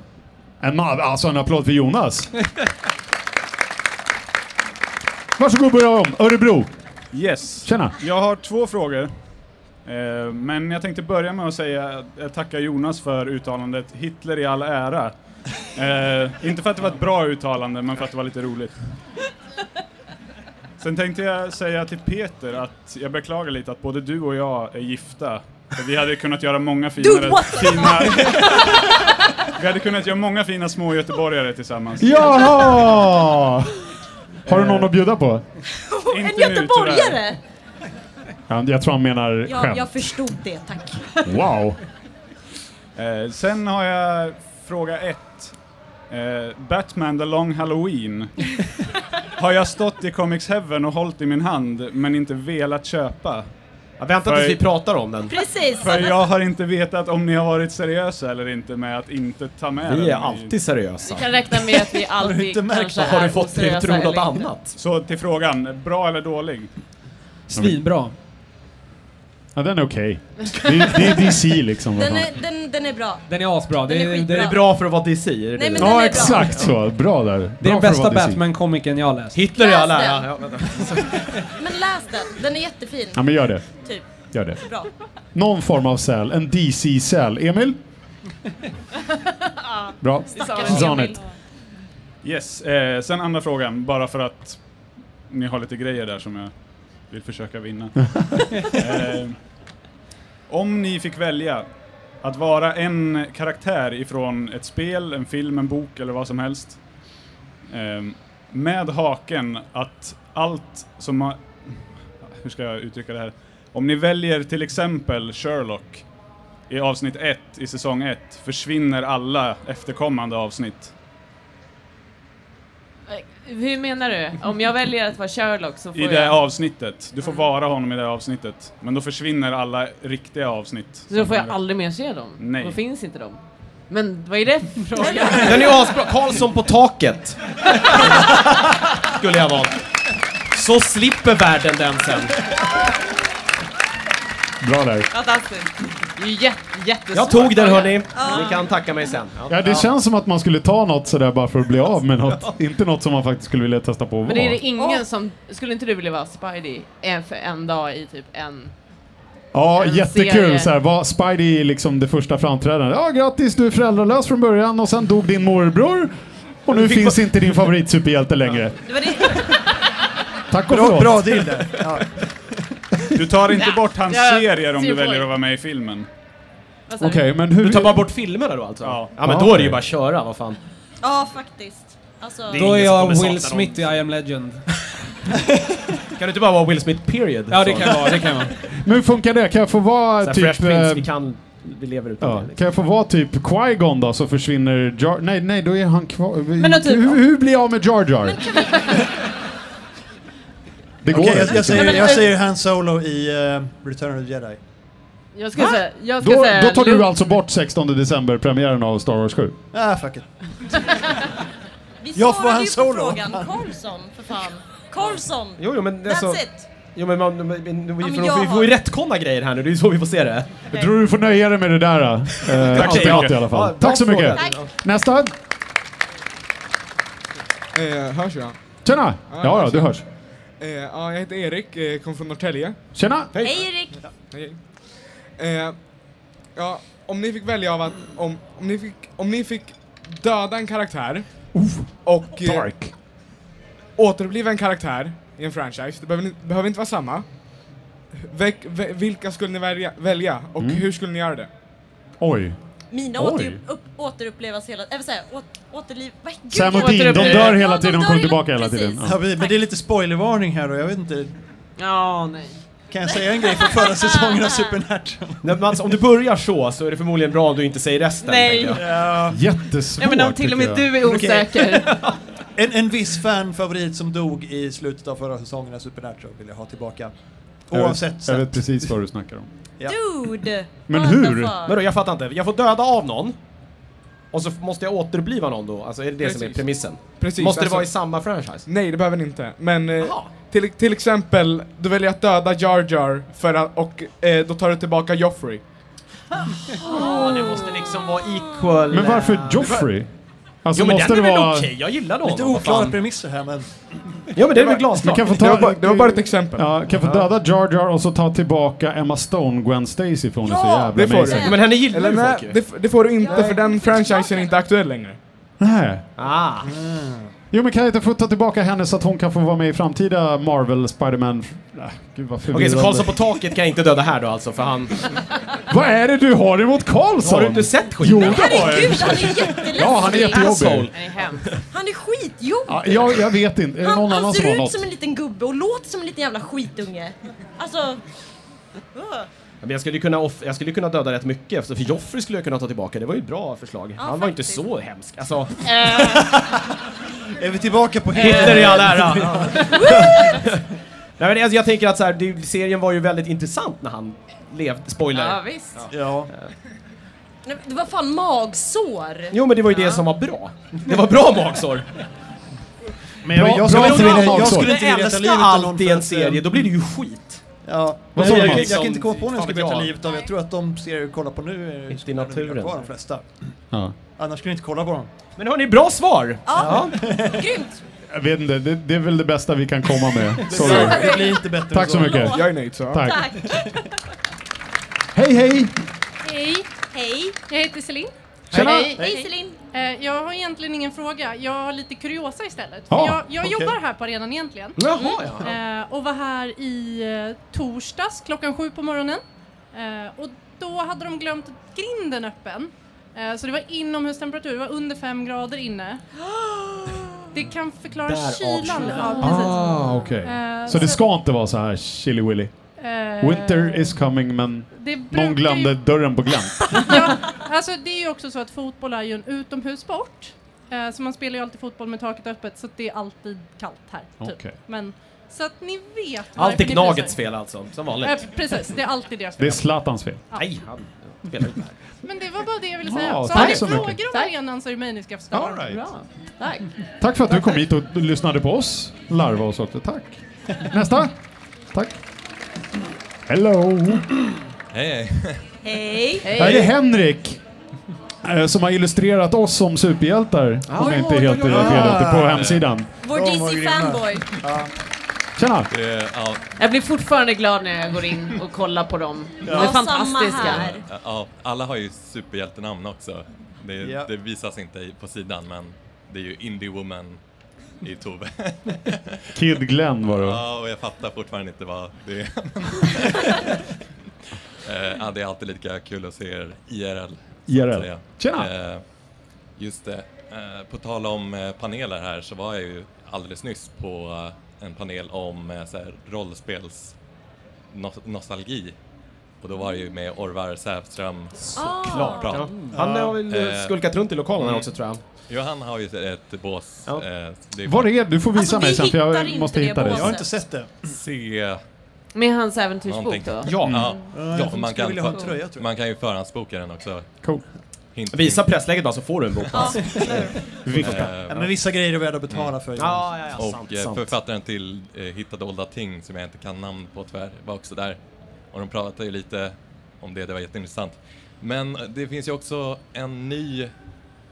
A: En, ma- alltså en applåd för Jonas. Varsågod börja om. Örebro.
H: Yes.
A: Tjena.
H: Jag har två frågor. Eh, Men jag tänkte börja med att säga eh, tacka Jonas för uttalandet Hitler i all ära. Eh, inte för att det var ett bra uttalande, men för att det var lite roligt. Sen tänkte jag säga till Peter att jag beklagar lite att både du och jag är gifta. För Vi hade kunnat göra många finare...
C: what?
H: fina, vi hade kunnat göra många fina små göteborgare tillsammans.
A: Jaha! Har du någon att bjuda på?
H: Inte
C: en
H: nu,
C: göteborgare!
A: Ja, Jag tror han menar
C: Ja,
A: skämt.
C: jag förstod det, tack.
A: Wow.
H: Eh, sen har jag fråga ett. Eh, Batman the long halloween. har jag stått i Comics Heaven och hållit i min hand men inte velat köpa?
D: Ja, vänta tills vi pratar om den.
C: Precis!
H: För jag har inte vetat om ni har varit seriösa eller inte med att inte ta med den
D: Vi är
H: i-
D: alltid seriösa.
E: Kan räkna med att vi alltid
B: inte märkt
E: kanske
B: det?
E: är
D: Har du fått dig att
E: oseriösa
D: tro
E: eller
D: något
E: inte.
D: annat?
H: Så till frågan, bra eller dålig?
F: Svinbra.
A: Ja, den är okej. Det, är- det är DC liksom. vad
C: Den
A: fan.
C: är, den, den är bra.
F: Den är asbra. Det
C: Den är
F: är, det
D: Det
F: är,
D: är bra för att vara DC, är
C: Nej,
D: det det?
C: men-
A: Ja,
C: bra.
A: exakt så. Bra där. Bra
F: det är den
A: för att
F: bästa
A: vara DC.
F: Batman-komikern jag har läst.
D: Hitler i all
C: Läs
D: ära.
C: den.
D: Ja, vänta.
C: Men läs den, den är jättefin.
A: Ja, men gör det.
C: Typ,
A: Gör det.
C: bra.
A: Någon form av cell. En DC-cell. Emil? Bra.
E: Stackars
A: Zan
E: Emil.
A: it.
H: Yes, eh, sen andra frågan, bara för att ni har lite grejer där som jag vill försöka vinna. eh, om ni fick välja att vara en karaktär ifrån ett spel, en film, en bok eller vad som helst. Eh, med haken att allt som har... Hur ska jag uttrycka det här? Om ni väljer till exempel Sherlock i avsnitt 1 i säsong 1 försvinner alla efterkommande avsnitt.
E: Hur menar du? Om jag väljer att vara Sherlock så får
H: I det
E: jag... Mm.
H: avsnittet. Du får vara honom i det avsnittet. Men då försvinner alla riktiga avsnitt.
E: Så då får jag aldrig mer se dem?
H: Nej.
E: Då finns inte de. Men vad är det för fråga?
D: Den är ju asbra. Karlsson på taket. Skulle jag valt. Så slipper världen den sen.
A: Bra där.
E: Fantastiskt. Det är ju jätte, jättesvårt.
D: Jag tog den hörni. Ni kan tacka mig sen.
A: Ja, det känns som att man skulle ta något sådär bara för att bli av med något. Inte något som man faktiskt skulle vilja testa på att
E: Men är
A: vara.
E: det ingen som... Skulle inte du vilja vara Spidey en, för en dag i typ en...
A: Ja,
E: en
A: jättekul.
E: serie.
A: Så här, var Spidey liksom det första framträdandet. Ja, grattis, du är föräldralös från början och sen dog din morbror. Och nu finns inte din favoritsuperhjälte längre.
C: Det var det.
A: Tack och
B: Bra,
A: förlåt.
B: bra deal där. Ja.
H: Du tar inte bort hans
E: Ja,
H: serier om
E: ser
H: du
E: på
H: väljer
E: det.
H: att vara med i filmen.
E: Vad sa du?
A: Okej, men hur...
D: Du tar bara bort filmerna då alltså?
H: Ja.
D: ja men då är det ju bara att köra, vad fan.
C: Ja, faktiskt. Alltså,
F: Då är
D: ingen som kommer
F: jag
D: sakna
F: Will
D: dem.
F: Smith i I am Legend.
D: Kan du inte bara vara Will Smith period?
F: Ja, det
D: Så.
F: kan jag vara. Det kan jag vara.
A: Men hur funkar det? Kan jag få vara
D: Så här,
A: typ...
D: Fresh Prince,
A: eh,
D: vi kan... Vi lever utan
A: Ja.
D: det.
A: Kan jag få vara typ Qui-Gon då så försvinner Jar... Nej, nej, då är han kvar.
E: Men då typ-
A: hur, hur blir jag med Jar Jar? Det går
B: Okej, jag,
A: inte.
B: jag, säger, jag säger Han Solo i eh, Return of the Jedi.
E: Jag ska säga... Jag ska
A: Då,
E: säga
A: då tar du
E: Luke.
A: alltså bort 16 december premiären av Star Wars 7?
B: Ah, fuck it.
C: vi
B: Jag får
C: svarade
B: han
C: ju på
B: solo.
C: frågan. Karlsson, för fan. Karlsson!
D: Jo, jo, men alltså,
C: That's it!
D: jo, men, man, men, men, vi,
C: men
D: får-
C: jag
D: vi
C: har-
D: får ju rättkonna grejer här nu, det är ju så vi får se det.
A: Jag tror du får nöja dig med det där. Eh,
D: Tack så
A: allt i allt
D: mycket.
A: i alla fall.
D: Ja, bra
A: Tack så
D: fråga.
A: mycket.
C: Tack.
A: Nästa.
I: Eh, hörs jag?
A: Tjena!
I: Ja,
A: Ja, ja, du hörs.
I: Eh, ja, jag heter Erik, eh, kommer från Norrtälje.
A: Tjena!
C: Hej Erik!
I: Hej. Eh, ja, om ni fick välja av att, om, om, ni, fick, om ni fick döda en karaktär och eh,
A: Dark.
I: återuppliva en karaktär i en franchise, det behöver, ni- behöver inte vara samma. Väck, vä, vilka skulle ni välja, välja och
D: Mm.
I: hur skulle ni göra det?
A: Oj.
C: Mina
A: Oj.
C: åter, upp, återupplevas hela... Eller såhär, åt, återliv... Vad- gud,
A: Sam
C: jag-
A: och Dean, de
E: återuppliva-
A: dör
C: Ja,
A: hela
C: de
A: tiden, de
C: dör
A: kommer
C: hela-
A: tillbaka hela
C: precis.
A: tiden.
B: Ja,
A: Ja.
B: vi- men det är lite spoilervarning här då, jag vet inte.
E: Ja, nej. Ah,
B: Kan jag säga en grej från förra säsongen av Supernatural?
D: Nej, men alltså, om du börjar så, så är det förmodligen bra om du inte säger resten.
E: Nej.
D: tänker jag.
A: Jättesvårt
E: Ja, men om till och med
A: tycker jag.
E: du är osäker.
B: En, en viss fanfavorit som dog i slutet av förra säsongen av Supernatural vill jag ha tillbaka.
A: Jag vet-
B: Oavsett
A: Jag
B: sätt.
A: vet precis vad du snackar om.
C: Dude!
A: Men
C: what the
A: hur?
C: fuck?
D: Men då, jag fattar inte. Jag får döda av någon. Och så f- måste jag återbliva någon då? Alltså är det det som är
I: Precis.
D: premissen?
I: Precis,
D: måste det
I: alltså-
D: vara i samma franchise?
I: Nej, det behöver ni inte. Men eh,
D: Jaha.
I: till, till exempel, du väljer att döda Jar Jar för att, och eh, då tar du tillbaka Joffrey.
D: Ja, det måste liksom vara equal...
A: Men varför Joffrey? Alltså,
D: jo men
A: måste
D: den är
A: det
D: väl
A: vara-
D: okej, jag gillade honom.
B: Lite
D: vad fan.
B: oklara premisser här men...
D: Ja men det är väl
A: Vi
D: glasklart.
A: kan få
I: Det var,
A: ta,
I: bara, det var bara ett exempel.
A: ja, kan få döda Jar Jar och så ta tillbaka Emma Stone, Gwen Stacy från ja, så
I: Ja,
A: jävla
I: det får
A: amazing.
D: Ja, men henne gillar
I: Eller
D: ju folk
I: nej,
D: ju.
I: det, f- det får du inte för den franchisen är inte aktuell längre.
A: Nej.
D: Ah.
A: Jo men kan jag inte få ta tillbaka henne så att hon kan få vara med i framtida Marvel, Spiderman... Äh, gud
D: Okej,
A: vad
D: så
A: förvirrande.
D: Karlsson på taket kan jag inte döda här då alltså, för han...
A: Vad är det du har emot Karlsson?
D: Har du inte sett skiten?
A: Jo, det har jag.
C: Herregud, han är jätteläskig! Alltså-
A: Ja, han är jättejobbig.
D: Asshole.
E: Den är hemsk.
C: Han är skitjobbig!
A: Ja, jag, jag vet inte. Är det
C: Han,
A: någon
C: han
A: annan som har
C: ser ut
A: något?
C: som en liten gubbe och låter som en liten jävla skitunge. Alltså... uh. Ugh.
D: Ja, Men jag skulle ju kunna, off- jag skulle ju kunna döda rätt mycket, så för Joffrey skulle jag kunna ta tillbaka, det var ju ett bra förslag. han var ju inte
C: faktiskt.
D: så hemsk. Alltså,
B: Är vi tillbaka på
D: Hitler i all ära! Nej, men alltså, jag tänker att så här, det, serien var ju väldigt intressant när han levde, spoiler.
E: Ja, visst.
B: Ja.
C: Nej, Det var fan magsår!
D: Jo men det var ju det som var bra. Det var bra magsår.
B: Men jag,
A: Bra-
B: jag, skulle
A: bra
B: inte vilja-
A: magsår.
B: jag skulle
D: Jag
B: inte vilja ta
D: älskar
B: livet av någon
D: allt
B: för
D: i en
B: att,
D: serie,
B: eh,
D: då blir det ju skit.
B: Ja.
A: Vad
B: Nej,
A: sa
B: jag,
A: du,
B: jag,
A: Hans?
B: jag kan inte komma på någon jag skulle
D: Fan
B: vilja ta
D: vet jag.
B: livet av. Jag tror att de serier vi kollar på nu eh, är
D: Inte i
B: skulle jag vilja
D: naturen.
B: Kvar, de flesta.
A: Ja.
B: Annars skulle jag inte kolla på dem.
D: Men hörni, bra svar!
C: Ja, grymt!
A: Jag vet inte, det, det är väl det bästa vi kan komma med. Sorry.
B: Det blir inte bättre än
A: Tack så mycket.
I: Jag är nöjd så.
A: Tack.
J: Tack.
A: Hej hej!
J: Hej,
C: Hej!
J: jag heter Celine.
A: Tjena!
C: Hej Celine!
J: Eh, Jag har egentligen ingen fråga, jag har lite kuriosa istället.
A: Ja,
J: jag jag
B: okej.
J: jobbar här på arenan egentligen.
D: Jaha ja.
J: Eh, och var här i eh, torsdags klockan sju på morgonen. Eh, och då hade de glömt grinden öppen. Eh, så det var inomhustemperatur, det var under fem grader inne. Det kan förklara
D: Därav
J: kylan.
D: kylan.
J: Ja, precis.
A: Ah, okej.
J: Eh,
A: Så det ska inte vara så här chili willy.
J: eh,
A: Winter is coming men
J: det brukar
A: någon
J: ju-
A: glömde dörren på glänt.
J: ja, alltså det är ju också så att fotboll är ju en utomhussport. Eh, så man spelar ju alltid fotboll med taket öppet så att det är alltid kallt här. Typ.
A: Okej.
J: Men, så att ni vet
D: Allt
J: varför
D: är
J: ni
D: Gnagets
J: fryser.
D: fel alltså, som vanligt.
J: Eh, precis, det är alltid deras
A: Det är
J: fel.
A: Zlatans fel.
D: Nej, han spelar ju inte här.
J: Men det var bara det jag ville säga.
A: Ja,
J: så
A: tack
J: har ni
A: så mycket.
J: frågor om arenan så är det mig ni ska få ställa.
E: Bra. Tack.
A: Tack för att du kom hit och lyssnade på oss larva oss åt det. Tack. Nästa! Tack. Hello!
C: Hej!
A: Här är Henrik. eh, Som har illustrerat oss som superhjältar, om jag inte är helt eh, fel ute, på hemsidan.
C: Vår DC-fanboy.
A: Tjena!
E: Jag blir fortfarande glad när jag går in och kollar på dem. De är
C: Ja,
E: fantastiska.
C: samma här.
K: Ja, alla har ju superhjältenamn också. Det,
B: Ja.
K: det visas inte på sidan, men det är ju Indie Woman i Tove.
A: Kid Glenn var det.
K: ja, och jag fattar fortfarande inte vad det är. Eh, ja, det är alltid lika kul att se er IRL.
A: IRL.
K: säga.
A: Tjena!
K: Eh, Just det. Eh, På tal om eh, paneler här så var jag ju alldeles nyss på eh, en panel om eh, så här, rollspels no- nostalgi. Och då var det ju med Orvar Sävström.
C: Såklart.
K: Bra.
D: Han har väl eh,
K: Eh.
D: skulkat runt i lokalen här också tror jag.
K: Jo, han har ju ett bås.
D: Ja.
K: Eh, det är
A: Var är Du får visa
C: Alltså, vi
A: mig sen för
C: hittar
A: jag
C: inte
A: måste
C: det
A: hitta
C: på
A: det.
B: Jag har inte sett det.
K: se
E: Med hans äventyrsbok
K: någonting.
E: då?
D: Ja.
C: Mm.
K: ja och man,
B: Mm. skulle
K: kan
B: vilja ha
K: för-
B: en tröja, tror jag.
K: man kan ju förhandsboka den också.
A: Cool.
K: Hint,
D: Visa pressläget bara så får du en bok.
C: Ja,
K: hint. Eh,
B: Ja, men vissa grejer är värda att betala för.
D: Ja, ja, ja,
K: och
D: sant,
K: eh,
D: sant.
K: författaren till eh, Hitta dolda ting, som jag inte kan namn på tyvärr, var också där. Och de pratade ju lite om det, det var jätteintressant. Men eh, det finns ju också en ny,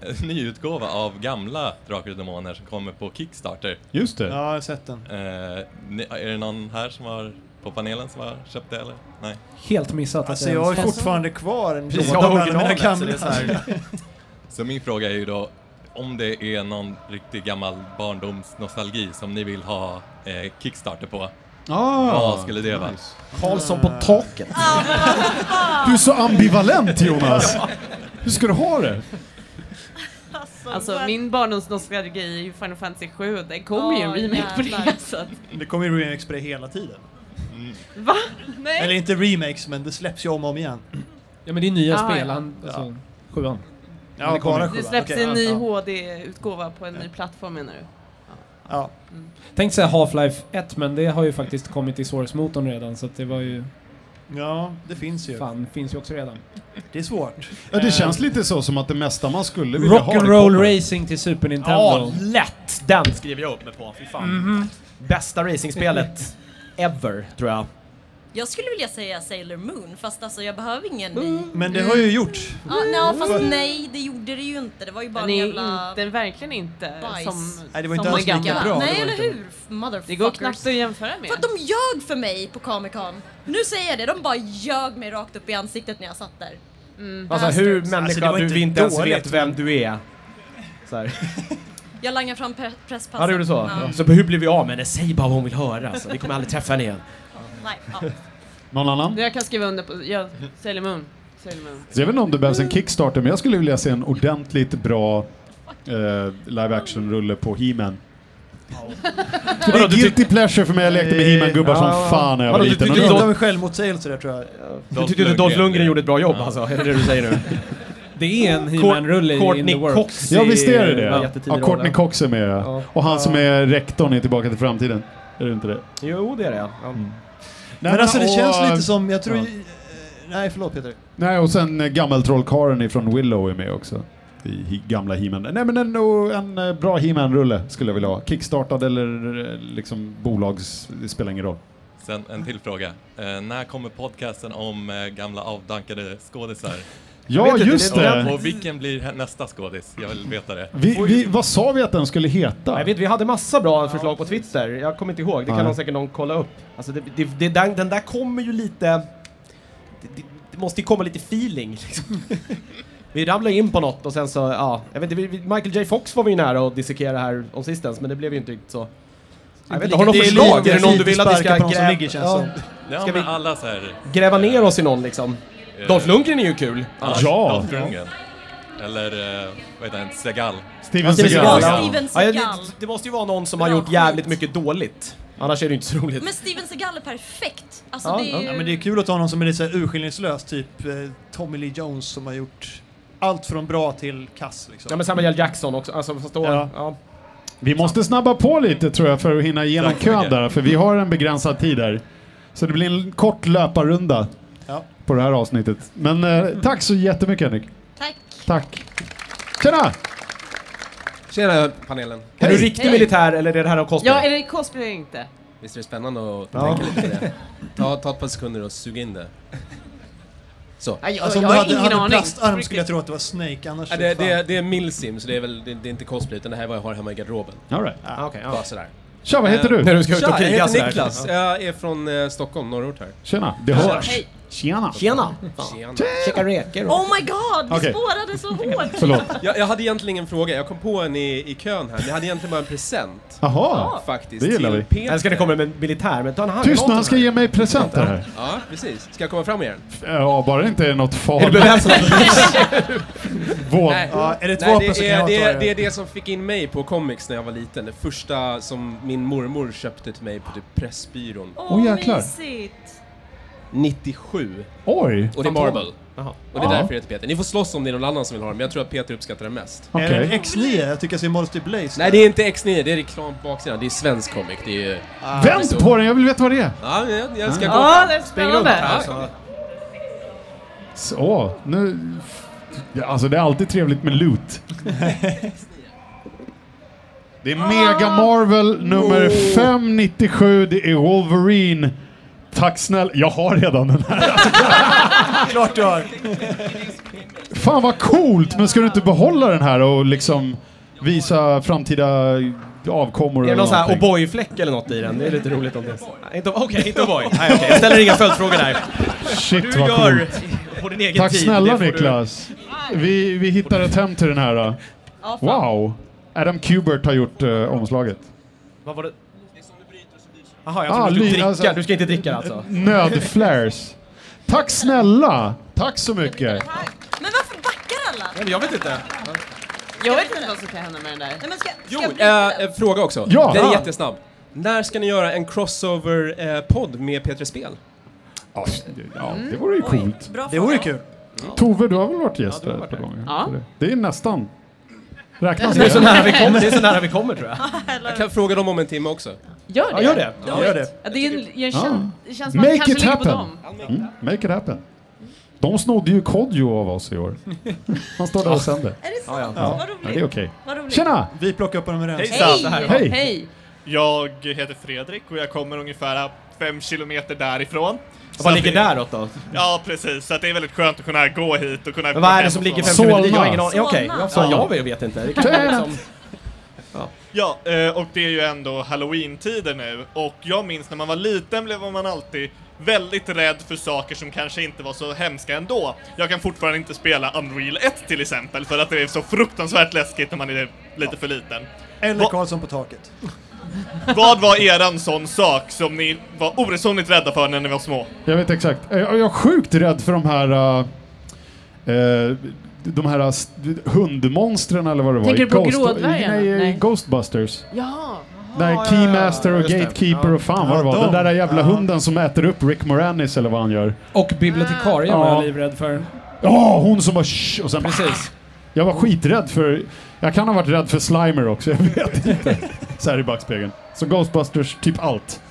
K: en ny utgåva av gamla Drakar och Demoner som kommer på Kickstarter.
A: Just det.
B: Ja, jag har sett den.
K: Eh, ni, är det någon här som har, på panelen som har köpt det eller? Nej?
F: Helt missat att
B: Alltså
F: det
B: jag
F: ens
B: har ju
F: fanns.
B: fortfarande kvar en
D: Precis,
B: låda
D: jag
B: med
D: har
B: alla mina
D: originalet. Så det är
B: gamla.
D: så här.
K: Så min fråga är ju då om det är någon riktig gammal barndomsnostalgi som ni vill ha eh, Kickstarter på.
B: Ah,
K: Vad skulle det vara?
D: Karlsson på taket.
A: Du är så ambivalent Jonas! Hur ska du ha det?
E: Alltså min barndomsnostalgi är ju Final Fantasy 7 det kommer ju en
C: Åh,
E: remake på
C: jävlar.
E: det. Så att,
B: Det kommer ju remakes på det hela tiden.
E: va? Nej?
B: Eller inte remakes, men det släpps ju om och om igen.
F: Ja men det är nya
E: Ah,
F: spel,
E: ja.
F: han, alltså, sjuan.
B: Ja, det bara
E: Alltså, det
B: sjuan.
E: släpps
B: Okej,
E: en ny
B: ja.
E: HD-utgåva på en ny plattform menar du?
B: Ja.
F: Tänk säga Half-Life 1 men det har ju faktiskt kommit i Source-motorn redan så att det var ju,
B: ja, det finns ju.
F: fan, finns ju också redan.
B: Det är svårt. Eh,
A: Ja,
F: Eh,
A: det känns lite så som att det mesta man skulle vilja ha... det kommer.
F: Rock'n'Roll Racing till Super
D: Ja,
F: Nintendo.
D: lätt! Den Mhm. skriver jag upp mig på. Fy fan. Bästa racingspelet ever, tror jag.
C: Jag skulle vilja säga Sailor Moon, fast alltså jag behöver ingen ny.
B: Men det har ju gjort.
C: Ja, nej, fast nej, det gjorde det ju inte. Det var ju bara
E: Den
C: en
E: är
C: jävla...
E: inte, verkligen inte
C: Bajs.
E: som
B: Nej, det var inte
E: som
B: alls
E: den
B: lika
E: gamla.
B: bra.
C: Nej, eller hur? Motherfuckers.
E: Det går knappt att jämföra med.
C: För att de ljög för mig på Comic Con. Nu säger jag det, de bara ljög mig rakt upp i ansiktet när jag satt där.
E: Mm.
D: Alltså hur människa
B: Alltså, det var
D: du
B: inte
D: inte ens
B: dåligt,
D: vet vem du är. Så här.
C: Jag langar fram pre- presspasset.
D: Ja, du gjorde så.
C: Ja.
D: Så hur blir vi av med henne? Säg bara vad hon vill höra. Alltså. Vi kommer aldrig träffa henne igen.
C: Nej, ja.
A: Någon annan?
E: Jag kan skriva under på ja, Sailor Moon. Sailor Moon.
A: Så jag vet inte om det behövs en Kickstarter, men jag skulle vilja se en ordentligt bra eh, live action-rulle på He-Man. För det
D: Vadå,
A: är
D: du
A: guilty pleasure för mig, jag lekte med He-Man-gubbar
D: Ja, ja,
A: som
D: ja.
A: fan när jag var
D: Vadå, du
A: liten.
D: tyckte
B: Lite
D: Dolph-
B: av en självmotsägelse där tror jag.
D: Du tyckte inte Dolph Lundgren gjorde ett bra jobb alltså? Är det det du säger nu?
F: Det är en He-Man-rulle i In the
D: Courtney
F: Works.
D: Cox
A: Ja, visst är det
D: i- eh,
A: det?
D: jättetidig
A: Ja, Courtney
D: roll.
A: Cox är med. ja. Och han som är rektorn i Tillbaka till framtiden. Är det inte det?
D: Jo, det är det ja. ja.
A: Nej,
B: Men alltså det
A: och-
B: känns lite som, jag tror...
A: ja.
B: ju- Nej, förlåt Peter.
A: Nej, och sen eh, gammeltrollkarlen ifrån Willow är med också. I he- gamla He-Man. Nej men en, och en eh, bra He-Man-rulle skulle jag vilja ha. Kickstartad eller eh, liksom bolags... Det spelar ingen roll.
K: Sen en till fråga. Eh, när kommer podcasten om eh, gamla avdankade skådisar?
A: Ja, just
K: Och-
A: det!
K: Och vilken blir hä- nästa skådis? Jag vill veta det.
A: Vi, vi, vad sa vi att den skulle heta?
D: Jag vet, vi hade massa bra förslag på Twitter. Jag kommer inte ihåg. Det kan
A: Nej.
D: någon säkert någon kolla upp. Alltså, det, det, det, den, den där kommer ju lite... Det, det, det måste ju komma lite feeling. Liksom. vi ramlade in på något och sen så, ja. Jag vet inte, vi, vi, Michael J Fox var vi ju nära att dissekera här om sistens, men det blev ju inte riktigt så. Jag vet inte, har du något
B: Det är
D: förslag?
B: lite-
D: Är det någon du vill att vi
B: sparka
D: ska
B: på någon som
D: gräva,
B: ligger, känns
D: ja,
B: som.
K: Ja,
D: Ska
K: men
D: vi-
K: alla så här...
D: gräva ner oss i någon liksom?
K: eh,
D: Dolph Lundgren är ju kul.
K: alla-
A: Ja.
K: Dolph Lundgren. Eller eh, vad heter han? Segal.
A: Steven
D: Steven Seagal,
A: Seagal. Ja.
D: ja.
C: Steven
D: Ja, det,
C: Seagal.
D: det måste ju vara någon som
C: Bra
D: har gjort
C: skit.
D: jävligt mycket dåligt. Annars är det ju inte så roligt.
C: Men Steven Seagal är perfekt. Alltså
D: Ja,
C: det är ju...
B: Ja, men det är kul att ta någon som är lite så här urskillningslös, typ eh, Tommy Lee Jones som har gjort allt från bra till kass liksom.
D: Ja men Samuel L. Jackson också, alltså fast då,
A: Ja.
D: ja.
A: Vi måste snabba på lite tror jag för att hinna igenom
K: Tack så
A: kön
K: mycket.
A: där, för vi har en begränsad tid här. Så det blir en kort löparrunda
B: Ja.
A: på det här avsnittet. Men eh, tack så jättemycket Henrik.
C: Tack.
A: Tack. Tjena!
L: Tjena panelen.
D: Är du riktig
E: Hej.
D: militär eller är det här av cosplay?
E: Ja, är det cosplay eller inte?
L: Visst är det spännande att tänka lite på det? Ta, ta ett par sekunder och suga in det. Så.
E: Ja, jag,
B: Alltså, om
E: jag
B: du
E: har
B: hade,
E: ingen
B: hade
E: aning.
B: plastarm skulle jag
E: Riktigt.
B: tro att det var Snake, annars...
L: Ja, det,
B: fan.
L: det, det är millsim, så det är väl det, det är inte cosplay, utan det här är vad jag har hemma i garderoben.
A: All right.
D: Ah, okej, ja.
L: Bara sådär.
A: Tja, vad heter
L: Eh,
A: du?
D: du ska
L: Tja, jag
D: kriga så
L: heter
D: här.
L: Niklas. Jag är från eh, Stockholm, norrort här.
A: Tjena, det hörs.
E: Hej.
A: Tjena.
D: Tjena!
L: Tjena.
D: Käka räkor och...
C: Oh my god, vi
A: Okej.
C: spårade så hårt.
A: Förlåt.
L: Jag, jag hade egentligen ingen fråga, jag kom på en i, i kön här. Men jag hade egentligen bara en present.
A: Jaha.
L: Faktiskt.
A: det gillar
L: till
A: vi.
L: Peter.
D: Jag ska det komma med en militär, men ta en hand
A: Tyst
D: om
A: nu, han ska
D: den
A: ge mig presenter här.
L: Ja, precis. Ska jag komma fram igen?
A: Ja, bara det inte är något
D: Är du
A: farligt.
D: beväpnad?
A: Våld.
L: Nej.
B: Ja, är det ett
L: Nej,
B: vapen så
L: det
B: kan jag
L: är,
B: ta
L: det, är,
B: det.
L: det är det som fick in mig på comics när jag var liten. Det första som min mormor köpte till mig på typ Pressbyrån.
C: Åh,
A: Åh, jäklar.
C: mysigt.
L: 97.
A: Oj.
L: Och det är Marble.
D: Jaha.
L: Och det är
A: Ja.
L: därför jag heter Peter. Ni får slåss om det är någon annan som vill ha dem. Jag tror att Peter uppskattar det mest.
B: Är det
A: Okej.
B: en X9? Jag tycker jag ser Modesty Blaze.
L: Nej, det är inte X9, det är reklam på baksidan. Det är svensk comic. Det är ju...
A: Vänd på den, jag vill veta vad det är.
L: Ja, jag, jag ska gå...
E: Ja, det är spännande.
L: Ja,
A: Så, nu... Ja, Alltså det är alltid trevligt med loot. Det är Mega Marvel nummer
L: Oh.
A: 597, det är Wolverine. Tack snälla. Jag har redan den här.
B: Klart du har!
A: Fan vad coolt! Men ska du inte behålla den här och liksom visa framtida avkommor
D: Är det
A: eller
D: någon sån här
A: någonting?
D: O'boy-fläck eller något i den? Det är lite roligt om det... Nej, inte- Okej, inte O'boy. Nej, okej. Jag ställer inga följdfrågor där.
A: Shit
D: Du
A: vad
D: gör
A: coolt.
D: på din egen
A: Tack
D: tid.
A: snälla
D: det får du-
A: Niklas. Vi, vi hittar ett hem till den här. då.
C: Ja, fan.
A: Wow! Adam Kubert har gjort eh, omslaget.
D: Vad var det? Jaha,
A: Ah,
D: jag trodde du
A: ly-
D: skulle
A: alltså-
D: dricka. Du ska inte dricka alltså?
A: Nödflares. Tack snälla! Tack så mycket.
C: Men varför backar alla?
D: Nej, men jag vet inte.
E: Jag vet inte vad som kan hända med den där.
C: Nej, men ska, ska
L: jo,
C: jag bryta
L: eh,
C: den?
L: eh, fråga också.
A: Ja.
L: Den
A: Ja.
L: är jättesnabb. När ska ni göra en crossover-podd med Peter Spel?
A: Ja, ja, det vore ju coolt.
C: Bra
B: Det vore
C: fråga.
B: kul.
A: Tove, du har väl varit gäst där ett par gånger?
E: Ja.
A: eller? Det är nästan. Räknas
D: Det är så
A: det?
D: nära vi kommer, det är så nära vi kommer tror jag.
L: Jag kan fråga dem om en timme också.
E: Gör
D: Ja,
E: det.
D: gör det.
B: Gör det.
E: Ja, det, är en, jag känn, det känns som att
A: Make
E: det kanske
A: it
E: ligger på
A: happen.
E: dem.
A: Mm, make it happen. De snodde ju Kodjo av oss i år. Han står där och sänder.
C: Är det sant? Vad
A: Ja, det är
C: roligt.
A: okej.
C: Vad roligt.
A: Tjena!
B: Vi plockar upp honom ur rens.
E: Hej!
A: Hej.
E: Hej!
M: Jag heter Fredrik och jag kommer ungefär fem kilometer därifrån.
D: Vad ligger däråt då?
M: Ja, precis. Så att det är väldigt skönt att kunna gå hit och kunna...
D: Men vad är det som ligger framför mig? Jag har ingen aning. Okej, jag, fan, jag vet- vet inte. Det kan vara liksom...
M: Ja, eh, och det är ju ändå halloween-tider nu och jag minns när man var liten blev man alltid väldigt rädd för saker som kanske inte var så hemska ändå. Jag kan fortfarande inte spela Unreal 1 till exempel för att det är så fruktansvärt läskigt när man är lite för liten.
B: Eller Karlsson på taket.
M: Vad var eran sån sak som ni var oresonligt rädda för när ni var små?
A: Jag vet exakt. Jag, jag är sjukt rädd för de här... eh, eh, de här st- hundmonstren eller vad det var.
E: Tänker
A: i
E: du på
A: Ghost-
E: grådvärgarna?
A: Nej, i
E: Nej.
A: Ghostbusters.
E: Ja!
A: Där Keymaster och Gatekeeper och fan vad det var.
F: Ja,
A: Den där
F: de.
A: jävla hunden som äter upp Rick Moranis eller vad han gör.
F: Och bibliotekarien
A: Ja.
F: var jag livrädd för.
A: Ja, hon som bara shh, och sen
C: Ah.
A: Precis. Jag var skiträdd för... Jag kan ha varit rädd för Slimer också, jag vet inte. Så här i backspegeln. Så Ghostbusters, typ allt.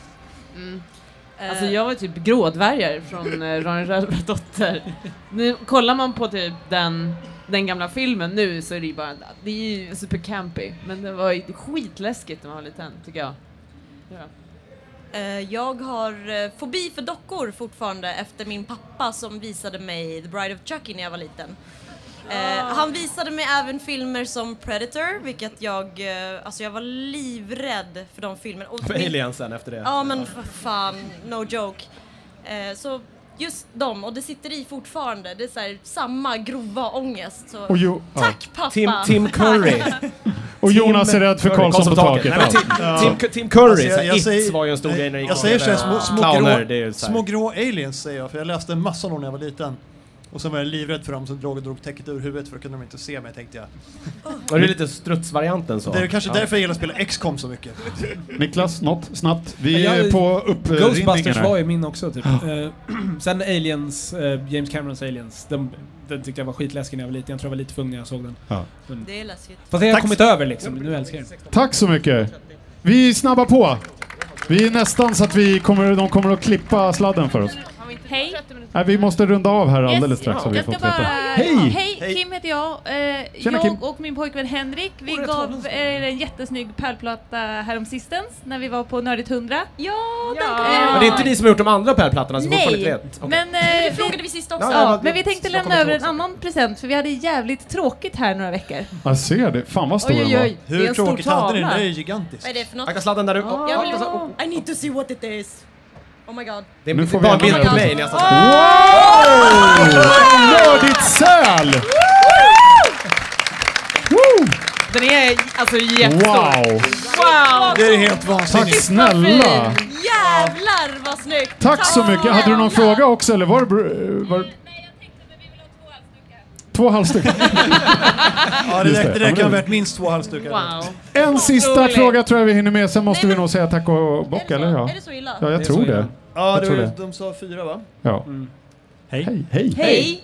E: Alltså jag var typ grådvärgar från eh, Ronny Rövardotter. Nu kollar man på typ den, den gamla filmen nu så är det ju bara, det är ju supercampy. Men det var ju skitläskigt när man var liten tycker jag. Ja.
C: Eh, Jag har eh, fobi för dockor fortfarande efter min pappa som visade mig The Bride of Chucky när jag var liten. Eh, han visade mig även filmer som Predator, vilket jag... eh, Alltså jag var livrädd för de filmerna. Och
D: För
C: min-
D: Alien sen efter det.
C: Ja men f- fan, no joke. Eh, så just dem, och det sitter i fortfarande. Det är så här, samma grova ångest. Så.
A: Och jo- ja.
C: Tack pappa!
D: Tim, Tim Curry.
A: Och Jonas är rädd för
D: Curry,
A: Karlsson på taket.
D: Nej, men Tim,
A: Ja.
D: Tim, Tim Curry,
B: Alltså,
D: så här, It
B: säger-
D: var ju en stor
B: nej,
D: grej när det gick
B: Jag säger
D: på
B: så här,
D: den.
B: små, små,
D: Clowner,
B: grå,
D: det är ju så här.
B: små grå aliens säger jag, för jag läste en massa om dem när jag var liten. Och sen var jag livrädd för dem som drog och drog täcket ur huvudet för då kunde de inte se mig tänkte jag.
D: Var det lite strutsvarianten så?
B: Det är kanske
D: Ja.
B: därför jag gillar att spela XCOM så mycket.
A: Niklas, något snabbt? Vi
F: Jag-
A: är på uppringningen
F: Ghostbusters
A: här.
F: var ju min också typ.
A: Ja.
F: Eh, Sen Aliens, eh, James Camerons Aliens, den, den tyckte jag var skitläskig när jag var liten. Jag tror jag var lite för ung när jag såg den.
A: Ja.
F: Men-
C: Det är läskigt.
F: Fast det har
A: Tack
F: jag
A: så-
F: kommit över liksom, nu älskar jag den.
A: Tack så mycket. Vi snabbar på. Vi är nästan så att vi kommer, de kommer att klippa sladden för oss.
N: Hej.
A: Nej, vi måste runda av här alldeles strax har vi
N: jag ska
A: fått
N: bara...
A: veta. Hej!
N: Hej, Kim heter jag. Eh,
A: Tjena,
N: jag
A: Kim.
N: och min pojkvän Henrik, vi gav eh, er en jättesnygg pärlplatta häromsistens när vi var på Nördigt 100. Ja, den kom
D: Men det är inte ni som har gjort de andra pärlplattorna som fortfarande
N: Nej,
D: vet? Okej.
N: men, eh,
C: Det frågade vi sist också.
N: Ja,
C: Ja, ja,
N: men vi
C: det-
N: tänkte
C: jag
N: lämna
C: kommer
N: över
C: inte
N: en annan present för vi hade jävligt tråkigt här några veckor.
A: Jag ser det. Fan vad stor
N: Oj,
A: den
N: oj,
A: var.
N: oj. Hur Det är en stor tråkigt hade ni? tavla. Det är
B: gigantisk.
C: Vad är det för något?
D: Akta sladden där uppe.
C: Ah.
D: Ja,
C: Jag vill,
D: alltså,
C: I need to see what it is. Oh my god.
D: Det är
A: Nu får vi
D: bara en
A: ändå-
D: bild på mig när jag satt
A: Wow!
D: Wow!
A: Nördigt säl! Woo!
E: Den är alltså jättestor.
A: Wow!
E: Wow!
A: Det är helt vansinnigt. Tack snälla.
C: Jävlar vad snyggt!
A: Tack så mycket. Hade du någon fråga också eller var det... br- Var... Två halsdukar.
B: Ja, det,
A: Just
B: där, det
A: Ja,
B: där
A: men
B: kan ha
A: det-
B: varit minst två halsdukar.
A: En sista
B: Otroligt.
A: fråga tror jag vi hinner med, sen måste vi nog säga tack och bock, eller? Ja.
B: Är det så illa?
A: Ja,
B: Det
A: jag
B: är så
A: tror
B: illa.
A: det.
B: Ja,
A: jag
B: det
A: tror
B: var,
A: det.
B: ju- de sa fyra va? Mm.
A: Ja. Hej. Hej.
B: Hej.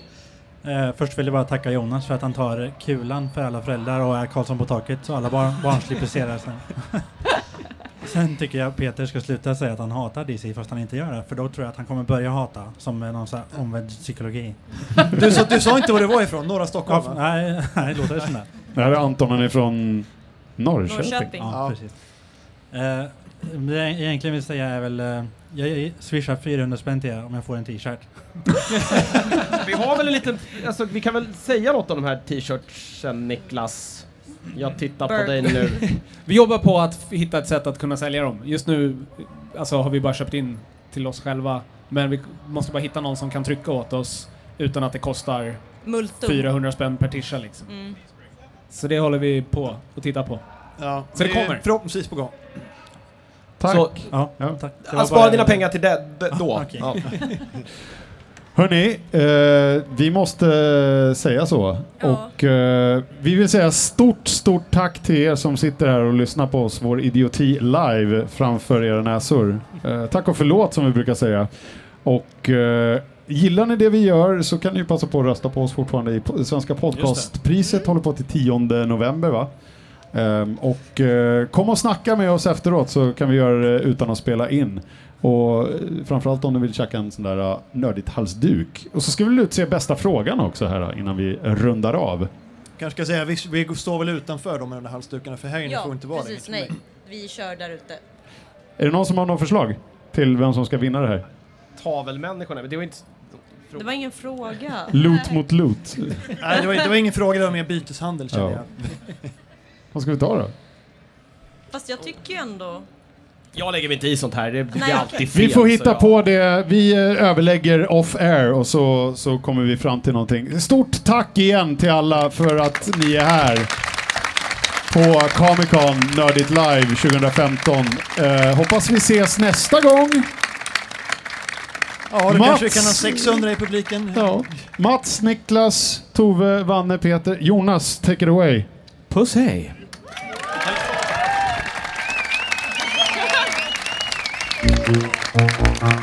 O: Eh, först vill jag bara tacka Jonas för att han tar kulan för alla föräldrar och är Karlsson på taket så alla barn, barn slipper se det här sen. sen tycker jag Peter ska sluta säga att han hatar DC fast han inte gör det för då tror jag att han kommer börja hata som eh, någon sån här omvänd psykologi.
B: Du sa- du sa inte var det var ifrån, norra Stockholm,
O: Ja,
B: va?
O: nej, nej, låter det som det.
A: Det här är Anton, han är från Norrköping.
O: Ja, precis. Eh, det jag egentligen vill säga är väl, eh, jag, jag swishar 400 spänn till er om jag får en t-shirt.
D: Vi har väl en liten... Alltså, vi kan väl säga något om de här t-shirtsen, Niklas? Jag tittar på dig nu.
F: vi jobbar på att f- hitta ett sätt att kunna sälja dem. Just nu alltså, har vi bara köpt in till oss själva, men vi k- måste bara hitta någon som kan trycka åt oss utan att det kostar
C: Multum.
F: 400 spänn per tisha liksom.
C: Mm.
F: Så det håller vi på och tittar på.
B: Ja,
F: Så det
B: är
F: kommer.
B: Förhoppningsvis på gång.
A: Tack.
F: Så-
O: Ja, tack. Det var
D: Han sparar
O: bara-
D: dina pengar till det, det, då.
O: Ah, okej.
D: Ja.
A: Hörni, eh, vi måste eh, säga så. Och eh, vi vill säga stort, stort tack till er som sitter här och lyssnar på oss, vår idioti live framför era näsor. Eh, tack och förlåt som vi brukar säga. Och eh, gillar ni det vi gör så kan ni ju passa på att rösta på oss fortfarande i po- Svenska
B: Mm.
A: podcastpriset. Håller på till 10 november va? Ehm, och eh, kom och snacka med oss efteråt så kan vi göra det utan att spela in. Och eh, framförallt om du vill käka en sån där uh, nördigt halsduk. Och så ska vi väl utse bästa frågan också här eh, innan vi rundar av.
B: Kanske ska säga, vi, vi står väl utanför dem med de där halsdukarna för här inne
C: Ja,
B: får inte vara liksom.
C: precis.
B: längre.
C: Nej, vi kör där ute.
A: Är det någon som har något förslag till vem som ska vinna det här?
D: tavelmänniskorna, men det var inte...
C: Det var ingen fråga.
A: Loot mot loot.
B: Nej, det var, det var ingen fråga, det var mer byteshandel kände
A: Ja.
B: jag.
A: Vad ska vi ta då?
C: Fast jag tycker ju ändå...
D: Jag lägger mig inte i sånt här, det blir
C: Nej,
D: alltid
C: okej.
D: fel.
A: Vi får
D: så
A: hitta
D: jag-
A: på det. Vi eh, överlägger off air och så, så kommer vi fram till någonting. Stort tack igen till alla för att ni är här på Comic Con Nördigt Live 2015. Eh, hoppas vi ses nästa gång.
B: Ja, då
A: Mats.
B: kanske vi kan ha 600 i publiken.
A: Ja. Mats, Niklas, Tove, Vanne, Peter, Jonas, take it away.
D: Puss hej.
P: Thank you.
D: Ah.
I: Mm.